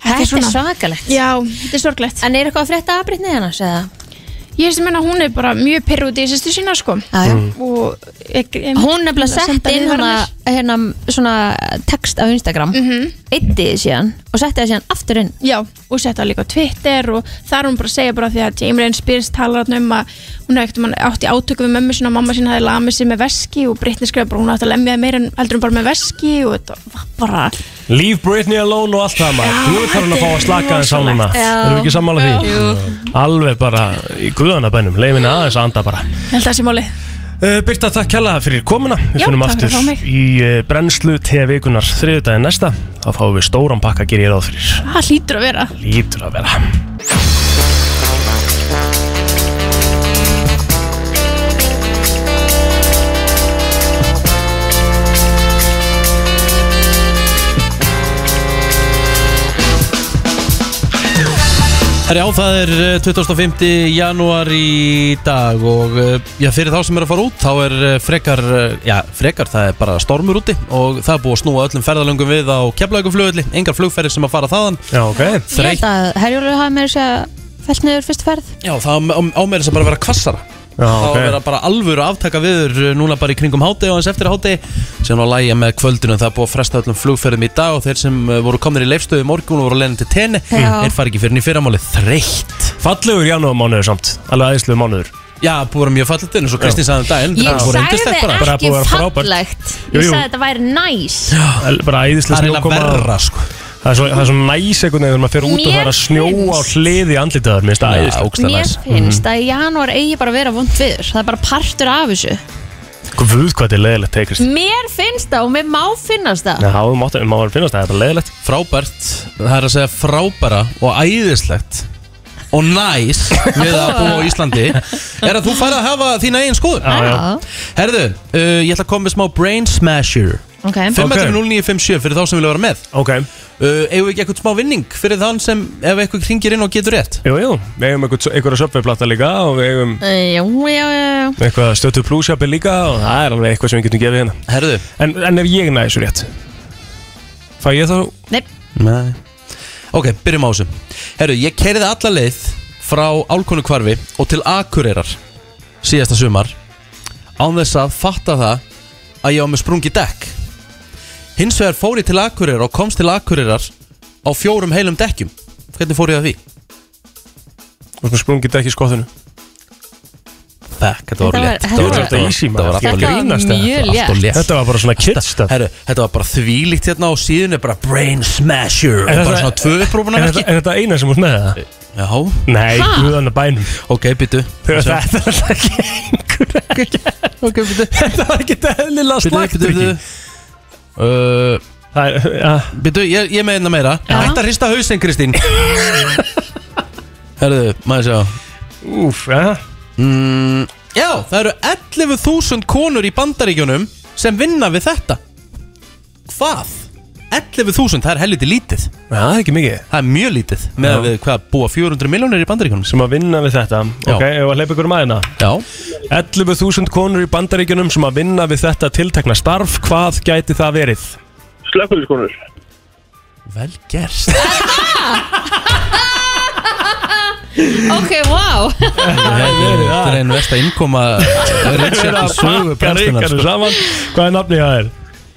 D: Þetta er
N: svona-
D: svakalegt
N: Já, þetta er sorglegt
D: En er eitthvað að frétta aðbrytni hennars eða?
N: Ég veist að menna hún er bara mjög perrúti í sýstu sína sko
D: já.
N: Og ég-
D: Hún nefnilega sett
N: senda
D: inn
N: viðvaranir.
D: hana, hérna, svona text á Instagram mm -hmm. Eittið síðan og setti það síðan aftur inn
N: Mhm. Já, og setja það líka á Twitter og það er hún bara að segja bara því að James Reyns Spears talar hann um að hún hefði ekkert mann átt í átöku við mömmu sinna og mamma sinna hefði lamið sig með veski og Britney skrifa bara hún átt að lemja meira en heldur hún bara með veski og þetta var bara
E: Leave Britney alone og allt það maður Nú þarf hann að fá að slaka aðeins á núna
N: rosalegt. Já.
E: Erum við ekki sammála því?
N: Jú.
E: Alveg bara í guðanabænum Leifin aðeins að anda bara
N: held það sé málið
E: Uh, Birta, takk kjalla fyrir komuna Við
N: Já,
E: finnum
N: takk fyrir
E: aftur
N: að fá mig.
E: í uh, brennslu til vikunar þriðudaginn næsta þá fáum við stóran pakka að gera ég ráð fyrir
N: Það hlýtur að vera
E: Lítur að vera
A: Herri á, það er eh, 25. janúar í dag og eh, já, fyrir þá sem er að fara út þá er eh, frekar, eh, já frekar það er bara stormur úti og það er búið að snúa öllum ferðalöngum við á keflauguflugulli engar flugferðir sem að fara þaðan
E: Já, ok
D: Ég held að Herjólu hafi meira sér fellt niður fyrst ferð
A: Já, það á, á meira sem bara að vera kvassara
E: Já,
A: þá
E: ok.
A: okay. vera bara alvöru aftaka viður eh, núna bara í kringum háti og eins eftir háti sem var að lægja með kvöldinu það er búið að fresta öllum flugferðum í dag og þeir sem eh, voru komnir í leifstöðu í morgun og voru lenin til tenni
E: Já.
A: þeir fari ekki fyrir nýfyrramáli þreytt
E: Fallegur janúarmánuður samt, alveg aðeinslu mánuður
A: Já, búið að vera mjög fallegt eins og Kristín sagði um daginn
D: Ég
A: bara búið að vera
D: sagði
A: yndislegt bara. Bara
D: ekki
A: búið að vera frábært.
D: fallegt
E: Jú,
D: Ég
E: jú.
D: sagði að þetta væri næs
E: El- bara æðislega
A: Það er eiginlega verra,
E: sko Það er svo, það er svo næs einhvern veginn þegar maður fer út og
D: Mér
E: það er að snjóa á hliði andlitaður Mér finnst það Mm. æðislega
D: Mér
A: Mhm.
D: finnst að í janúar eigi bara að vera vond viður Það er bara partur af þessu
E: Guð hvað þetta er leðilegt teikist
D: Mér finnst það og mér má finnast það
E: Já, þú mátt að maður finnast það, það er bara leðilegt
A: Frábært, það er að segja frábæra og æðislegt og næs við að búa á Íslandi er að þú færð að hafa þína eigin skoðun
D: Já, já.
A: Herðu, uh, ég ætla að koma með smá brain smasher
D: Ok.
A: 5.0957 fyrir þá sem vilja vera með
E: okay.
A: uh, Eigum við ekki eitthvað smá vinning fyrir þann sem ef eitthvað kringir inn og getur rétt
E: Jú, jú, við eigum einhver- einhverja söpveiplata líka og við eigum
D: Æ, Eh, Já, já, já, já
E: eitthvað stötu plusjapi líka og það er alveg eitthvað sem við getum gefið hérna
A: Herðu
E: En, en ef ég næði þessu rétt Fæ ég þá?
D: Nei,
A: Nei Ok, byrjum á þessu Herru, ég kerði alla leið frá Álkonu kvarfi og til Akureyrar síðasta sumar án þess að fatta það að ég á með sprungi dekk Hins vegar fór ég til Akureyrar og komst til Akureyrar á fjórum heilum dekkjum Hvernig fór ég að því?
E: Og sprungið dekk í skoðinu
A: Back, þetta var
E: Þetta var-
A: létt
E: þetta var- þetta var easy,
A: Þetta
E: maður.
A: var alltaf
E: Þetta var
A: létt.
E: mjög
A: Þetta var alltaf
E: létt.
A: létt
E: Þetta var bara svona kidstöf
A: Herru, þetta var bara þvílíkt hérna á síðunni bara brain smasher og
E: Er
A: bara
E: þetta-
A: svona tvö upprópuna
E: er þetta- er þetta eina sem þú ert með það?
A: Já
E: Nei,
A: Ha?
E: guðan að bænum
A: Ok, byttu
E: Þetta er alltaf ekki
A: Ok, byrju
E: Þetta var ekki eðlilega slagt
A: Byrju,
E: byrju
A: Byrju, Uh, ég, ég meina meira Þetta hrista hausinn, Kristín Herðu, maður sjá
E: Úf, ja
A: mm, Já, það eru 11.000 konur í bandaríkjunum sem vinna við þetta Hvað? 11.000, það er helviti lítið Já,
E: það er ekki mikið
A: Það er mjög lítið með að við hvað búa 400 miljónir í bandaríkjunum
E: sem að vinna við þetta Ok, ef að hleypa ykkur um aðeina
A: Já
E: 11.000 konur í bandaríkjunum sem að vinna við þetta tiltekna starf Hvað gæti það verið?
G: Slökkuliskonur
A: Vel gerst
D: Ok, wow
A: Þetta er einn versta innkoma Richard í sögu brennslunar,
E: Ríkar
A: sko.
E: saman Hvað er nafnið það er?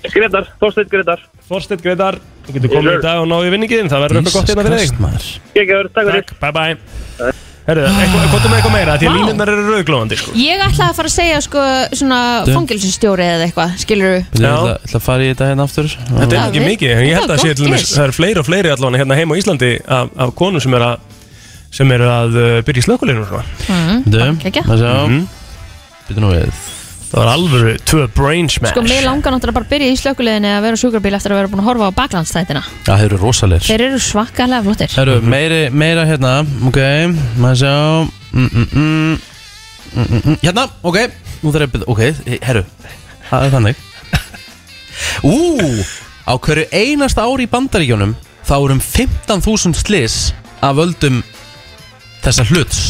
G: Gretar, Þorsteinn Gretar
E: Þorsteinn Gretar Þú getur komið í dag og náðu í vinningin Það verður eitthvað
A: Jesus
E: gott hérna fyrir þig
A: Christ,
G: Gekkaður, takk
E: fyrir Takk, bye bye Herðu, eitthvað- hvað er með eitthvað meira? Því að
D: Vá.
E: línunar eru rauglóðandi sko
D: Ég ætlaði að fara að segja sko svona
A: Dum.
D: fangilsustjóri eða eitthvað, skilur þú?
A: Ég ætla, ætla að fara í þetta hérna aftur
E: Þetta er
D: Já,
E: ekki
D: við-
E: mikið, en ég held
D: þetta var
E: að sé
D: gott
E: til dæmis
D: giss.
E: það eru fleiri og fleiri allavega hérna heima á Íslandi af, af konum sem eru að sem eru að uh, byrja í slökulinu sko.
D: Mm.
E: Mhm.
A: Döðum,
D: Gekkja.
A: maður sjá Býtu nú við
E: Það var alvöru tvö brain smash
D: Sko, mér langar náttúrulega bara að byrja í slökuleginni að vera á sjúkrabíl eftir að vera búin að horfa á baklandstætina
A: Já, þeir eru rosalegir
D: Þeir eru svakalega flottir
A: Herru,
E: Mhm.
A: meiri, meira hérna, ok Maður sjá mm, mm, mm, mm, mm, mm. Hérna, ok Nú þarf ég að byrja, ok, herru Það er þannig Ú, á hverju einasta ári í bandaríkjónum þá eru um 15.000 slis af völdum þessa hluts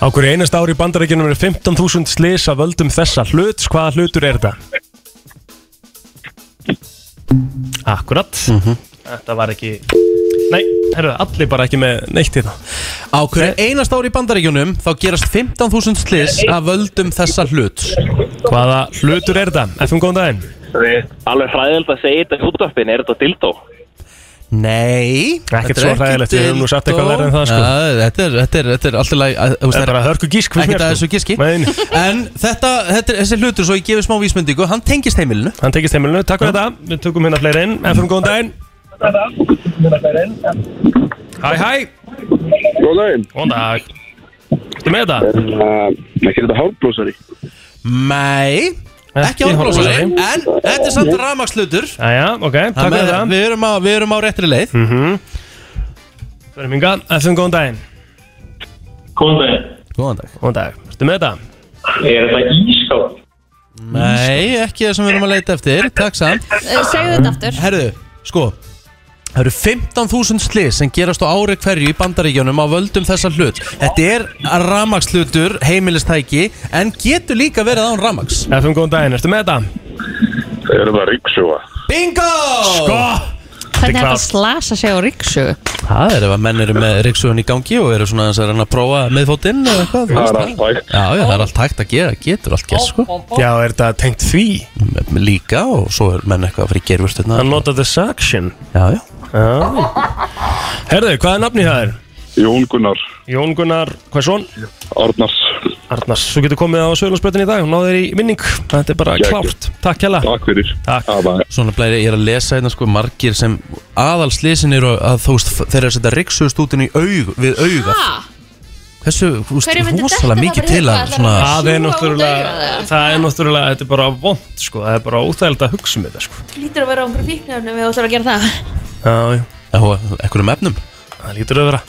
E: Á hverju einast ári í bandarækjunum eru 15.000 slis að völdum þessa hluts. Hvaða hlutur er þetta? Akkurat. Þetta var ekki... Nei, herru, allir bara ekki með neitt hérna.
A: Á hverju einast ári í bandaríkjunum þá gerast 15.000 slis af völdum þessa hluts
E: Hvaða hlutur er þetta? Efum góðan daginn.
P: Alveg hræðilegt að segja þetta í útvarpin, er þetta dildó?
A: Nei
E: Ekkert svo hræðilegt, við höfum nú sagt eitthvað verið en það sko.
A: ja, þetta, er, þetta, er, þetta er alltaf læg
E: Það er bara hörku gísk finnst
A: Ekkert að
E: mér, sko.
A: þessu gíski En þetta, þetta, er- þessi hlutur svo ég gefið smá vísmyndingu Hann tengist heimilinu
E: Hann tengist heimilinu, takk fyrir þetta Við tökum hérna fleiri inn, FM góðan daginn Hæ, hæ
Q: Góðan daginn uh,
E: Góðan dag Ertu með þetta?
Q: Ekki þetta hálfblósari
A: Nei, ekki hálfblásari En þetta er samt rafmakslutur
E: Jæja, ok, takk fyrir þetta
A: Við erum á, við erum á réttri leið
E: mm -hmm. Það er minga, FM góðan daginn Góðan daginn
A: Góðan dag
E: Góðan dag, ertu með þetta?
P: Er þetta ískáð?
A: Nei, ekki það sem við erum að leita eftir Takk samt
D: Eh, segðu þetta aftur.
A: Herðu, sko Það eru 15.000 slis sem gerast á ári hverju í bandaríkjunum á völdum þessa hlut Þetta er ramakslutur, heimilistæki En getur líka verið án ramaks
E: FM góðan daginn, ertu með þetta?
Q: Það eru bara ríksjóa
A: Bingo!
E: Sko
D: Hvernig er þetta
A: klárt.
D: að slasa sig á ríksu?
A: Það er ef að menn eru með riksugun í gangi og eru svona aðeins að reyna að prófa meðfótinn eða eitthvað þú
E: Það er
A: veist
E: allt hægt.
A: Já, já, það er allt hægt að gera, getur allt gert sko
E: Já, er þetta tengt því?
A: Líka og svo er menn eitthvað að fyrir gerfurstutna
E: Hann notaði suction
A: Já, já
E: Herðu, hvað er nafni það er?
Q: Jón Gunnar
E: Jón Gunnar, hvað er svon?
Q: Arnars
E: Arnars, þú getur komið á Söðlandsbrötin í dag og náður í vinning Þetta er bara
A: Gekkið.
E: klárt, takk hella
Q: Takk fyrir Takk
A: Svona blæri, ég er að lesa hérna sko margir sem aðal slisin eru að þú veist þeir eru að setja riksuðstútin í aug við auga Hversu, þú veist,
D: Hverju myndi detta
A: rosalega
D: það
A: mikið
D: bara í
A: til
D: hug?
A: að
D: Ætlarðu
A: svona
D: að
E: Það er
D: sjúga út
E: náttúrulega,
D: augað, eða?
E: það er náttúrulega, þetta er bara vond sko, það er bara óþægild að hugsa um þetta sko
D: Lítur að vera á einhverju fíknefnum við ætlum að gera það
E: Já, já
A: Ekkur um efnum
E: Það lítur að vera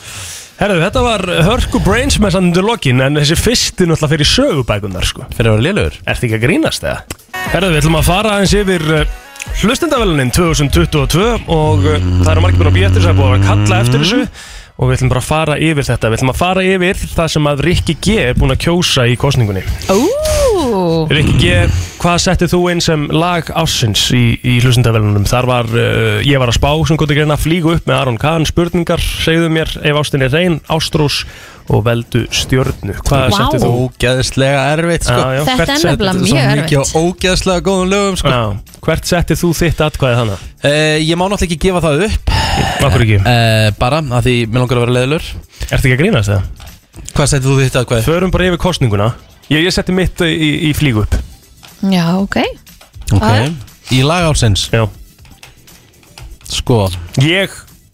E: Herðu, þetta var Hörku Brains með sannundur lokin en þessi fyrsti náttúrulega fyrir sögubækunar sko
A: Fyrir að vera lélugur
E: Ertu ekki að grínast eða? Herðu, við ætlum að fara aðeins yfir eh, hlustendavelunin 2022 og mm. það eru margir búin að býja eftir þess að búin að kalla eftir þessu og við ætlum bara að fara yfir þetta Við ætlum að fara yfir það sem að Rikki G er búin að kjósa í kosningunni
D: Ú,
E: Rikki G, hvað settið þú inn sem lag ásins í, í hlustendavelunum? Þar var, uh, ég var að spá sem gott að greina að flýgu upp með Aron Kahn spurningar, segðu mér ef ástin er reyn, ástrós og veldu stjörnu Hvað
A: Vá.
E: settið þú?
A: Ógeðslega erfitt sko.
E: Já, já,
D: Þetta
E: hvert
D: er
E: settið
D: nefnilega
E: þú?
D: mjög
E: Svo
D: erfitt.
E: mikið
A: á ógeðslega góðum lögum
E: sko. já, Hvert settið þú þitt atkvæði þannig?
A: Uh, ég má náttúrulega ekki gefa það upp Eh,
E: Akkur ekki?
A: bara, af því mér langar að vera leðlur
E: Ertu ekki að grínast það?
A: Hvað settið þú þitt atkvæði?
E: Förum bara yfir kostninguna Ég, ég setti mitt í, í, í flýgu upp
D: já, ok Já.
A: Ok Í lag ásins
E: Já
A: Sko
E: Ég,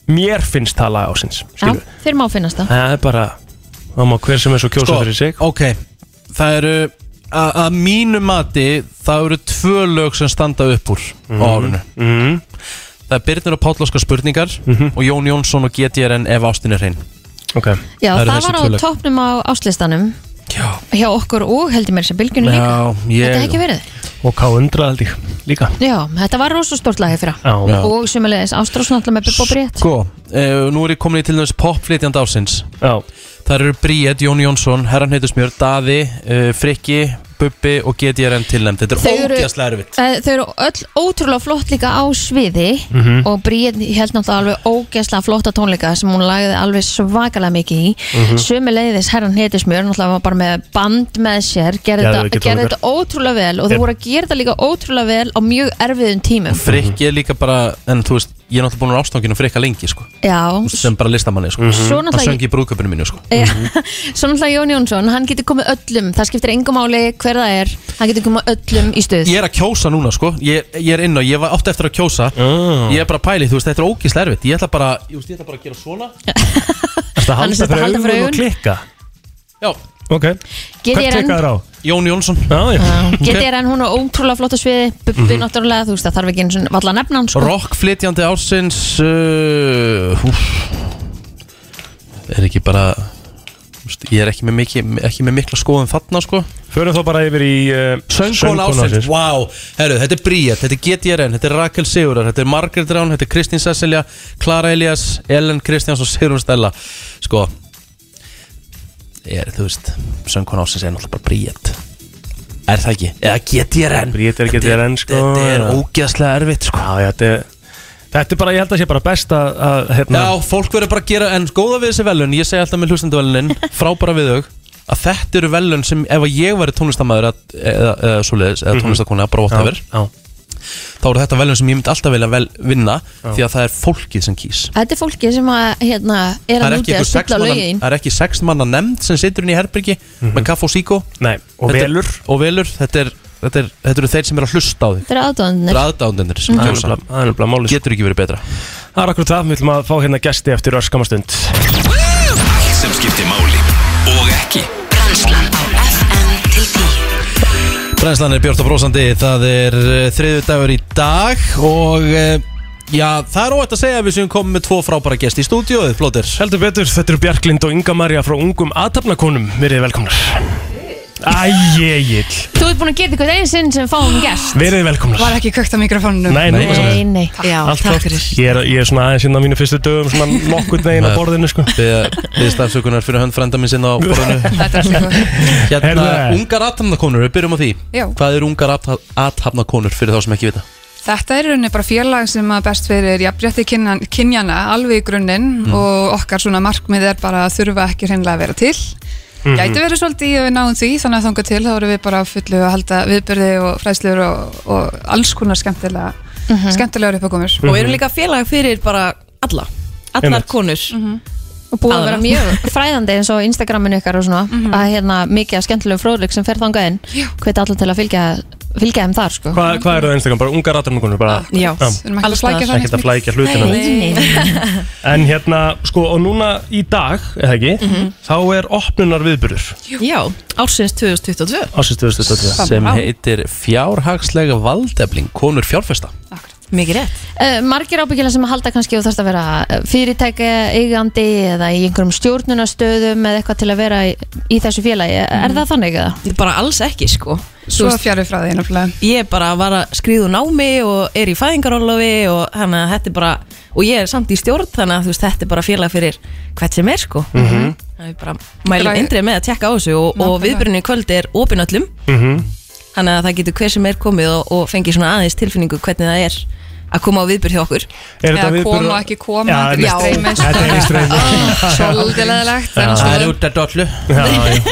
E: mér finnst það lag ásins
D: Já,
E: Skilu
D: þeir má finnast það
E: Það er bara Það má hver sem er svo kjósa
A: Sko,
E: fyrir sig
A: Ok, það eru að að mínu mati það eru tvö lög sem standa upp úr á árinu
E: mm.
A: Það er Birnir og Páll Óskar spurningar
E: Mhm.
A: og Jón Jónsson og GTRN ef ástin er hrein
E: okay.
D: Já, það, var á toppnum á áslistanum
E: Já
D: Hjá okkur og heldur mér þess að bylgjunni líka Þetta er ekki verið
E: Og K100 held ég líka
D: Já, þetta var rosa stórt lagi fyrir
E: Já. Já.
D: Og sömulegis Ástrós náttúrulega með Bubba og Britt
A: Sko, uh, nú er ég komin í til þess popflytjand ásins
E: Já
A: Það eru Bríett, Jón Jónsson, Herran Heitusmjör, Daði, uh, Frikki, Bubbi og GTRN tilnæmt Þetta
D: Þau
A: er
D: eru-
A: ógeðslega erfitt
D: Eh, Þau eru öll ótrúlega flott líka á sviði
A: Mhm.
D: og Bríet held náttúrulega alveg ógeðslega flotta tónleika sem hún lagði alveg svakalega mikið í mm
R: Mhm.
D: sömuleiðis herran hétismjör náttúrulega var bara með band með sér gerði
A: Já,
D: þetta-
A: ekki
D: gerði
A: tónleikar.
D: þetta ótrúlega vel og þau
A: Er-
D: voru að gera þetta líka ótrúlega vel á mjög erfiðum tímum
A: Frikki er líka bara, en þú veist, ég er náttúrulega búin að ástanginu Frikka lengi, sko
D: Já,
A: sem bara listamanni, sko
D: Mhm. Svo náttúrulega-
A: Hann söng í brúðköpunum mínu, sko
D: Já, svo náttúrulega Jón Jónsson, hann getur komið öllum, það skiptir engum máli hver það er, hann getur komið öllum í stuð.
A: Ég er að kjósa núna sko Ég, ég er inn og ég var átt eftir að kjósa Ég er bara að pæli, þú veist, þetta er ógíslega erfitt Ég ætla bara, ég veist, ég ætla bara að gera svona
E: Ertu
A: Hann er
E: að halda
A: sem sagt að
E: fyrir
A: halda
E: augun
A: fyrir
E: og
A: augun.
E: klikka?
A: Já
E: Ok
D: Get ég
E: Hvern
D: enn-
E: klikkaður á?
A: Jón Jónsson
E: Já, já
D: Getið er en hún er ótrúlega flott á sviði, Bubbi
A: Mhm.
D: náttúrulega, þú veist, það þarf ekki eins og valla að nefna hann sko.
A: Rockflytjandi ársins uh, húf. Er ekki bara Vist, Ég er ekki með, mikil, ekki með mikla skoðum þarna sko
E: Förum þá bara yfir í uh,
A: Söngkona
E: söngkonu
A: ásins,
E: ársins.
A: wow Herru, þetta er Bríett, þetta er GTRN, þetta er Rakel Sigurar Þetta er Margaret Rán, þetta er Kristín Cecilia Klara Elias, Ellen Kristjáns og Sigrun Stella Sko er, Þú veist, söngkona ásins er náttúrulega bara Bríett Er það ekki? Eða GTRN
E: Bríett er GTRN sko
A: Þetta er ógeðslega erfitt sko
E: Já, já, þetta er Þetta er bara, ég held að sé bara best að, að hérna,
A: Já, fólk verður bara að gera, en sko, góða við þessi velun Ég segi alltaf með hlustenduvelunin, frábara við þau Að þetta eru velun sem ef að ég væri tónlistamæður eða, eða, eða svoleiðis Eða
E: Mhm.
A: tónlistakona, bara
E: Já,
A: whatever Þá eru þetta velun sem ég myndi alltaf vilja vel, vinna
E: Já.
A: Því að það er fólkið sem kýs
D: Þetta er fólki sem að, hérna, er
A: Það
D: að
A: er
D: núti að
A: ekki einhver sex
D: stilla
A: manna-
D: lögin
A: það er ekki sex manna nefnd sem situr inn í herbyrgi Með kaff og síkó
E: Mhm. Nei, og
A: þetta,
E: velur.
A: Og velur, þetta, er, þetta, er, þetta eru þeir sem eru að hlusta á þig
D: Þetta er aðdóðanir
A: Þetta eru aðdáendurnir sem
E: Mhm. Það er
A: kjósa.
E: nefnilega- það er nefnilega málið
A: sko.
E: sko.
A: Getur ekki verið betra
E: Það er akkur það, við viljum að fá hérna gesti eftir öskamastund
B: Allt sem skiptir máli og ekki
A: Brænslan er Björn og Brósandi, það er þriðu dagur í dag og eh, já, það er óætt að segja að við séum komið með tvo frábæra gesti í stúdíóið, Plóter.
E: Heldur betur, þetta eru Bjarklind og Inga Marja frá ungum aðtapnakonum, verið velkomnar Æjégill,
D: Þú ert búin að gera eitthvað einu sinn sem fáum gest
E: verið velkomnar
R: Var ekki kvökt á mikrofónunum?
E: Nei, nei,
D: Nei, nei
R: Já,
E: Allt
R: takk
E: klárt.
R: fyrir
E: Ég er, ég er svona aðeins inn á mínu fyrstu dögum, svona nokkurn veginn á borðinu sko
A: Við stafsökunar fyrir hönd frænda minn sinna á borðinu.
R: Þetta er allt í góðu.
A: Hérna,
E: Heyrðu.
A: ungar aðhafnakonur, við byrjum á því.
R: Já.
A: Hvað eru ungar aðhafnakonur fyrir þá sem ekki vita?
R: Þetta er í rauninni bara félag sem að best fyrir jafnrétti kynjan- kynjana alveg í grunninn
A: Mm.
R: og okkar svona markmið er bara að þurfa ekki hreinlega að vera til
A: Mhm.
R: Gæti verið svolítið í að við náum því þannig að þangað til þá erum við bara á fullu að halda viðbyrði og fræsluður og, og alls konar skemmtilega skemmtilegar uppakomur
O: Og við erum líka félag fyrir bara alla Allar
R: Einmitt.
O: konur
D: Mhm. Og búið að
O: Aðra.
D: vera mjög fræðandi eins og Instagraminu ykkar og svona Að hérna, mikið af skemmtilegum fróðleik sem fer þangað inn Hveit allir til að fylgja, fylgja þeim þar, sko
E: Hvað hva eru það Instagram, bara ungar aðtapnakonur? Bara,
D: Já, erum ekki að flækja það
E: Ekkert að flækja hlutina
D: Nei, nei
E: En hérna, sko, og núna í dag, eða ekki,
R: Mhm.
E: þá er opnunar viðburður
O: Já, ársins 2022
E: Ársins 2022
A: Sem heitir fjárhagslega valdefling, konur fjárfesta.
O: Mikið rétt
D: Uh, margir ábyggilega sem að halda kannski og þarfst að vera eh, fyrirtækja eigandi eða í einhverjum stjórnunastöðum eða eitthvað til að vera í, í þessu félagi
O: Mm.
D: er það þannig eða?
O: Bara alls ekki sko
R: Svo fjarrir frá því nefnilega
O: Ég bara var að skriðu námi og er í fæðingarólofi og þannig að þetta er bara og ég er samt í stjórn þannig að þú veist þetta er bara félag fyrir hvert sem er sko
E: Mhm.
O: Það er bara mælum indrið með að tjekka á þessu og, og viðbyrjunni í kvöld er opin öllum
E: Mhm.
O: þannig að það getur hver sem er komið og, og fengi svona aðeins tilfinningu hvernig það er að koma á viðbyrð hjá okkur
E: Er þetta Eða viðburður- koma og
R: ekki koma, Já, þetta er já. streymi, sko.
E: Þetta er í streymi.
R: Svolítið leðilegt
E: Já.
A: Það er út að dollu.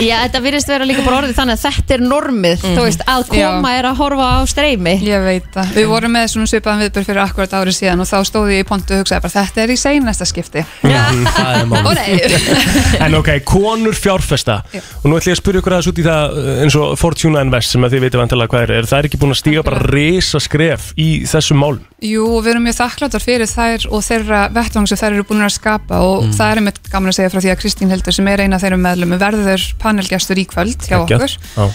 D: Já, þetta virðist vera líka bara orðið þannig að þetta er normið
O: Mm.
D: þú veist, að koma er að horfa á streymi
R: Ég veit það, við vorum með svona svipaðan viðbyrð fyrir akkurat árið síðan og þá stóði ég í pontu og hugsaði bara þetta er í seinasta skipti
E: Það er
R: Og
E: málið
R: nei,
E: En ok, konur fjárfesta Og nú ætlum ég að spyrja ykkur aðeins út í það uh, eins og Fortuna Invest sem að þið veitum vantilega hvað er Er það ekki búin að stíga bara risa skref í þessum málum?
R: Jú, og við erum mjög þakkláttar fyrir þær og þeirra vettvang sem þær eru búin að skapa og
E: Mm.
R: það er einmitt gaman að segja frá því að Kristín Hildur sem er eina af þeirra meðlum verður panelgestur í kvöld hjá
E: Geggjað.
R: okkur
E: Já.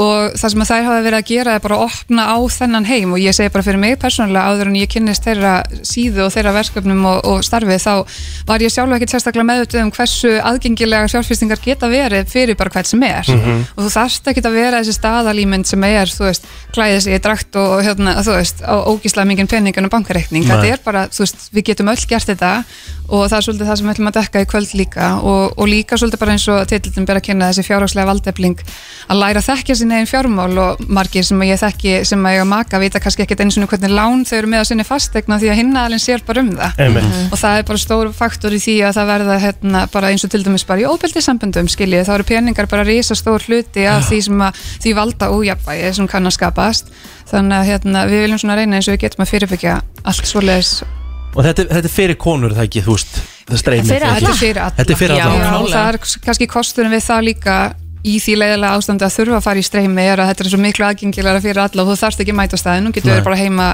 R: og það sem að þær hafa verið að gera er bara að opna á þennan heim og ég segi bara fyrir mig persónulega áður en ég kynnist þeirra síðu og þeirra verkefnum og, og starfið þá var ég sjálf ekkert sérstaklega meðvitað um hversu aðgengilega sjálffyrstingar geta verið fyrir bara hvert sem er
E: Mhm.
R: og þú þarft ekki að vera þessi staðalímynd sem er, þú veist, klæðið sig í drakt og hérna, þú veist, á ógíslega mingin peningin og bankareikning,
E: Nei.
R: þetta er bara, þú veist, við getum öll gert þetta og það er svolítið það sem við ætlum að dekka í kvöld líka og, og líka svolítið bara eins og titlutin ber að kynna þessi fjárhagslega valdefling að læra að þekkja sinni einn fjármál og margir sem ég þekki sem að ég maka vita kannski ekkit eins og hvernig lán þau eru með að sinni fastegna því að hinna alveg sér bara um það
E: Einmitt. Mhm.
R: og það er bara stór faktor í því að það verða hérna, bara eins og til dæmis bara í óbildisamböndum skiljið, þá eru peningar bara risa stór hluti af því sem að því valda ójafvægi sem kann að skapast þannig að hérna, við viljum svona reyna eins og við getum að fyrirbyggja allt svoleiðis
A: Og þetta, þetta er fyrir konur, er það ekki, þú veist, það streymi.
R: Þetta er fyrir alla,
A: Þetta er fyrir alla.
R: Já, og það er kannski kosturinn við það líka í því leiðilega ástandi að þurfa að fara í streymi er að þetta er svo miklu aðgengilega fyrir alla og þú þarft ekki að mæta á staðin og getur
D: Nei.
R: verið bara heima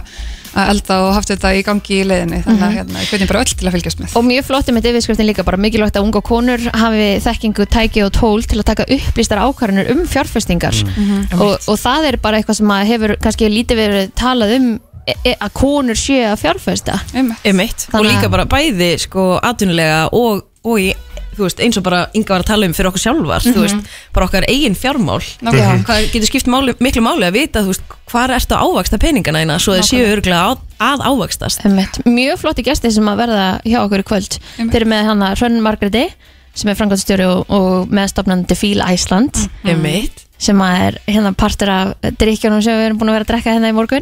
R: að elda og haft þetta í gangi í leiðinni þannig að
D: Mhm.
R: hérna, ég hvernig bara öll til að fylgjast með
D: Og mjög flott um þetta yfirskriftin líka bara mikilvægt að unga konur hafi þekkingu, tæki og tól til að taka upplýstar ákvarðanir um fjárfestingar
O: Mm.
R: Mhm.
D: og, og það er bara eitthvað sem að hefur kannski lítið verið talað um e e að konur sé að fjárfesta
R: Einmitt
O: Einmitt. Og
D: Þannig að-
O: líka bara bæði sko atvinnulega og, og í þú veist, eins og bara Inga var að tala um fyrir okkur sjálfar, þú
R: Mhm.
O: veist, bara okkar eigin fjármál,
R: Nákvæmlega.
O: hvað getur skipt máli, miklu máli að vita, þú veist, hvað ertu að ávaksta peningana eina, svo þeir séu örgulega að, að ávakstast.
D: Einmitt. Mjög flotti gesti sem að verða hjá okkur í kvöld Þeir eru með hana Hrönn Margreti sem er frangatstjóri og, og meðstofnandi Fíla Æsland
O: Mm. Mhm. Einmitt.
D: sem að er hérna partur af drikkjunum sem við erum búin að vera að drekka hérna í morgun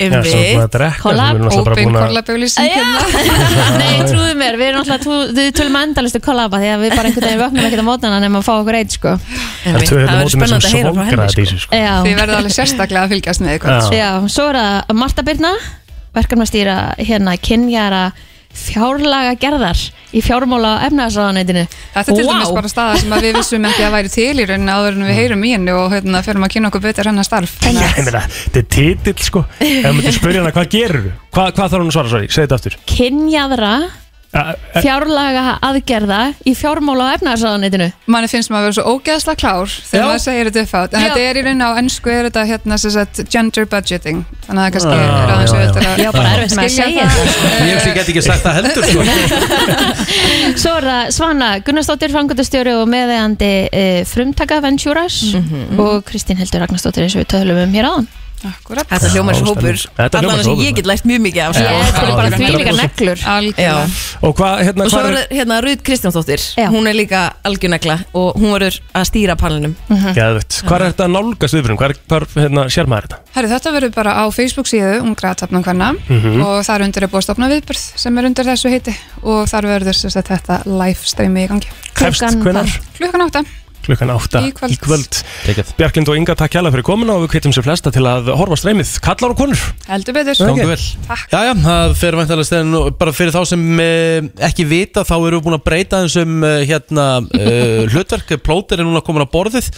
R: Um
O: Einmitt.
E: Já, sem við erum búin að drekka, sem við erum náttúrulega bara Open búin að- collab
R: hérna.
D: Nei, trúðu mér, við erum alltaf trú, við tölum endalistu kollaba því að við bara einhvern veginn vöknum ekkert á mótana nema að fá okkur eitt sko
E: Það er tvö hérna mótum sem svongra þetta í sig sko.
D: Já.
R: Þið verða alveg sérstaklega að fylgjast með eitthvað
D: Já, svo er það Marta Birna verkefnastýra hérna kynjara fjárlaga gerðar í fjármála og efnaðarsáðanætinu
R: Þetta er til dæmis bara staða sem að við vissum ekki að væri til í rauninni áður en við heyrum í henni og hérna förum að kynna okkur betur hennar starf.
E: Já, ég meina, Þetta er titill sko Ef maður myndi spyrja hana, hvað gerur þú? Hva, hvað þarf hún að svara, sorry, segi þetta aftur
D: kynjaðra
E: A- a-
D: fjárlaga aðgerða í fjármála og efnaðarsáðanætinu
R: Manni finnst maður að vera svo ógeðsla klár þegar
D: Já.
R: maður segir þetta upp átt. En
D: Já.
R: þetta er í rauninni á ennsku er þetta hérna sem sagt gender budgeting. Þannig að það kannski
A: Ah,
E: Já,
R: er aðeins
E: já,
R: auðvitað
E: já.
R: að
E: Já, bara erfitt
D: með að
R: skilja
D: segja
R: það.
A: Ég hef ekki ekki sagt það heldur sko.
D: Svo er það Svana Gunnarsdóttir, fangundastjóri og meðegandi e, frumtaka Ventures
R: Mhm.
D: og Kristín Hildur Ragnarsdóttir eins og við tölum um hér áðan
R: Akkurat.
O: Þetta hljómar svo
E: Já,
O: hópur,
E: stemning. Þetta hljómar
O: allan
E: svo
O: sem
E: hópur.
O: ég get lært mjög mikið af.
E: Já, þetta eru bara Já, þvílíkar 100%.
D: neglur.
R: Algjörlega.
E: Og hvað, hérna,
O: Og svo
E: hvað
O: verður hérna Rut Kristjánsdóttir, hún er líka algjörnagla og hún verður að stýra palinum.
E: Geðvett, hvað er þetta að nálgast viðfyrum? Hvað, hvað, hérna, sér maður þetta?
R: Herru, þetta verður bara á Facebook síðu Ungra að tapna hverna
E: Mhm.
R: og þar undir er búið að stopna viðbörð sem er undir þessu heiti og þar verður sem sagt, þetta live streami í gangi.
E: Hefst Klukkan hvenær? hvað?
R: Klukkan átta.
E: Klukkan átta
R: Í kvöld.
E: Bjarklind og Inga, takk hjálpa fyrir komuna og við kvittum sér flesta til að horfa á streymið Kallar og konur
R: Heldur betur.
A: Gangi vel Já, já, það fer væntalega stæðan bara fyrir þá sem eh, ekki vita þá erum við búin að breyta þessum eh, hérna eh, hlutverk plóter er núna komin á borðið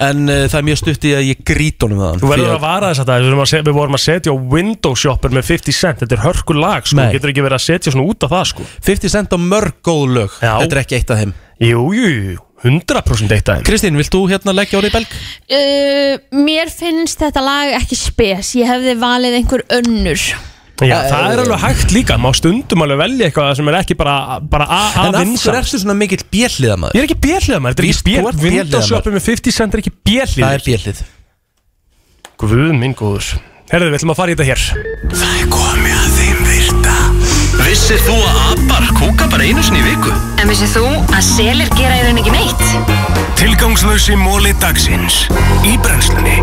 A: en eh, það er mjög stutt í að ég grít honum þaðan
E: Mhm. Þú verður að vara þess að það, við vorum að se- við vorum að setja á Windows Shopper með 50 cent, þetta er hörkur lag sko,
A: Nei.
E: getur ekki verið að setja svona út af það sko
A: 50 cent á mörg góð lög,
E: Já.
A: þetta er ekki eitt af þeim
E: Jú, jú, jú, 100% eitt af þeim
A: Kristín, vilt þú hérna leggja orðið í belg?
D: Uh, mér finnst þetta lag ekki spes ég hefði valið einhver önnur
E: Já, það er alveg hægt líka, má stundum alveg velja eitthvað sem er ekki bara, bara a-
A: En
E: að
A: af
E: vinsa
A: hverju ertu svona mikill bjelliðamæður?
E: Ég er ekki bjelliðamæður, þetta er ekki bjell Windows Shopper með 50 cent er ekki bjellið
A: Það er bjellið
E: Guð minn góður Herðu, við ætlum að fara í þetta hér
B: Það er komið að þeim virta Vissir þú að abar kúka bara einu sinni í viku?
M: En vissið þú að selir gera í rauninni ekki neitt?
B: Tilgangslösi móli dagsins Í brennslunni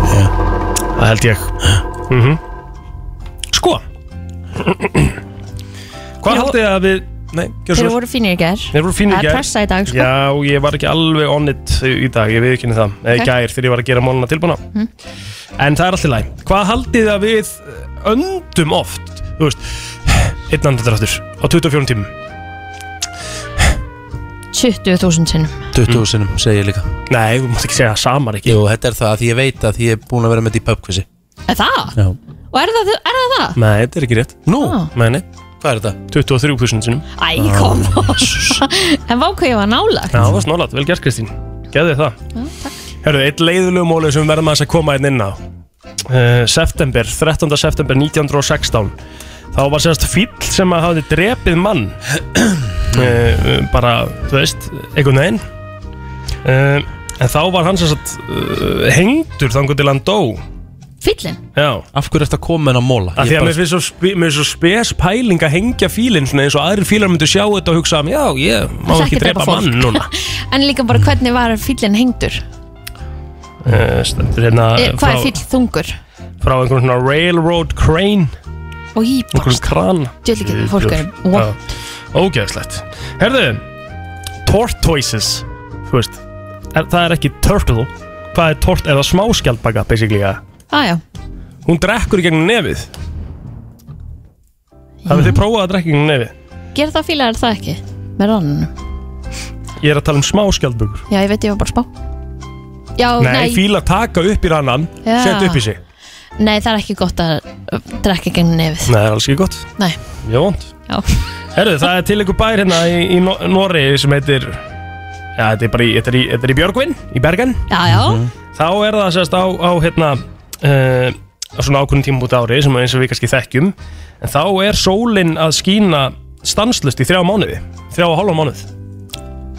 E: Það held ég mm Sko Hvað haldið þið að við Nei, gjörðu
D: þeir
E: svo
D: voru fínir í gær
E: Þeir voru fínir í
D: Það
E: gær.
D: er pressa í dag sko.
E: Já, ég var ekki alveg on it í dag, ég viðkynni um það Eða
D: Ok.
E: okay. gær þegar ég var að gera máluna tilbúna
D: Mhm.
E: En það er alltaf læg Hvað haldið þið að við öndum oft Þú veist, einn andardráttur á 24 tímum
D: 20.000 sinnum
A: 20 sinum, segi ég líka
E: Mm. Nei, þú mátt ekki segja samar ekki
A: Jú, þetta er það, því ég veit að því ég er búin að vera með þetta í pubquizi
D: Er það?
A: Já.
D: Og er það er það? það?
E: Nei, þetta er ekki rétt
A: Nú,
D: Ah.
E: nei, nei
A: Hvað er þetta?
E: 23.000 sinum
D: Æ, kom En vákvæði var nálagt
E: Já, það var snálat, vel gert Kristín Geðu þið það
D: Já,
E: Herru, eitt leiðulegu móli sem við verðum aðeins að koma einn inn á uh, September, 13. september 1916 Þá var sérst fíll sem að hafði drepið mann uh, Bara, þú veist, einhvern veginn uh, En þá var hann sérst uh, hengdur þangur til hann dó
D: Fyllin?
E: Já
A: Af hverju ertu að koma en að móla?
E: Af
A: Ég
E: því að
A: bara-
E: mér finnst svo, spe, mér finnst svo spes pæling að hengja fílinn svona eins og aðrir fílar myndu sjá þetta og hugsa Já, ég má
D: Ætla
E: ekki
D: ekki að drepa
E: drepa
D: fólk."
E: mann núna Mm.
D: En líka bara hvernig var fyllin hengdur?
E: Eh, stendur hérna
D: Uh, Hvað er
E: frá,
D: fyll þungur?
E: frá einhvern svona railroad crane
D: Og í
E: einhvern kran
D: Djöfull ekki, fólk er vont.
E: ógeðslegt herðu, tortoises þú veist, er, það er ekki turtle hvað er tort, er það smáskjaldbaka basically, ja.
D: Aja,
E: hún drekkur í gegnum nefið það vil þið prófa að drekka í gegnum nefið
D: ger það fílar er það ekki? Með rannunum
E: ég er að tala um smáskjaldbökur
D: Já, ég veit ég var bara að spá Já, nei,
E: nei, fílar taka upp í rannan
D: Já.
E: setja upp í sig nei,
D: nei, það er ekki gott að uh, drekka gegn nefið
E: það er alls ekki gott
D: Nei,
E: mjög vond
D: já
E: Herru, það er til einhver bær hérna í, í Nóri sem heitir Já, þetta er bara í, þetta er í, þetta er í Björgvin, í Bergen Mhm.
D: Já, já
E: Þá er það sérst á, á hérna uh, á svona ákveðin tíma út ári sem eins og við kannski þekkjum en þá er sólin að skína stanslust í þrjá mánuði þrjá og hálfa mánuð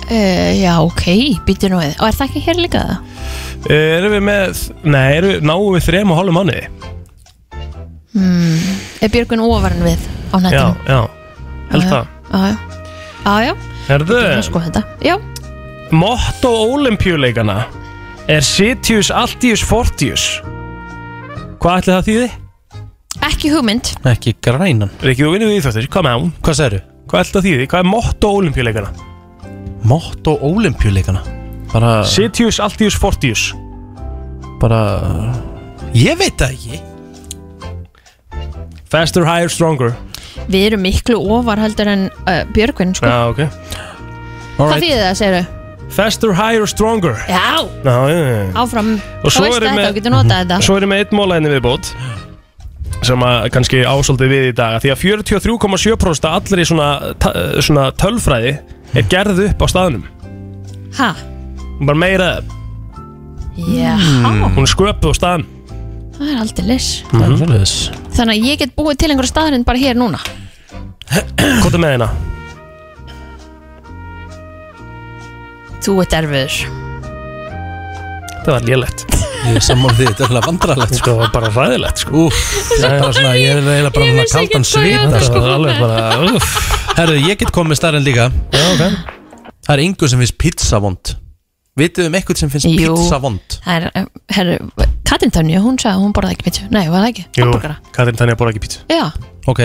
D: Uh, já, ok, býttu nú við Og er það ekki hér líka það?
E: Eh, Erum við með, nei, erum við, náum við þrem og hálfum mánuði?
D: Hmm. Er Björgun ofan við á
E: Já,
D: netinu?
E: já, held það
D: Já, já Já, já,
E: Herðu,
D: sko þetta Já,
E: motto olimpíuleikana er Sitius Altius Fortius Hvað ætli það þýði?
D: ekki hugmynd
E: Ekki grænan Rikki, þú vinnur við íþjóttir, come on Hvað segirðu? Hvað ætli það þýði? Hvað er motto olimpíuleikana?
A: Motto ólimpjuleikana Bara
E: Sitius Altius Fortius
A: Bara Ég veit það ekki
E: Faster, higher, stronger
D: Við erum miklu ofar heldur en uh, Björgun sko.
E: Já, Ah, ok
D: Hvað þýðir það, segirðu?
E: Faster, higher, stronger Ah,
D: Já,
E: Já, já, já
D: áfram Þá
E: Og svo
D: veistu
E: erum
D: þetta
E: við- Mhm. Mm.
D: og getur notað þetta
E: Svo erum við einn mólæðinni hérna viðbót sem að kannski ásaldið við í dag því að 43,7% af allri svona, ta- svona tölfræði er gerð upp á staðnum
D: Ha,
E: hún bara meira
D: já,
E: mm. hún er sköpuð á staðnum
D: það er aldrei lis
E: mm -hmm.
D: Þannig að ég get búið til einhverja staðarinn bara hér núna
E: hvað er með hérna?
D: Þú ert erfiður
E: það var lélegt ég er sammála því, þetta er alveg vandralegt sko. það var bara ræðilegt sko.
A: Það er bara svona, ég er eiginlega bara svona kaldan svita
E: það var alveg bara uff.
A: Herðu, ég get komið starren líka Já, ok Það er yngur sem finnst pizza vond Vitið um eitthvað sem finnst
D: Jú.
A: pizza vond?
D: Það er, eh, herru, Katrin Tönju, hún sagði að hún borðaði ekki pítsu Nei, var það ekki?
E: Jú,
D: Hamborgara.
E: Katrín Tanja borða ekki pizza
D: Já,
A: Ok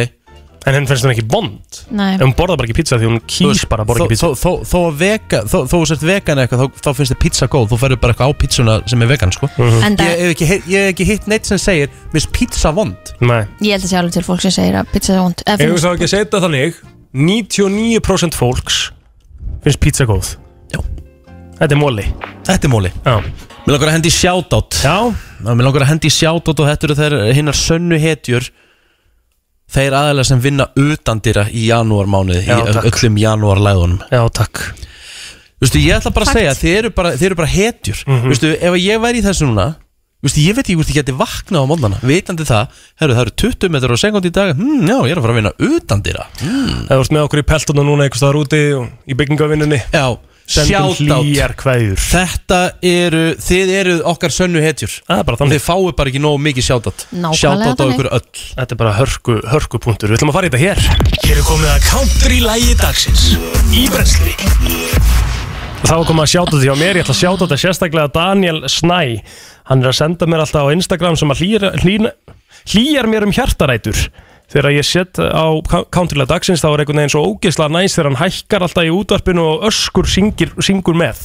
E: en henn finnst hún ekki bond
D: Nei.
E: hún borða bara ekki pizza því hún kýr bara að borða ekki pizza
A: Þó- Þó þó að vega, þó þó að þú sért vegan eða eitthvað, þá- þá finnst þið pizza góð, þú ferður bara eitthvað á pizzuna sem er vegan, sko
E: Mhm.
D: Enda-
A: Ég hef ekki heyrt- ég hef ekki hitt neitt sem segir, mér finnst pizza vond
E: Nei
D: ég held að sé alveg til fólk sem segir að pizza er vond Eða
E: Ef við
D: finnst-
E: þá ekki að setja þannig 99% fólks finnst pizza góð Já Þetta er móli
A: Þetta er móli
E: Já
A: Mér langar að hendi í shoutout
E: Já
A: Mér langar að hendi í shoutout og þetta eru þeir hinnar sönnu hetjur Þeir aðalega sem vinna utandýra í janúarmánuði Í
E: Já, takk.
A: öllum janúarlæðunum
E: Já, takk
A: Vistu, ég ætla bara að segja, þið eru bara, þið eru bara hetjur
E: Mhm.
A: Vistu, ef ég væri í þessu núna Vistu, ég veit ekki hvort ég geti vaknað á móndana Vitandi það, herru, það eru 20 metrar á sekund í dag hmm, Já, ég er að fara að vinna utandýra
E: Ef þú ert með okkur í peltunum núna einhvers staðar úti og í byggingavinnunni
A: Já
E: Sendum
A: Shoutout.
E: hlýjar kveðjur
A: Þetta eru, þið eru okkar sönnu hetjur
E: Það er bara þannig
A: Þið fáið bara ekki nógu mikið sjátat
E: Nákvæmlega
A: Sjátat á
E: þannig.
A: ykkur öll
E: Þetta er bara hörku, hörku punktur Við ætlum að fara í þetta hér Hér er komið að counter í lægi dagsins Í brensli Þá kom að sjáta þetta hjá mér, ég ætla að sjáta þetta sérstaklega Daniel Snæ Hann er að senda mér alltaf á Instagram sem að hlýjar, hlýn, hlýjar mér um hjartarætur Þegar ég set á counterlega dagsins þá er einhvern veginn svo ógeðslega næs þegar hann hækkar alltaf í útvarpinu og öskur syngir, syngur með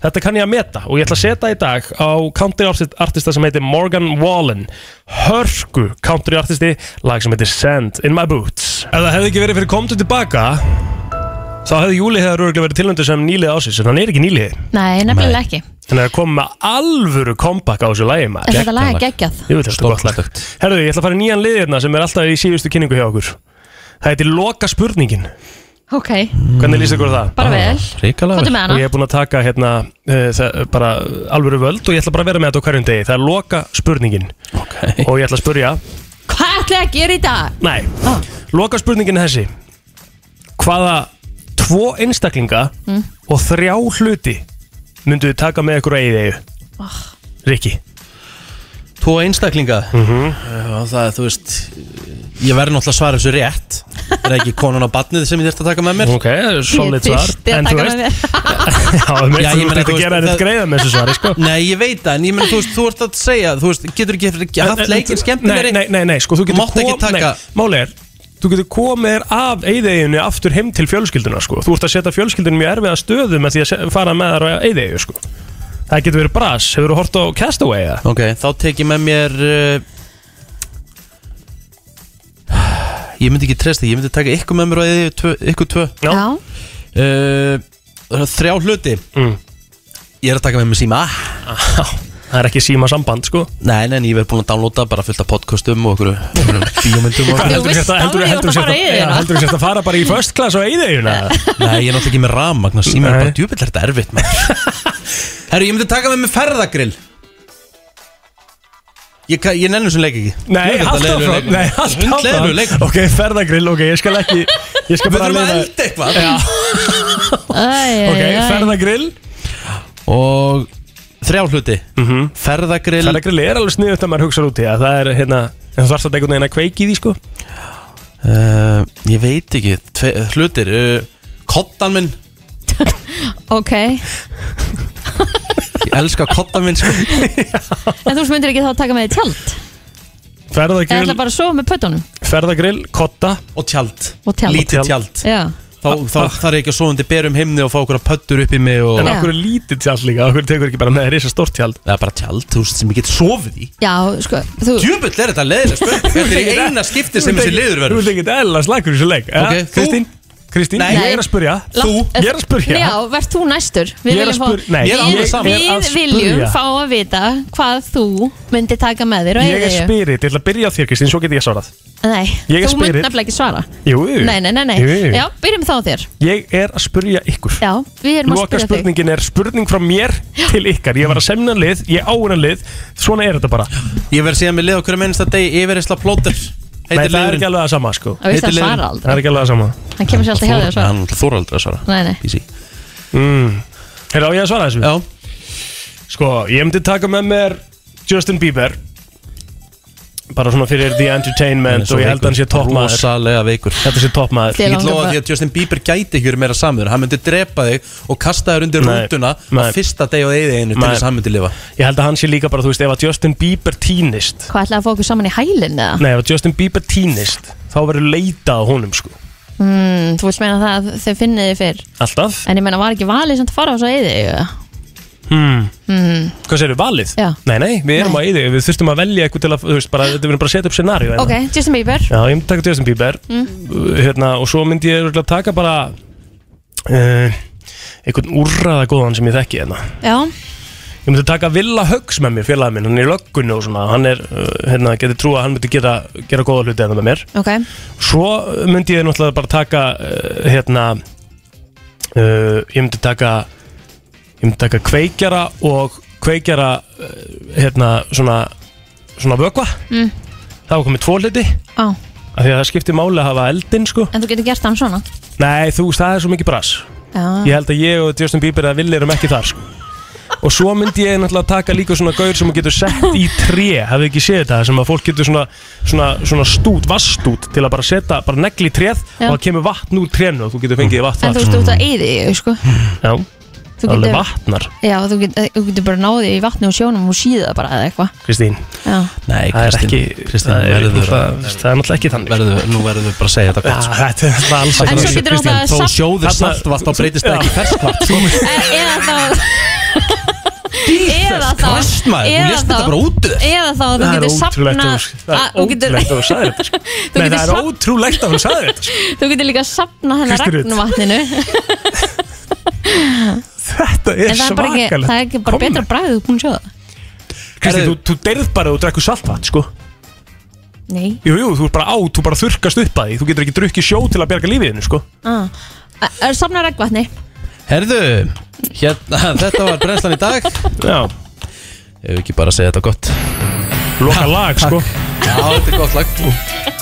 E: Þetta kann ég að meta og ég ætla að setja í dag á countryartista sem heitir Morgan Wallen Hörku countryartisti, lag sem heitir Sand in my boots Ef það hefði ekki verið fyrir komdu tilbaka Þá hefði Júli hefur örgulega verið tilöndu sem nýlið ásins en hann er ekki nýlið
D: Nei, nefnilega ekki
E: Þannig að koma með alvöru kompakk á þessu lægi
D: Er
E: maður
D: þetta lag geggjað?
E: Ég veit þetta er gott lag Herðu, ég ætla að fara í nýjan lið hérna sem er alltaf í síðustu kynningu hjá okkur Það heitir Loka spurningin
D: Ok,
E: Hvernig lýst ykkur á það?
D: bara vel
E: Ríkalega
D: Komdu með hana.
E: Og ég er búin að taka hérna uh, það, bara alvöru völd og ég ætla bara að vera með þetta á hverjum degi Það er Loka spurningin okay. Og ég ætla að spurja
D: Hvað ætla ég að gera í dag?
E: Nei, ah. loka spurningin er þessi Hvaða tvo einstaklinga
D: Mm.
E: og þrjá hluti myndu þið taka með ykkur eigið eigu?
D: Oh.
E: Rikki
A: Tvo einstaklinga mm
E: Mhm.
A: Það, þú veist Ég verði náttúrulega að svara þessu rétt Er það ekki konan á batnið sem ég þurft að taka með mér
E: Ok, solid Ég svar. þyrfti að En þú taka með veist- Já, þú veist, þú ert ekki að gera þér neitt greiða með þessu svari, sko
A: Nei, ég veit það, en ég meina, þú veist, þú ert að segja Þú veist, getur ekki ekki haft leikin skemmtilegri
E: Nei, nei, nei, nei, sko, þú getur
A: Mátt ekki
E: kom-
A: taka-
E: nei, Máli er, þú getur komið þér af eigðeginu aftur heim til fjölskylduna, sko Þú ert að setja fjölskyldunum í erfiða stöðu með því að se- fara með þær á eigðegu, sko Það getur verið bras, hefur þú hort á Castaway, eða?
A: Ok, þá tek ég með mér uh, uh, Ég myndi ekki treysta því, ég myndi taka ykkur með mér og eða tvö- ykkur tvö
E: Já
A: uh, Þrjá hluti
E: mm. Ah,
A: Ég er að taka með mér síma
E: Það er ekki síma samband sko
A: Nei, nei, en ég verð búin að downloada bara fullt af podcastum og okkur bíómyndum og
E: Hvað, heldur þú sért að- heldur þú- heldur þú sért að- já, heldur þú sért að fara bara í first class á eigðeginu?
A: Nei, ég er náttúrulega ekki með rafmagn og síma er bara djúpill er þetta erfitt maður. Herru, ég myndi taka með mér ferðagrill Ég, ka- ég nennu sem leik ekki
E: Nei, haltu áfram. Nei, haltu áfram.
A: leik
E: Ok, ferðagrill, ok, ég skal ekki Ég skal
A: Við
E: bara
A: þurfum að
E: leyfa-
A: elda eitthvað.
E: Já, ok, ferðagrill
A: Og þrjá hluti Ferðagrill
E: Mhm. Ferðagrill er alveg sniðut að maður hugsa út í að það er hérna En þú þarfst að einhvern veginn að kveiki í því sko
A: uh, Ég veit ekki tve, eh, Hlutir uh, Kottan minn
D: Ok,
A: Ég elska kottan minn sko.
D: en þú myndir ekki þá taka með því tjald Ég ætla
E: Ferðagrill,
D: bara að sofa með pötunum
E: ferðagrill, kotta Ah,
A: Og tjald
D: og tjald
A: Lítið tjald
D: Já,
A: Þá, þá þarf ég ekki að sofa undir berum himni og fá okkur að pöttur upp í mig og...
E: En af hverju lítið tjald líka, okkur tekur ekki bara með risa stórt tjald
A: Það er bara tjald, þú veist, sem ég get sofið í
D: já sko þú...
A: Djöfull er þetta leiðileg spurning Þetta er í eina skipti sem þessi liður verður
E: Þú ert ekkert eðla slagur í þessu leik eh?
A: Ok, þú-
E: Kristín, Kristín,
D: Nei.
E: ég er að spurja Þú, ég er að spurja
D: eh, Já, verð þú næstur Við
E: Ég er að
D: viljum,
E: spur- Nei, ég er
D: við,
E: alveg saman. Ég er að
D: við viljum
E: spurja.
D: fá að vita hvað þú myndir taka með þér og
E: Ég er
D: eyðileggja.
E: spirit, ég ætla að byrja á þér Kristín, svo get ég svarað
D: Nei,
E: Ég er
D: þú myndir
E: spirit.
D: nefnilega ekki svara
E: Jú,
D: Nei, nei, nei, nei.
E: Jú, jú.
D: Já, byrjum þá á þér
E: Ég er að spurja ykkur
D: Já, við erum að
E: Loka
D: spyrja þig
E: spurningin er spurning frá mér til ykkar Ég var að semna lið, ég á hennar lið Svona er þetta bara
A: Ég verð síðan með lið okkur að minnsta deg Yfirreysla plóter
E: Nei, það er ekki alveg það sama sko
D: Það veist að svara aldrei.
E: Það er ekki alveg það sama
D: Hann kemur sér alltaf hjá þér að svara
A: Hann þóra aldrei að svara
D: Nei, nei
A: Easy
E: mm. Heyrðu, á ég að svara þessu?
A: Já
E: Sko, ég myndi taka með mér Justin Bieber Bara svona fyrir The Entertainment Og ég held að hann sé toppmaður
A: Rósalega veikur
E: Þetta sé toppmaður
A: Ég get lofa því að Justin Bieber gæti ekki verið meira samur Hann myndi drepa þig og kasta þér undir
E: Nei,
A: rútuna
E: nei.
A: Á fyrsta deg og eigið einu til
E: Nei.
A: þess að hann myndi lifa
E: Ég held að hann sé líka bara, þú veist, ef að Justin Bieber týnist
D: Hvað ætlaði að fá okkur saman í hælinn eða?
E: Nei, ef að Justin Bieber týnist Þá verður leitað á honum, sko
D: Mm, þú vilt meina það að þau finnið þið fyrr
E: Alltaf
D: En ég meina var ekki valið sem það fara á svo eyði
E: hmm.
D: mm.
E: Hvað segirðu, valið?
D: Já.
E: Nei, nei, við erum á eyði, við þurftum að velja eitthvað til að, þú veist, bara, við erum bara að setja upp scenario
D: Ok, Justin Bieber
E: Já, ég myndi taka Justin Bieber
D: Mm.
E: uh, hérna, og svo myndi ég örugglega taka bara uh, einhvern úrraða góðan sem ég þekki hérna.
D: Já,
E: Ég myndi taka Villa Hugs með mér, félagið minn, hann er í löggunni og svona, hann er, uh, hérna, getur trú að hann myndi gera, gera góða hluti hérna með mér.
D: ok
E: Svo eh, myndi ég náttúrulega bara taka, uh, hérna, uh, ég myndi taka, ég myndi taka kveikjara og kveikjara, uh, hérna, svona, svona vökva.
D: mm.
E: Það var komið tvo hluti,
D: Á,
E: af því að það skipti máli að hafa eldinn, sko.
D: En þú getur gert hann svona
E: Nei, þú veist, það er svo mikið brass Ég
D: Já,
E: held að ég og Justin Bieber eða Willi erum ekki þar sko. Og svo myndi ég náttúrulega taka líka svona gaur sem þú getur sett í tré Hafið ekki séð þetta, sem að fólk getur svona, svona, svona stút, vassstút Til að bara setja, bara negli í tréð
D: Já.
E: Og það kemur vatn úr trénu og þú getur fengið vatn
D: en þú veist
E: Mm.
D: út að eyði sko
E: Já,
D: Þú
E: það er alveg
D: getur-
E: vatnar,
D: Já, þú getur, þú getur bara náðið í vatni og sjónum og síða bara eða eitthvað
E: Kristín
D: Já,
A: Nei,
E: Það er ekki,
A: Kristín,
E: það, er,
A: verður-
E: það, það er náttúrulega ekki þannig
A: verður, Nú verður við bara að segja þetta
E: Já,
A: gott sko.
E: þetta er náttúrulega alls
D: En svo
E: ekki þannig.
D: getur náttúrulega
A: Þó
D: samt-
A: sjóðir
E: Þarna-
A: saltvatt þá breytist það
E: Já.
A: ekki ferskvatt
D: E- eða þá eða þá
A: Christ, maður, hún
D: eða
A: lést
D: þá-
A: þetta bara út úr þér.
D: eða þá þú getur sapna
E: Það er ótrúlegt að þú- það er
D: að- þú getur-
E: ótrúlegt að þú sagði þetta sko.
D: þú getur safn-
E: Nei, það er ótrúlegt að þú sagði þetta sko.
D: þú getur líka sapna hennar
E: Kristín Rut.
D: regnvatninu
E: Þetta
D: en
E: er
D: það er bara ekki,
E: svakalegt
D: það er ekki bara betra bræðið þú er búin að sjóða
E: Kristi, þú, þú deyrð bara og þú drekkur saltvatn, sko
D: nei
E: Jú, jú, þú er bara á, þú bara þurrkast upp að því Þú getur ekki drukkið sjó til að berga lífiðinu, sko
D: ah. er sapna regnvatni
A: Herðu, hérna, þetta var brennslan í dag
E: Já
A: Ef ekki bara að segja þetta gott
E: Loka lag, sko
A: Já, þetta er gott lag